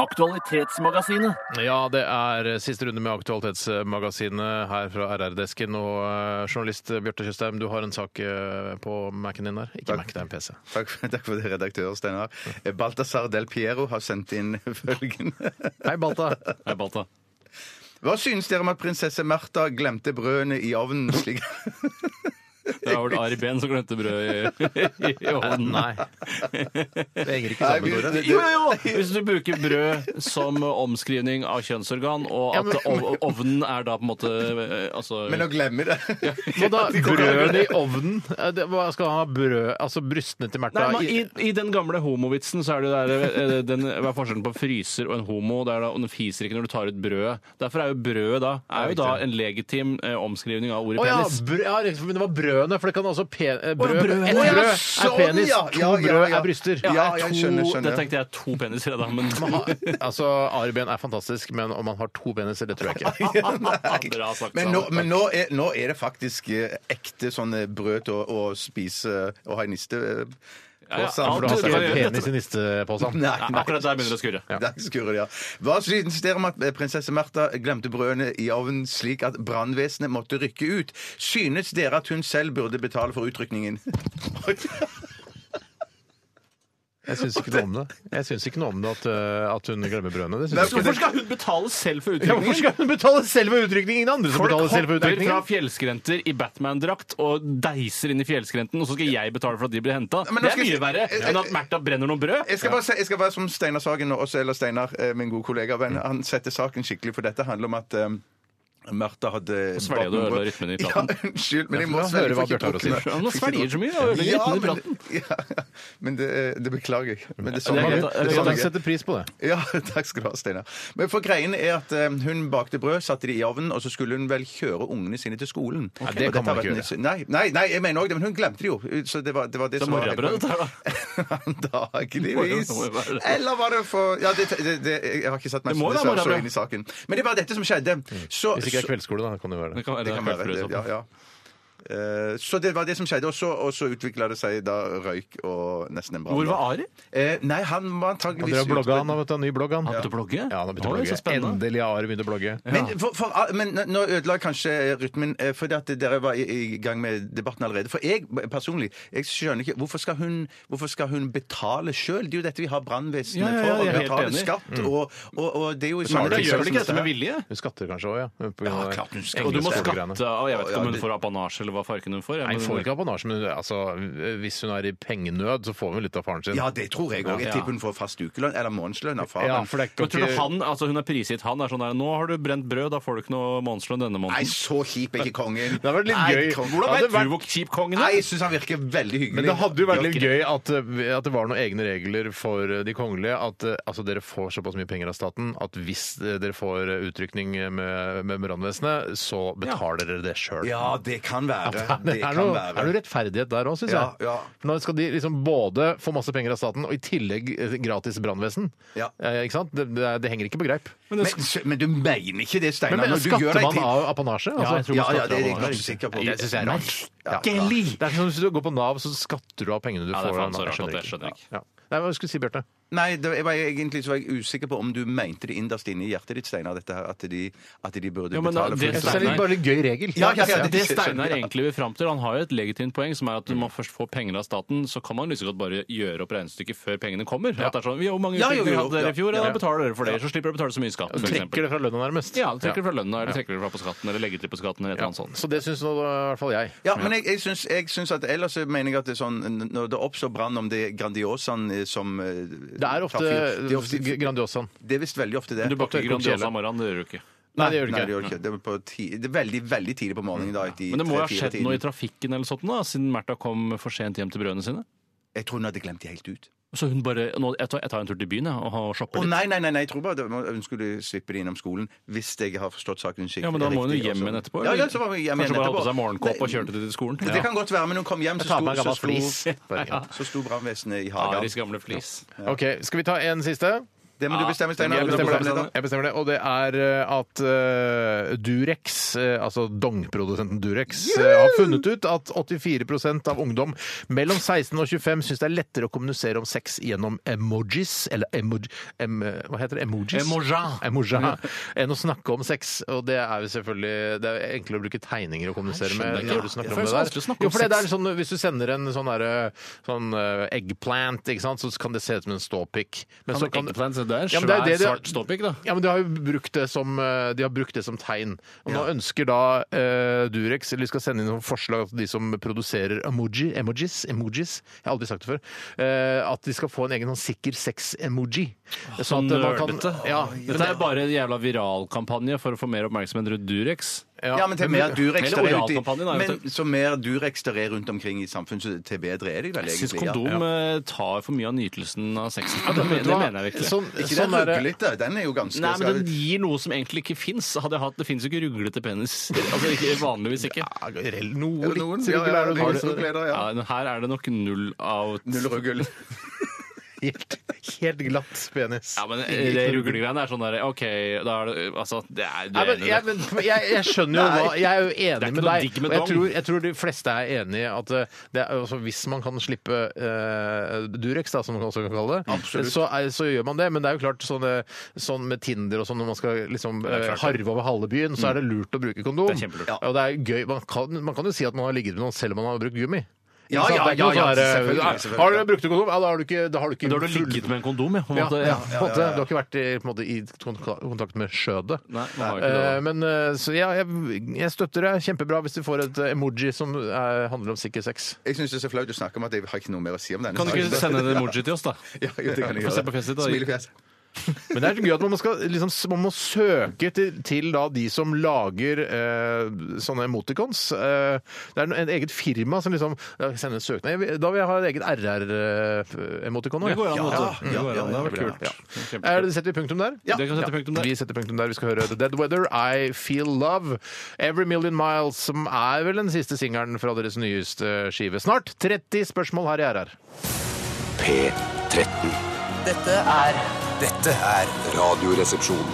S3: Aktualitetsmagasinet.
S1: Ja, det er siste runde med Aktualitetsmagasinet her fra RR-desken. Og eh, journalist Bjarte Tjøstheim, du har en sak eh, på Mac-en din der. Ikke Mac, det er en PC.
S2: Takk for, takk for det, redaktør Steinar. Balthazar Del Piero har sendt inn følgende.
S1: Hei, Balta.
S3: Hei, Balta.
S2: Hva synes dere om at prinsesse Märtha glemte brødene i ovnen slik
S3: Det var vel Ari Behn som glemte brød i, i, i ovnen.
S1: Nei. Det henger ikke
S2: Nei,
S1: sammen.
S2: vi-
S1: Tore.
S2: det-
S3: Jo, jo, jo! Hvis du bruker brød som omskrivning av kjønnsorgan, og
S1: Ja,
S3: at
S1: men-
S3: ov- ovnen er da på en måte eh, altså,
S2: Men å glemme det
S1: Hva da? Brød i ovnen? Eh, det- Hva skal han ha brød Altså brystene til
S3: Nei,
S1: Märtha
S3: men i,
S1: i
S3: I den gamle homovitsen så er det jo der, eh, den, hva er forskjellen på en fryser og en homo. Det er da, og Den fiser ikke når du tar ut brødet. Derfor er jo brødet da, er jo da en legitim eh, omskrivning av ordet
S1: Å ja,
S3: penis.
S1: brød, ja, rett og slett, men det var brødet brødene, for det kan altså pe eh, brød,
S3: Å, brød.
S1: Ett
S3: Å, ja,
S1: brød er
S2: sånn,
S1: penis,
S2: ja.
S1: to
S2: Ja, ja,
S1: brød
S2: ja.
S1: er bryster.
S2: Ja, jeg
S3: to-
S2: skjønner, skjønner.
S3: Det tenkte jeg to peniser, da, men
S1: Man har- altså, Ariben er fantastisk, men om man har to peniser, det tror jeg ikke.
S3: Bra sagt,
S2: Men, nå,
S3: Sanne.
S2: men nå, er, nå er det faktisk eh, ekte sånne brød til å, å spise og ha i niste. eh,
S3: Ja, ja,
S2: på
S3: alt
S2: sammen.
S1: For du har
S3: det
S1: stappa
S3: var-
S1: penis i nistepåsen.
S2: Nei,
S3: Nei,
S2: nei.
S3: Akkurat der begynner det å skurre.
S2: Ja. Der skurrer det, ja. Hva synes dere om at eh, prinsesse Märtha glemte brødene i ovnen slik at brannvesenet måtte rykke ut? Synes dere at hun selv burde betale for utrykningen?
S1: Jeg syns ikke noe om det. Jeg syns ikke noe om det at, eh, at hun glemmer brødene. Det synes jeg ikke.
S3: Hvorfor skal hun betale selv for
S1: Ja, hvorfor
S3: utrykningen?
S1: skal hun betale selv for utrykningen? Ingen andre som
S3: Folk
S1: betaler selv for
S3: hopper fra
S1: utrykningen.
S3: fjellskrenter i Batman-drakt og deiser inn i fjellskrenten, og så skal jeg betale for at de blir henta.
S2: Men
S3: Det
S2: nå
S3: er
S2: skal jeg-
S3: mye verre enn at Märtha brenner noe brød.
S2: Jeg skal, bare, se- jeg skal være som Steinar Sagen nå også, eller Steinar, eh, min gode kollega og venn.
S3: Mm.
S2: Han setter saken skikkelig, for dette handler om at eh, Märtha hadde
S3: svelger du og ødelegger rytmen i praten.
S2: Ja, unnskyld, men jeg
S1: Ja, for
S2: må
S1: da hører
S2: svelge
S1: hva
S2: for ikke
S1: Bjarte har å si.
S2: drukne.
S3: Ja, nå svelger du så mye, da ødelegger
S2: Ja,
S3: rytmen i
S2: men, ja, men det, eh, det beklager jeg. Men
S3: Ja,
S2: det er sånn
S3: det er
S2: det
S3: greit, da.
S2: er
S3: Det greit,
S2: sånn
S1: Jeg
S2: det er.
S1: setter pris på det.
S2: Ja, takk skal du ha, Steinar. Men for greien er at eh, hun bakte brød, satte det i ovnen, og så skulle hun vel kjøre ungene sine til skolen.
S1: Ja, det kan
S2: Og dette har
S1: man ikke
S2: vært en- Nei, nei, nei, jeg mener òg det, men hun glemte det jo. Så det var det, var det
S3: Det er
S2: som var
S3: morrabrød, dette her, da.
S2: Antakeligvis.
S3: Det må jo være det.
S2: Eller var det for Ja, det, det, det, jeg har ikke satt meg
S3: Det må være
S2: så, så,
S3: morrabrød.
S2: så inn i saken. Men det var dette som skjedde. Så,
S1: Hvis det ikke er
S2: så,
S1: kveldsskole, da kan det jo være
S3: Det
S1: det.
S3: kan være
S2: det kan være det,
S3: kveldsbrød,
S2: ja, ja. Eh, så det var det som skjedde, og så, og så utvikla det seg da røyk og nesten en brann.
S3: Hvor var Ari?
S2: Eh, nei, han var
S1: Han
S2: antageligvis
S1: drev og blogga, han har vet du, ny blogg, han.
S3: Begynte å blogge?
S1: Ja, han har begynt å
S3: Oi, så
S1: blogge.
S3: spennende.
S1: Endelig har Are begynt å blogge.
S2: Men, for, for, men nå ødela jeg kanskje rytmen, eh, fordi at dere var i, i gang med debatten allerede. For jeg personlig jeg skjønner ikke Hvorfor skal hun, hvorfor skal hun betale sjøl? Det er jo dette vi har brannvesenet
S3: Ja, ja, ja,
S2: for.
S3: jeg
S2: Å
S3: er helt
S2: betale
S3: enig.
S2: skatt.
S1: Mm.
S2: Og, og, og det er jo i
S3: Märtha
S2: sånne
S3: gjør
S2: tilfeller
S3: vel
S2: som
S3: ikke dette med
S2: her.
S3: vilje?
S1: Hun skatter kanskje òg, ja. På grunn
S2: Ja,
S1: av
S2: klart hun skatter.
S3: Og du må
S1: engelskskole-greiene.
S3: skatte av Jeg vet ikke
S2: Ja,
S3: om hun
S2: det-
S3: får apanasje, eller hva farken hun får. jeg,
S1: Nei, hun
S3: men-
S1: får ikke apanasje, men altså, hvis hun er i pengenød, så får hun litt av faren sin.
S2: Ja, det tror jeg òg. Jeg
S3: Ja.
S2: tipper hun får fast ukelønn eller månedslønn av
S1: Ja,
S2: faren.
S1: for det er
S3: Men tror du
S1: ikke
S3: han, altså Hun er prisgitt han. er sånn der, 'Nå har du brent brød, da får du ikke noe månedslønn denne
S2: Nei,
S3: måneden'.
S2: så kjip er ikke kongen.
S1: Det hadde vært litt
S2: Nei,
S1: gøy.
S2: kong-
S3: Hvordan
S1: Ja, det
S3: vet
S1: vært-
S3: du hvor kjip kongen
S2: Nei,
S3: er?
S2: jeg syns han virker veldig hyggelig.
S1: Men det hadde jo vært litt
S2: Gjør ikke det.
S1: gøy at, eh, at det var noen egne regler for eh, de kongelige. At eh, altså, dere får såpass mye penger av staten at hvis eh, dere får eh, utrykning med, med brannvesenet, så betaler dere det sjøl.
S2: Ja, det kan være.
S1: Det
S2: Det
S1: er,
S2: kan
S1: noe, er noe
S2: være.
S1: rettferdighet der òg, syns
S2: Ja,
S1: jeg.
S2: ja.
S1: Nå skal de liksom både få masse penger av staten og i tillegg eh, gratis brannvesen.
S2: Ja.
S1: Eh, ikke sant? Det, det, er- det henger ikke på greip. Men,
S2: Men, men du mener ikke det, Steinar?
S1: men,
S2: når du gjør
S1: skatter
S2: deg
S1: man
S2: til-
S1: av apanasje? Altså,
S3: jeg tror man
S2: Ja, ja,
S3: skatter
S2: det er
S3: av
S2: jeg
S3: apanasje.
S2: ganske sikker på.
S1: Jeg synes det er rart.
S2: Ja.
S1: Det er som hvis du går på Nav, så skatter du av pengene du
S3: Ja, det er
S1: får.
S3: faen så
S1: Jeg
S3: rart at jeg
S1: ikke.
S3: skjønner ikke.
S1: Ja. Nei, Hva skulle du si, Bjarte?
S2: Nei, det, jeg var egentlig så var jeg usikker på om du mente det innerst inne i hjertet ditt, Steinar, dette her, at de, at de burde
S3: Ja, men da- det
S2: betale
S1: Jeg synes det
S2: for
S1: er
S3: Steinar-
S1: litt bare en gøy regel.
S2: Ja, ja, ja,
S3: Det, det Steinar
S2: Ja.
S3: egentlig vil fram til, han har jo et legitimt poeng, som er at når man først får penger av staten, så kan man liksom godt bare gjøre opp regnestykket før pengene kommer. At det er sånn, Hvor mange
S2: Ja, jo,
S3: utrykninger
S2: jo,
S3: hadde dere i fjor? Ja,
S2: ja,
S3: da betaler dere for det, så slipper dere å betale så mye skatt. for
S1: Trekker
S3: eksempel.
S1: det fra lønna nærmest.
S3: Ja, du trekker det fra lønna, eller trekker det fra på skatten, eller legger til på skatten, eller et eller annet sånt.
S1: Så det syns nå i hvert fall jeg.
S2: Ja, men jeg, jeg, syns, jeg syns at ellers så mener jeg at det er sånn Når det oppstår brann, om det er Grandiosaen eh, som eh,
S1: Det er
S2: tar fyr, det er
S1: ofte
S2: ofte-
S1: Grandiosaen.
S2: Det er visst veldig ofte
S3: Men
S2: det.
S3: du bakker ikke Grandiosa om morgenen, det gjør du ikke. Mm.
S1: Nei, det gjør det
S2: Nei,
S1: ikke.
S2: det gjør det ikke. Det er, på ti, det er veldig, veldig tidlig på morgenen. da. etter
S3: Men det må jo ha
S2: tre-fire
S3: skjedd noe i
S2: tiden.
S3: trafikken eller sånt, da, siden Märtha kom for sent hjem til brødene sine.
S2: Jeg tror hun hadde glemt det helt ut.
S3: Så hun bare nå, jeg, tar, 'Jeg tar en tur til byen, jeg, og har- og
S2: Å
S3: shopper litt'.
S2: nei, nei, nei, nei, jeg tror bare det var- hun skulle slippe det innom skolen. Hvis jeg har forstått saken skikkelig.
S3: Ja, men da må hun jo
S2: riktig,
S3: hjem
S2: altså.
S3: igjen etterpå.
S2: Ja,
S3: eller?
S2: ja, så var hun hjem
S3: Kanskje
S2: igjen
S3: bare hadde
S2: etterpå.
S3: på seg morgenkåpe og
S2: Nei,
S3: kjørte til skolen.
S2: Det kan godt være, men hun kom hjem, så
S1: tar meg en
S2: sto,
S1: gammel
S2: så
S1: flis.
S2: sto, ja, så sto brannvesenet i hagen.
S3: Aris gamle flis.
S1: OK, skal vi ta en siste?
S2: Det må du bestemme, Steinar.
S1: Jeg
S2: Du
S1: bestemmer,
S2: bestemmer
S1: det.
S2: det.
S1: jeg bestemmer det. Og det er eh, at eh, Durex, eh, altså Dong-produsenten Durex, eh, har funnet ut at 84 av ungdom mellom 16 og 25 syns det er lettere å kommunisere om sex gjennom emojis, eller emoji... Em, eh, hva heter det? Emojis?
S3: Emoja.
S1: Emoja, Enn å snakke om sex. Og det er jo selvfølgelig Det er enklere å bruke tegninger og kommunisere med
S3: ikke.
S1: når du snakker
S3: Det
S1: om
S3: føles
S1: det der.
S3: vanskelig å snakke om
S1: Jo, for det
S3: sex.
S1: er sånn, hvis du sender en sånn derre sånn eh, eggplant, ikke sant, så kan det se ut som en ståpikk. Men så kan-
S3: det er
S1: Ja, men det er
S3: svær,
S1: det de-
S3: svart ståpikk, da.
S1: ja, men de har jo brukt det som, eh, de har brukt det som tegn. Og nå ønsker da eh, Durex eller de skal sende inn noen forslag til de som produserer emoji, emojis, emojis Jeg har aldri sagt det før. eh, at de skal få en egen sånn sikker sex-emoji.
S3: Så
S1: at sånn, eh, man kan-
S3: nerdete.
S1: Ja,
S3: Dette er bare en jævla viralkampanje for å få mer oppmerksomhet rundt Durex.
S2: Ja, men til mer Durex
S3: Eller
S2: der er ute
S3: oralkampanjen, da,
S2: i-
S3: vet du.
S2: Men så mer Durex der er rundt omkring i samfunnet, så til bedre er det vel
S3: Jeg
S2: egentlig.
S3: syns kondom
S2: ja.
S3: eh, tar for mye av nytelsen av sexen.
S1: Ja,
S3: det,
S1: men vet
S3: men-
S1: du
S3: det
S1: hva?
S3: mener jeg virkelig.
S1: Sånn-
S2: Ikke
S1: sånn
S2: den
S1: er det-
S2: ruglete. Den er jo ganske
S3: Nei, men
S2: skal-
S3: den gir noe som egentlig ikke fins. Hadde jeg hatt, Det fins jo ikke ruglete penis. Altså ikke, vanligvis ikke.
S1: Ja, rell- noe
S2: Jo,
S1: litt
S2: noen-
S1: ruggel
S2: ja, ja,
S1: er det
S2: noen
S1: bare-
S2: rugleder, ja.
S3: Ja, men her er det nok null av
S2: Null ruggel.
S1: helt, helt glatt penis.
S3: Ja, men eh, det ruglegreiene er sånn der OK, da er det Altså, det er du
S1: Nei,
S3: er enig i
S1: men jeg,
S3: det.
S1: men, jeg, jeg skjønner jo hva Jeg er jo
S3: Det er ikke
S1: enig med
S3: noe
S1: deg.
S3: digg med
S1: og jeg
S3: dong.
S1: tror, jeg tror de fleste er enig i at eh, det er, altså, hvis man kan slippe eh, Durex, da, som man også kan kalle det,
S2: Absolutt.
S1: så, er, så gjør man det. Men det er jo klart sånn, eh, sånn med Tinder og sånn når man skal liksom eh, harve over halve byen, så er det lurt å bruke kondom.
S3: Det er kjempelurt.
S1: Ja. Og det er gøy. Man kan, man kan jo si at man har ligget med noen selv om man har brukt gummi.
S2: Ja,
S1: Ikke sant? Det er
S2: ja,
S1: ikke noe
S2: ja, ja,
S1: sånn her,
S2: selvfølgelig,
S1: eh,
S2: selvfølgelig.
S1: Har du brukt kondom? Ja, da har du ikke, da har du ikke
S3: Men Da har du ligget med en kondom, ja. På en
S1: ja,
S3: måte.
S1: ja, på en måte. Du har ikke vært i, på en måte, i kontak- kontakt med skjødet.
S3: Nei, man har jo ikke det.
S1: Eh, Men eh, så ja, jeg, jeg støtter deg kjempebra hvis du får et eh, emoji som eh, handler om sikker sex.
S2: Jeg syns det er så flaut å snakke om at jeg har ikke noe mer å si om denne
S3: Kan du ikke
S2: saken.
S3: sende en emoji til oss, da?
S2: Ja, jo, det kan jeg
S3: Få se
S2: gjøre.
S3: på fjeset ditt, da.
S2: Smilefjes.
S1: Men det er så gøy at man, skal, liksom, s- man må søke til, til da, de som lager eh, sånne emoticons. Eh, det er et eget firma som liksom ja, sender en søknad. Jeg vil- Da vil jeg ha et eget eh, RR-emoticon.
S3: Det går an,
S2: Ja,
S3: vet du. Det
S2: ja,
S3: går
S2: ja,
S3: an. Det har vært
S2: det blir
S3: kult. Kjempekult.
S1: Er det, setter vi punktum der?
S3: Det kan sette punktum der.
S1: Vi setter punktum der. Vi skal høre The Dead Weather, I Feel Love, Every Million Miles, som er vel den siste singelen fra deres nyeste skive. Snart 30 spørsmål her i RR.
S5: P13.
S6: Dette er Dette er
S4: Radioresepsjon.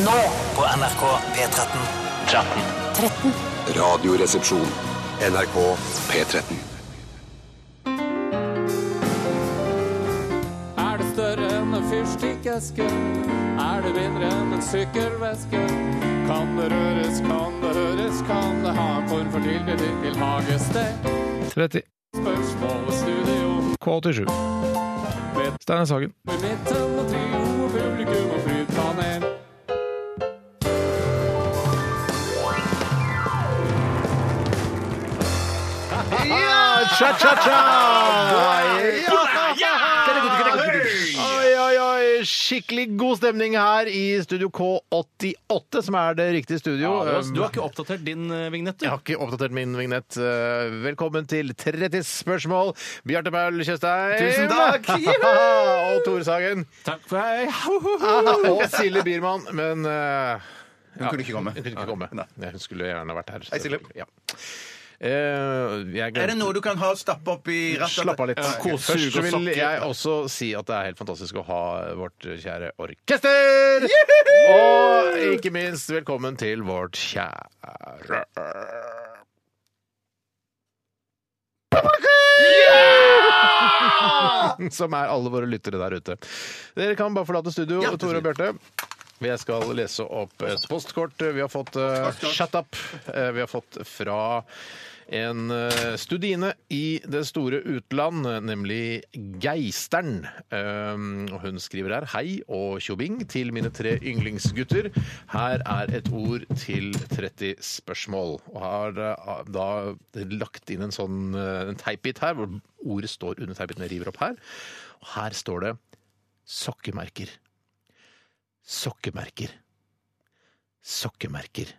S6: nå på NRK P13. 13.
S4: Radioresepsjon. NRK P13.
S12: Er det større enn en fyrstikkeske? Er det mindre enn en sykkelveske? Kan det røres, kan det høres, kan det ha en form for tilknytning til hagested?
S13: 30.
S12: Spørsmål og studio
S13: K87. Steinar Sagen.
S12: i midten og trio og publikum og flypanel.
S1: Oi, oi, oi! Skikkelig god stemning her i Studio K88, som er det riktige studio. Um,
S3: Ja, du har- du har ikke oppdatert din eh, vignett, du.
S1: Jeg har ikke oppdatert min vignett. Eh, Velkommen til 30 spørsmål. Bjarte Paul Tjøstheim.
S2: Tusen takk!
S1: og Tore Sagen. Ah,
S3: Takk for meg.
S1: Og Silje Biermann. Men eh,
S2: Hun kunne ikke komme.
S1: hun kunne ikke komme.
S2: Nei.
S1: Nei, Hun skulle gjerne vært her.
S2: Hei, Silje.
S1: Ja. Eh, jeg
S2: Er det
S1: glemte-
S2: noe du kan ha stappe opp i rattet?
S1: Slapp av litt.
S2: Ja, ok.
S3: Kos. Suge
S1: Først så
S3: og
S1: vil
S3: sokke.
S1: jeg også si at det er helt fantastisk å ha vårt kjære orkester! Og ikke minst velkommen til vårt kjære Som er alle våre lyttere der ute. Dere kan bare forlate studio,
S2: Ja,
S1: Tore og Bjarte. Jeg skal lese opp et postkort vi har fått. eh, shut up! eh, vi har fått fra en eh, studine i det store utland, nemlig Geistern. Um, og hun skriver her Hei og tjobing til mine tre yndlingsgutter. Her er et ord til 30 spørsmål. Og har eh, da lagt inn en sånn eh, en teipbit her, hvor ordet står under teipbiten jeg river opp her. Og her står det sokkemerker. Sokkemerker. Sokkemerker.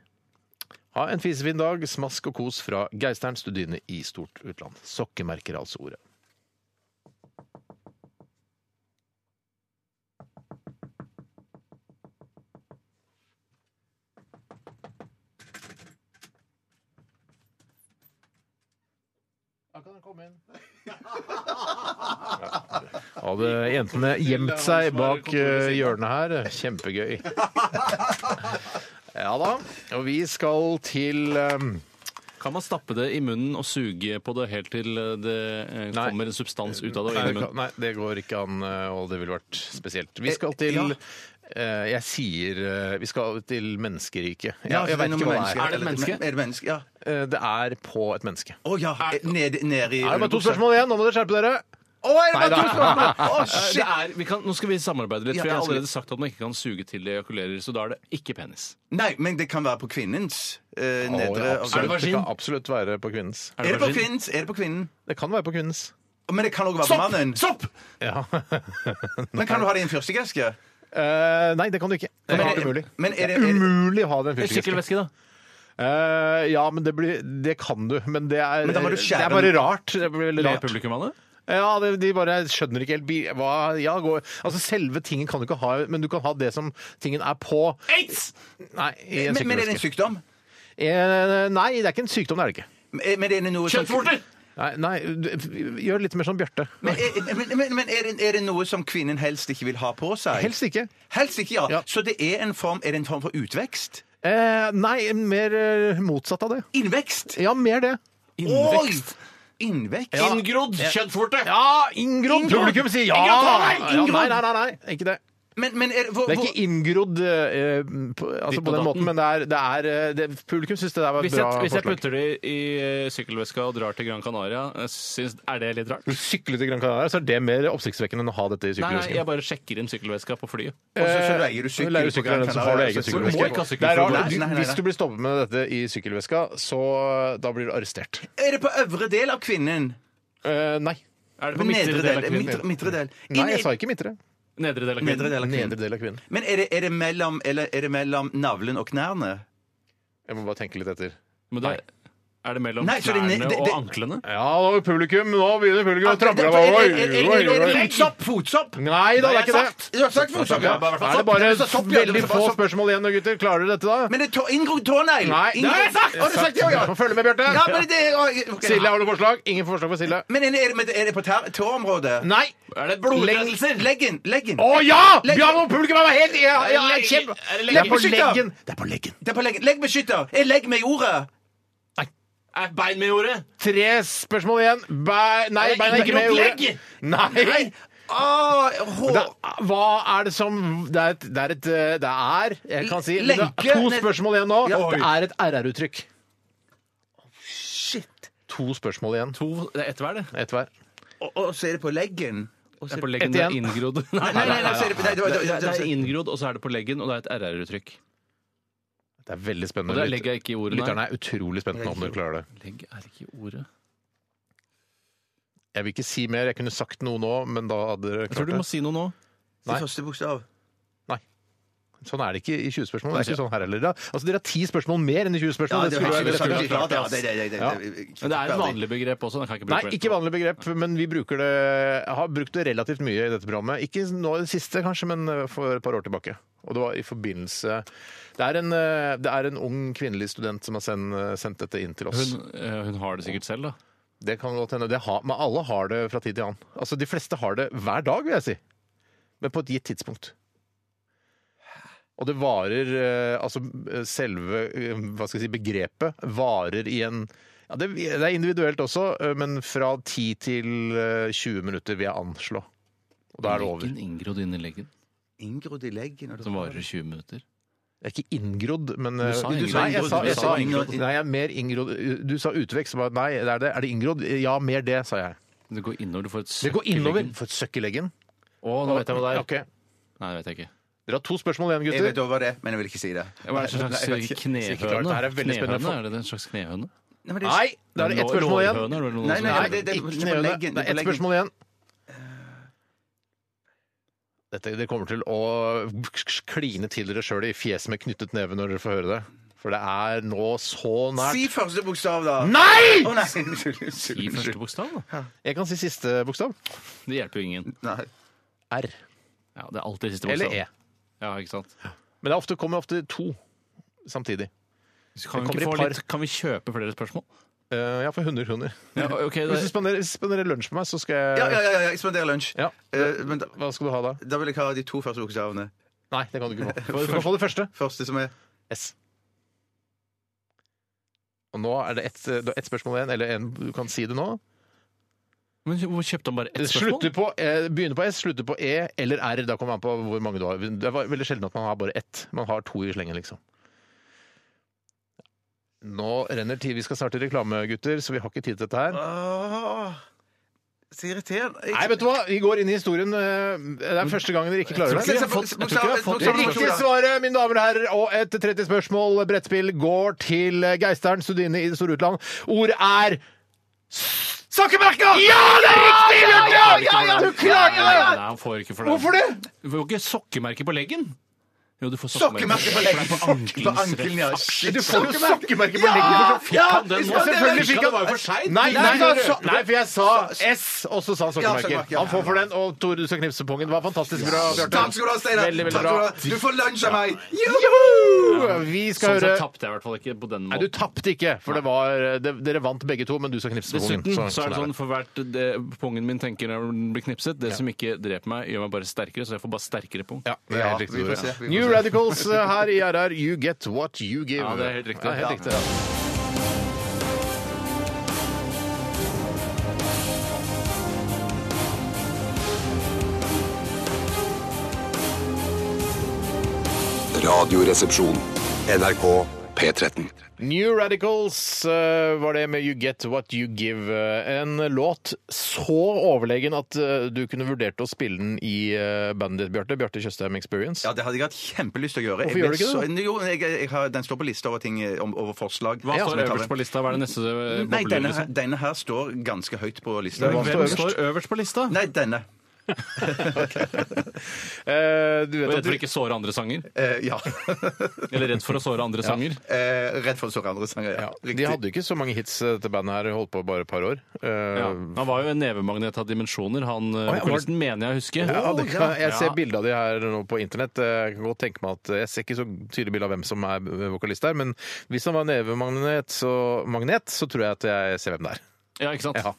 S1: Ha en fisefin dag. Smask og kos fra Geistern Studine i stort utland. Sokkemerker er altså ordet. Hadde jentene gjemt seg bak eh, hjørnet her. Kjempegøy. Ja da. Og vi skal til eh,
S3: Kan man stappe det i munnen og suge på det helt til eh, det eh,
S1: Nei.
S3: kommer en substans ut av det og
S1: Nei,
S3: inn i
S1: det kan-
S3: munnen?
S1: nei, det går ikke an, eh, og det ville vært spesielt. Vi skal til
S2: Ja.
S1: eh, Jeg sier eh, Vi skal til menneskeriket. Jeg,
S2: Ja,
S1: jeg
S2: det er
S1: vet
S2: noe
S1: ikke hva
S2: med
S1: det er.
S3: Er det et menneske?
S2: Er det menneske? Ja.
S1: Eh, Det er på et menneske.
S2: Å ja. Nede ned
S1: Det er
S2: i
S1: bare to
S2: rullebuksa.
S1: spørsmål igjen. Nå må dere skjerpe dere.
S2: Å, er det bare to
S1: Neida.
S2: spørsmål? Å,
S3: Eh,
S2: shit!
S3: Det er, vi kan, nå skal vi samarbeide litt,
S2: Ja,
S3: for jeg har
S2: jeg skal-
S3: allerede sagt at man ikke kan suge til det ejakulerer, så da er det ikke penis.
S2: Nei, men det kan være på kvinnens
S1: Å,
S2: eh,
S3: Er
S1: ja,
S2: nedre
S3: det
S1: absolutt.
S2: organ.
S1: Det
S3: vagin?
S1: kan absolutt være på kvinnens.
S2: Er det på
S3: vagin?
S2: kvinnens? Er det på kvinnen?
S1: Det kan være på kvinnens.
S2: Men det kan også være på mannen.
S3: Stopp!
S1: Ja.
S2: Men kan du ha det i en fyrstikkeske?
S1: Eh, nei, det kan du ikke. Det er
S2: Men
S1: helt
S2: er-
S1: umulig.
S2: men er det-
S1: det er umulig å ha den
S3: En
S1: fyrstikkeske.
S3: Sykkelveske, da.
S1: Eh, ja, men det, blir, det kan du. Men det er,
S3: Men da må du
S1: det
S3: skjære
S1: er bare
S3: den.
S1: rart. Det blir veldig
S3: Ler
S1: rart.
S3: publikum av det?
S1: Ja, de, de bare skjønner ikke helt bi- hva ja, går. Altså, Selve tingen kan du ikke ha, men du kan ha det som tingen er på.
S2: Aids!
S1: Nei, i en
S2: Men, men er det en
S1: sykkelveske.
S2: sykdom? Eh,
S1: Eh, nei, det er ikke en sykdom, det er det ikke.
S2: Men men er det noe som-
S1: Nei, nei, du- gjør det litt mer som Bjarte.
S2: Men, er, men, men, men er, det, er det noe som kvinnen helst ikke vil ha på seg?
S1: Helst ikke.
S2: Helst ikke, ja. Så det er en form, er det en form for utvekst?
S1: Eh, nei, mer eh, motsatt av det.
S2: Innvekst?
S1: Ja, mer det.
S2: Innvekst? Innvekst?
S1: Ja.
S3: Inngrodd kjøttforte!
S1: Ja, inngrodd! Publikum sier ja!
S2: Inngrodd, ta
S1: Ja,
S2: meg!
S1: Nei,
S2: Inngrodd!
S1: nei, nei, nei, ikke det.
S2: Men, men er, hvor,
S1: Det er ikke inngrodd eh, på, altså
S3: Ditt og
S1: på den
S3: datten.
S1: måten, men det er, det er eh, det, Publikum syns det der var et
S3: Hvis jeg,
S1: bra
S3: hvis jeg
S1: forslag.
S3: putter det i eh, sykkelveska og drar til Gran Canaria, jeg syns- er det litt rart?
S1: Du sykler til Gran Canaria, så er det mer oppsiktsvekkende enn å ha dette i
S3: Nei, nei,
S1: sykkelvesken.
S3: jeg bare sjekker inn sykkelveska på flyet.
S2: Og så- så leier du sykkel
S1: leier
S2: på Gran
S1: av den som
S2: Canaria,
S1: har det
S2: så-
S1: egen
S2: så du må ikke ha
S1: sykkelveske.
S2: sykkel
S1: Det er
S2: for
S1: rart.
S2: det.
S1: Du-
S2: Nei, nei, nei.
S1: Hvis du blir stoppet med dette i sykkelveska, så da blir du arrestert.
S2: er det på øvre del av kvinnen?
S1: Eh, nei.
S3: Er det på midtre del
S2: Nedre
S3: av
S2: del?
S3: kvinnen?
S2: Midtre, midtre del.
S1: Nei, jeg sa ikke midtre.
S3: Nedre del av
S2: Nedre
S3: kvinnen?
S2: del av kvinnen.
S1: Nedre del av kvinnen.
S2: Men er det, er det, mellom, eller, er det mellom navlen og knærne?
S1: Jeg må bare tenke litt etter.
S3: Men da er det mellom
S2: Nei, så det er
S3: knærne
S2: ne- det-
S3: og
S2: det-
S3: anklene?
S1: Ja, nå publikum, nå begynner publikum å trample.
S2: Er- er- er- er- er- er- er det Fotsopp! Fotsopp!
S1: Nei da, det er ikke det.
S2: Du har sagt fotsopp, ja.
S1: Er det bare sånn veldig få spørsmål igjen, gutter? Klarer dere dette, da?
S2: sånn- Men det er tå- inngrodd tånegl!
S1: Nei,
S2: Inngrodd- Å, du har sagt det, ja,
S1: Få
S2: ja.
S1: følge med, Bjarte.
S2: Ja, men det, å, ok.
S1: Silje, har du forslag? Ingen forslag for Silje.
S2: Men er det, men er det på tær- tåområdet?
S1: Nei!
S3: Er det
S1: blodutrendelser?
S2: Leggen! leggen.
S1: Å ja!
S2: Legg-
S1: Bjarne og publikum er helt ja, ja, kjempe...
S3: Er det
S1: Det er på
S2: Leggbeskytter.
S1: leggen. Det er på leggen.
S2: Det er på leggen. Leggbeskytter! Er legg med i ordet?
S3: Er bein med i ordet?
S1: Tre spørsmål igjen. Bæ-
S3: Er
S1: Nei,
S3: det
S1: beina er ikke med i
S3: inngrodd
S1: ordet. Nei!
S2: Å, hår.
S1: Det, er- hva er det som Det er et, det er, et, eh, det er jeg kan si, det
S2: Lenke.
S1: er to spørsmål igjen nå.
S2: Ja.
S1: Det er et RR-uttrykk.
S2: Shit.
S1: To spørsmål igjen.
S3: To, det er ett hver, det.
S1: Ett hver.
S2: Og, og så er det på leggen. Og
S3: Det
S2: så er
S3: er på
S2: det-
S3: leggen
S1: Ett
S3: det er
S1: igjen.
S3: inngrodd. Nei,
S2: Nei, nei, nei, så er det- nei, det var-
S3: Det,
S2: det var-
S3: det er inngrodd, og så er det på leggen, og det er et RR-uttrykk.
S1: Det er veldig
S3: Og
S1: spennende.
S3: det
S1: Lyt-
S3: legger jeg ikke i ordet,
S1: Lytterne er utrolig spent nå om dere klarer det.
S3: Legg er ikke i ordet.
S1: Jeg vil ikke si mer. Jeg kunne sagt noe nå, men da hadde dere
S3: Jeg tror
S1: klart
S3: du må
S1: det.
S3: si noe nå.
S2: Det første bokstav.
S1: Sånn er det ikke i 20 spørsmål. Det er ikke sånn her heller. da. Altså, Dere har ti spørsmål mer enn i 20
S2: Ja,
S1: spørsmål.
S2: det
S1: Det skulle
S2: var-
S1: være-
S2: det skulle
S1: skulle være
S2: vi klart, ja.
S1: klart,
S2: Det- det- det- det-
S1: Ja.
S2: det-
S3: Men det er et vanlig begrep også. Den kan jeg ikke
S1: Nei,
S3: bruke
S1: ikke vanlig begrep, men vi bruker det Jeg har brukt det relativt mye i dette programmet. Ikke nå i det siste, kanskje, men eh, for et par år tilbake. Og det var i forbindelse Det er en, eh, det er en ung kvinnelig student som har send, sendt dette inn til oss.
S3: Hun, eh, hun har det sikkert selv, da.
S1: Det kan godt hende. Det har, men alle har det fra tid til annen. Altså, De fleste har det hver dag, vil jeg si. Men på et gitt tidspunkt. Og det varer eh, Altså, selve eh, hva skal jeg si, begrepet varer i en ja, det, det er individuelt også, eh, men fra 10 til eh, 20 minutter vil jeg anslå. Og da er det over.
S3: Leggen inngrodd inn i leggen,
S2: Inngrodd i leggen. og det-
S3: som varer i 20 minutter.
S1: Jeg er ikke inngrodd, men
S3: Du sa
S1: eh,
S3: inngrodd.
S1: Nei, jeg sa, jeg
S3: Du
S1: sa,
S3: sa inngrodd.
S1: nei, jeg er mer inngrodd. Du sa utvekst. så bare, Nei, det er det. Er det inngrodd? Ja, mer det, sa jeg.
S3: Det går innover. Du får et
S1: Det går innover. For et søkk i leggen.
S3: Å, nå vet jeg hva det er.
S1: Ok.
S3: Nei, det vet jeg ikke.
S1: Dere har to spørsmål igjen,
S2: Jeg vet
S1: gutter.
S2: hva det er, men jeg vil ikke si det.
S3: Hva er det slags
S2: Nei, jeg vet ikke.
S1: Sikkert klart,
S3: knehøne?
S1: det her er veldig spennende
S3: knehøne?
S1: for-
S3: Er det en slags knehøne?
S2: Nei, men det er-
S1: Nei, da er det ett spørsmål igjen.
S3: Lårhøne, er det noe
S2: Nei,
S3: som heter?
S2: nei,
S1: Nei,
S2: men det- det-
S1: ikke
S2: det- det-
S1: knehøne.
S2: leggen,
S1: Det er ett
S2: leggen.
S1: spørsmål igjen. Dette, det kommer til å kline til dere sjøl i fjeset med knyttet neve når dere får høre det. For det er nå så
S2: Si
S1: nært.
S2: første bokstav, da.
S1: Nei!
S2: Å nei, unnskyld. unnskyld,
S3: I
S2: unnskyld.
S3: første bokstav, da.
S1: Jeg kan si siste bokstav.
S3: Det hjelper jo ingen.
S2: Nei.
S1: R.
S3: Ja, det er alltid siste bokstav.
S1: Eller E.
S3: Ja, ikke sant?
S1: Men det er ofte, kommer ofte to samtidig.
S3: Kan
S1: Det
S3: vi,
S1: kommer
S3: ikke
S1: i
S3: få
S1: par.
S3: litt, kan vi kjøpe flere spørsmål?
S1: Eh, ja, for 100 kroner.
S3: Ja, ok, det,
S1: Hvis du spanderer, hvis du spanderer lunsj på meg, så skal jeg
S2: Ja, ja, ja, ja, jeg spanderer lunsj.
S1: Ja.
S2: Eh, men da,
S1: Hva skal du ha da?
S2: da vil jeg ha de to første bokstavene.
S1: Nei, det kan du ikke få. Du kan få det første.
S2: Første som er
S1: S. Og nå er det ett du har ett spørsmål igjen, eller en, du kan si det nå.
S3: men hvor kjøpte han bare ett spørsmål?
S1: Slutter på, eh, begynner på S, slutter på E eller R. Da kommer man på hvor mange du har. Det er veldig sjelden at man har bare ett. Man har to i slengen, liksom. Nå renner tid. Vi skal snart til reklame, gutter, så vi har ikke tid til dette her.
S2: Åh, Så irriterende. Jeg-
S1: Nei, vet du hva? Vi går inn i historien. eh, Det er første gangen dere ikke klarer det.
S2: Jeg tror ikke vi har fått- jeg tror ikke vi har fått-
S1: Det riktige svaret, mine damer og herrer, og et 30 spørsmål brettspill går til Geisteren, Studine i det store utland. Ord er Sakkemerka! Ja, det er riktig! Ja, ja, ja, ja, du klarte
S3: Nei,
S1: det!
S3: han får ikke for det.
S1: Hvorfor det?
S3: Du får jo ikke sokkemerke på leggen! Jo, du får
S2: Sokkemerke på leggen! På ankelen, ja.
S3: Shit,
S2: Du får jo sokkemerke på
S3: Ja!
S2: leggen! hvorfor fikk
S3: Ja,
S2: han den
S3: det
S2: nå?
S3: var-
S1: Selvfølgelig
S3: det
S1: fikk han
S3: var jo for seint.
S1: Nei, nei,
S2: Nei,
S1: nei,
S2: så-
S1: nei, for jeg sa S, og så sa han
S2: Ja,
S1: sokkemerker.
S2: sokkemerker, ja.
S1: Han får for den, og Tore, du skal knipse pungen. Det var fantastisk bra, Bjarte.
S2: Takk skal du ha, Steinar.
S1: Veldig, veldig
S2: Takk skal
S1: bra.
S2: du ha. Du får lunsj av meg!
S1: Joho! Vi skal
S3: Sånn sett
S1: høre
S3: tapte jeg i hvert fall ikke på den
S1: Nei, du
S3: måten.
S1: tapte ikke, for det var det, Dere vant begge to, men du skal knipse på pungen.
S3: Dessuten så er det
S1: er
S3: sånn for hvert det, pungen min tenker når den blir knipset, det som ikke dreper meg, gjør meg bare sterkere, så jeg får bare sterkere pung.
S1: Ja, det er helt riktig.
S2: vi
S1: Tore.
S2: får se, vi får
S1: New
S2: se.
S1: Radicals eh, her i RR. You get what you give.
S3: Ja, det er helt riktig.
S1: Ja, helt riktig.
S4: Radioresepsjon. NRK P13.
S1: New Radicals eh, var det med You Get What You Give. Eh, En låt så overlegen at eh, du kunne vurdert å spille den i eh, bandet ditt, Bjarte. Bjarte Tjøstheim Experience.
S2: Ja, det hadde jeg hatt kjempelyst til å gjøre.
S1: Hvorfor gjør du ikke det,
S2: det? Jo, jeg, jeg har, den står på lista over ting eh, om, over forslag.
S3: Hva
S2: Ja, som
S3: står
S2: jeg tar
S3: øverst
S2: det.
S3: på lista? Hva er det neste eh,
S2: Nei,
S3: boblelyd,
S2: denne her,
S3: liksom?
S2: denne her står ganske høyt på lista.
S1: Hvem
S3: Hvem står øverst på lista?
S2: Nei, denne.
S1: Eh,
S3: Og
S1: du vet
S3: Redd for
S1: at du
S3: ikke å såre andre sanger?
S2: Eh, ja.
S3: Eller redd for å såre andre sanger?
S2: Eh, redd for å såre andre sanger, ja.
S1: ja, De hadde jo ikke så mange hits, eh, dette bandet her. Holdt på bare et par år. Eh,
S3: Ja. Han var jo en nevemagnet av dimensjoner, han eh,
S1: ja, var det-
S3: vokalisten, mener jeg å huske.
S1: Ja, det kan, jeg ser
S3: Ja.
S1: bilde av de her nå på internett. Eh, Jeg kan godt tenke meg at jeg ser ikke så tydelig bilde av hvem som er vokalist der, men hvis han var nevemagnet, så, magnet, så tror jeg at jeg ser hvem det er.
S3: Ja, ikke sant?
S1: Ja.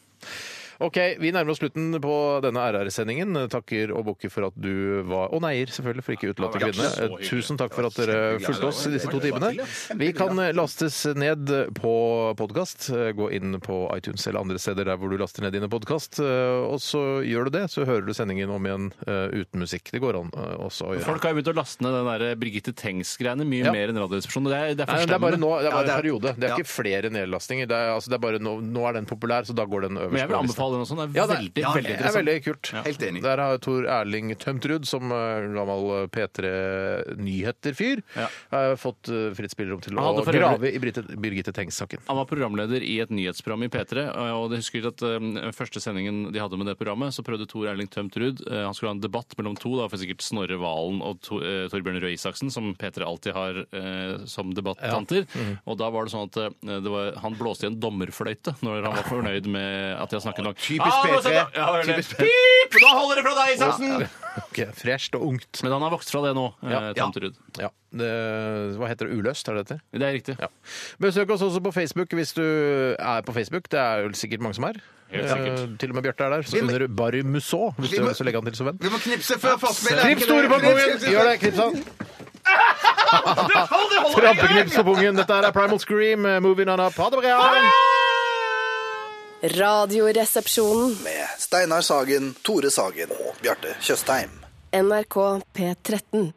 S1: OK, vi nærmer oss slutten på denne RR-sendingen. Takker og bukker for at du var Og neier, selvfølgelig, for ikke utelate
S3: Ja, det var
S1: kvinnene.
S3: så hyggelig.
S1: Tusen takk for at dere fulgte oss i disse to timene. Vi kan eh, lastes ned på podkast. Gå inn på iTunes eller andre steder der hvor du laster ned dine podkast. Og så gjør du det, så hører du sendingen om igjen eh, uten musikk. Det går an eh, også å gjøre.
S3: Folk har jo begynt å laste ned den der Birgitte Tengs-greiene mye
S1: Ja.
S3: mer enn Radioresepsjonen. og Det er, det er
S1: Nei, men det er bare,
S3: forstemmende.
S1: nå, det er bare
S2: Ja, det er-
S1: en periode. Det er
S2: ja.
S1: ikke flere nedlastninger. Det er, altså, det er bare nå, nå er den populær, så da går den øverst.
S3: Men jeg vil
S1: på lista.
S3: anbefale den også. Den er
S1: Ja, det er,
S3: veldig,
S1: ja,
S3: veldig
S1: det er
S3: interessant.
S1: veldig kult.
S2: Helt enig.
S1: Der har Tor Erling Tømtrud, som eh, gammel eh, P3 Nyheter-fyr,
S3: Ja.
S1: eh, fått eh, fritt spillerom til
S3: Han
S1: å
S3: hadde for øvrig-
S1: grave i Britte, Birgitte Tengs-saken.
S3: Han var programleder i et nyhetsprogram i P3. og jeg husker at eh, Første sendingen de hadde med det programmet, så prøvde Tor Erling Tømt Ruud eh, Han skulle ha en debatt mellom to, da, for sikkert Snorre Valen og Tor, eh, Torbjørn Røe Isaksen, som P3 alltid har eh, som debattanter.
S1: Mhm.
S3: Og da var det sånn at eh, det var, han blåste i en dommerfløyte når han var fornøyd med at de har snakket nok.
S2: Typisk
S3: Ah, nå
S2: P3.
S3: sa jeg- Ja, hør det.
S2: Typisk P3.
S3: Pip! Nå holder det fra deg, Isaksen!
S1: Ok, Fresht og ungt.
S3: Men han har vokst fra det nå, eh,
S1: Ja.
S3: Tømt Ruud.
S1: Ja. Det, hva heter det? Uløst, er det dette?
S3: Det er riktig.
S1: Ja. Besøk oss også på Facebook hvis du er på Facebook. Det er jo sikkert mange som er.
S3: Helt sikkert.
S1: Eh, til og med Bjarte er der. Så
S2: Vi må-
S1: under Barry Musso, hvis du
S2: Vi
S1: har
S2: må-
S1: lyst til å legge han til som venn.
S2: Vi må knipse før forspillet!
S1: Knips store på pungen! Gjør det, knips han. Trampeknips på pungen. Dette her er Primal Scream, eh, Moving On Up. Ha det bra!
S7: Radioresepsjonen.
S8: Med Steinar Sagen, Tore Sagen og Bjarte Tjøstheim.
S7: NRK P13.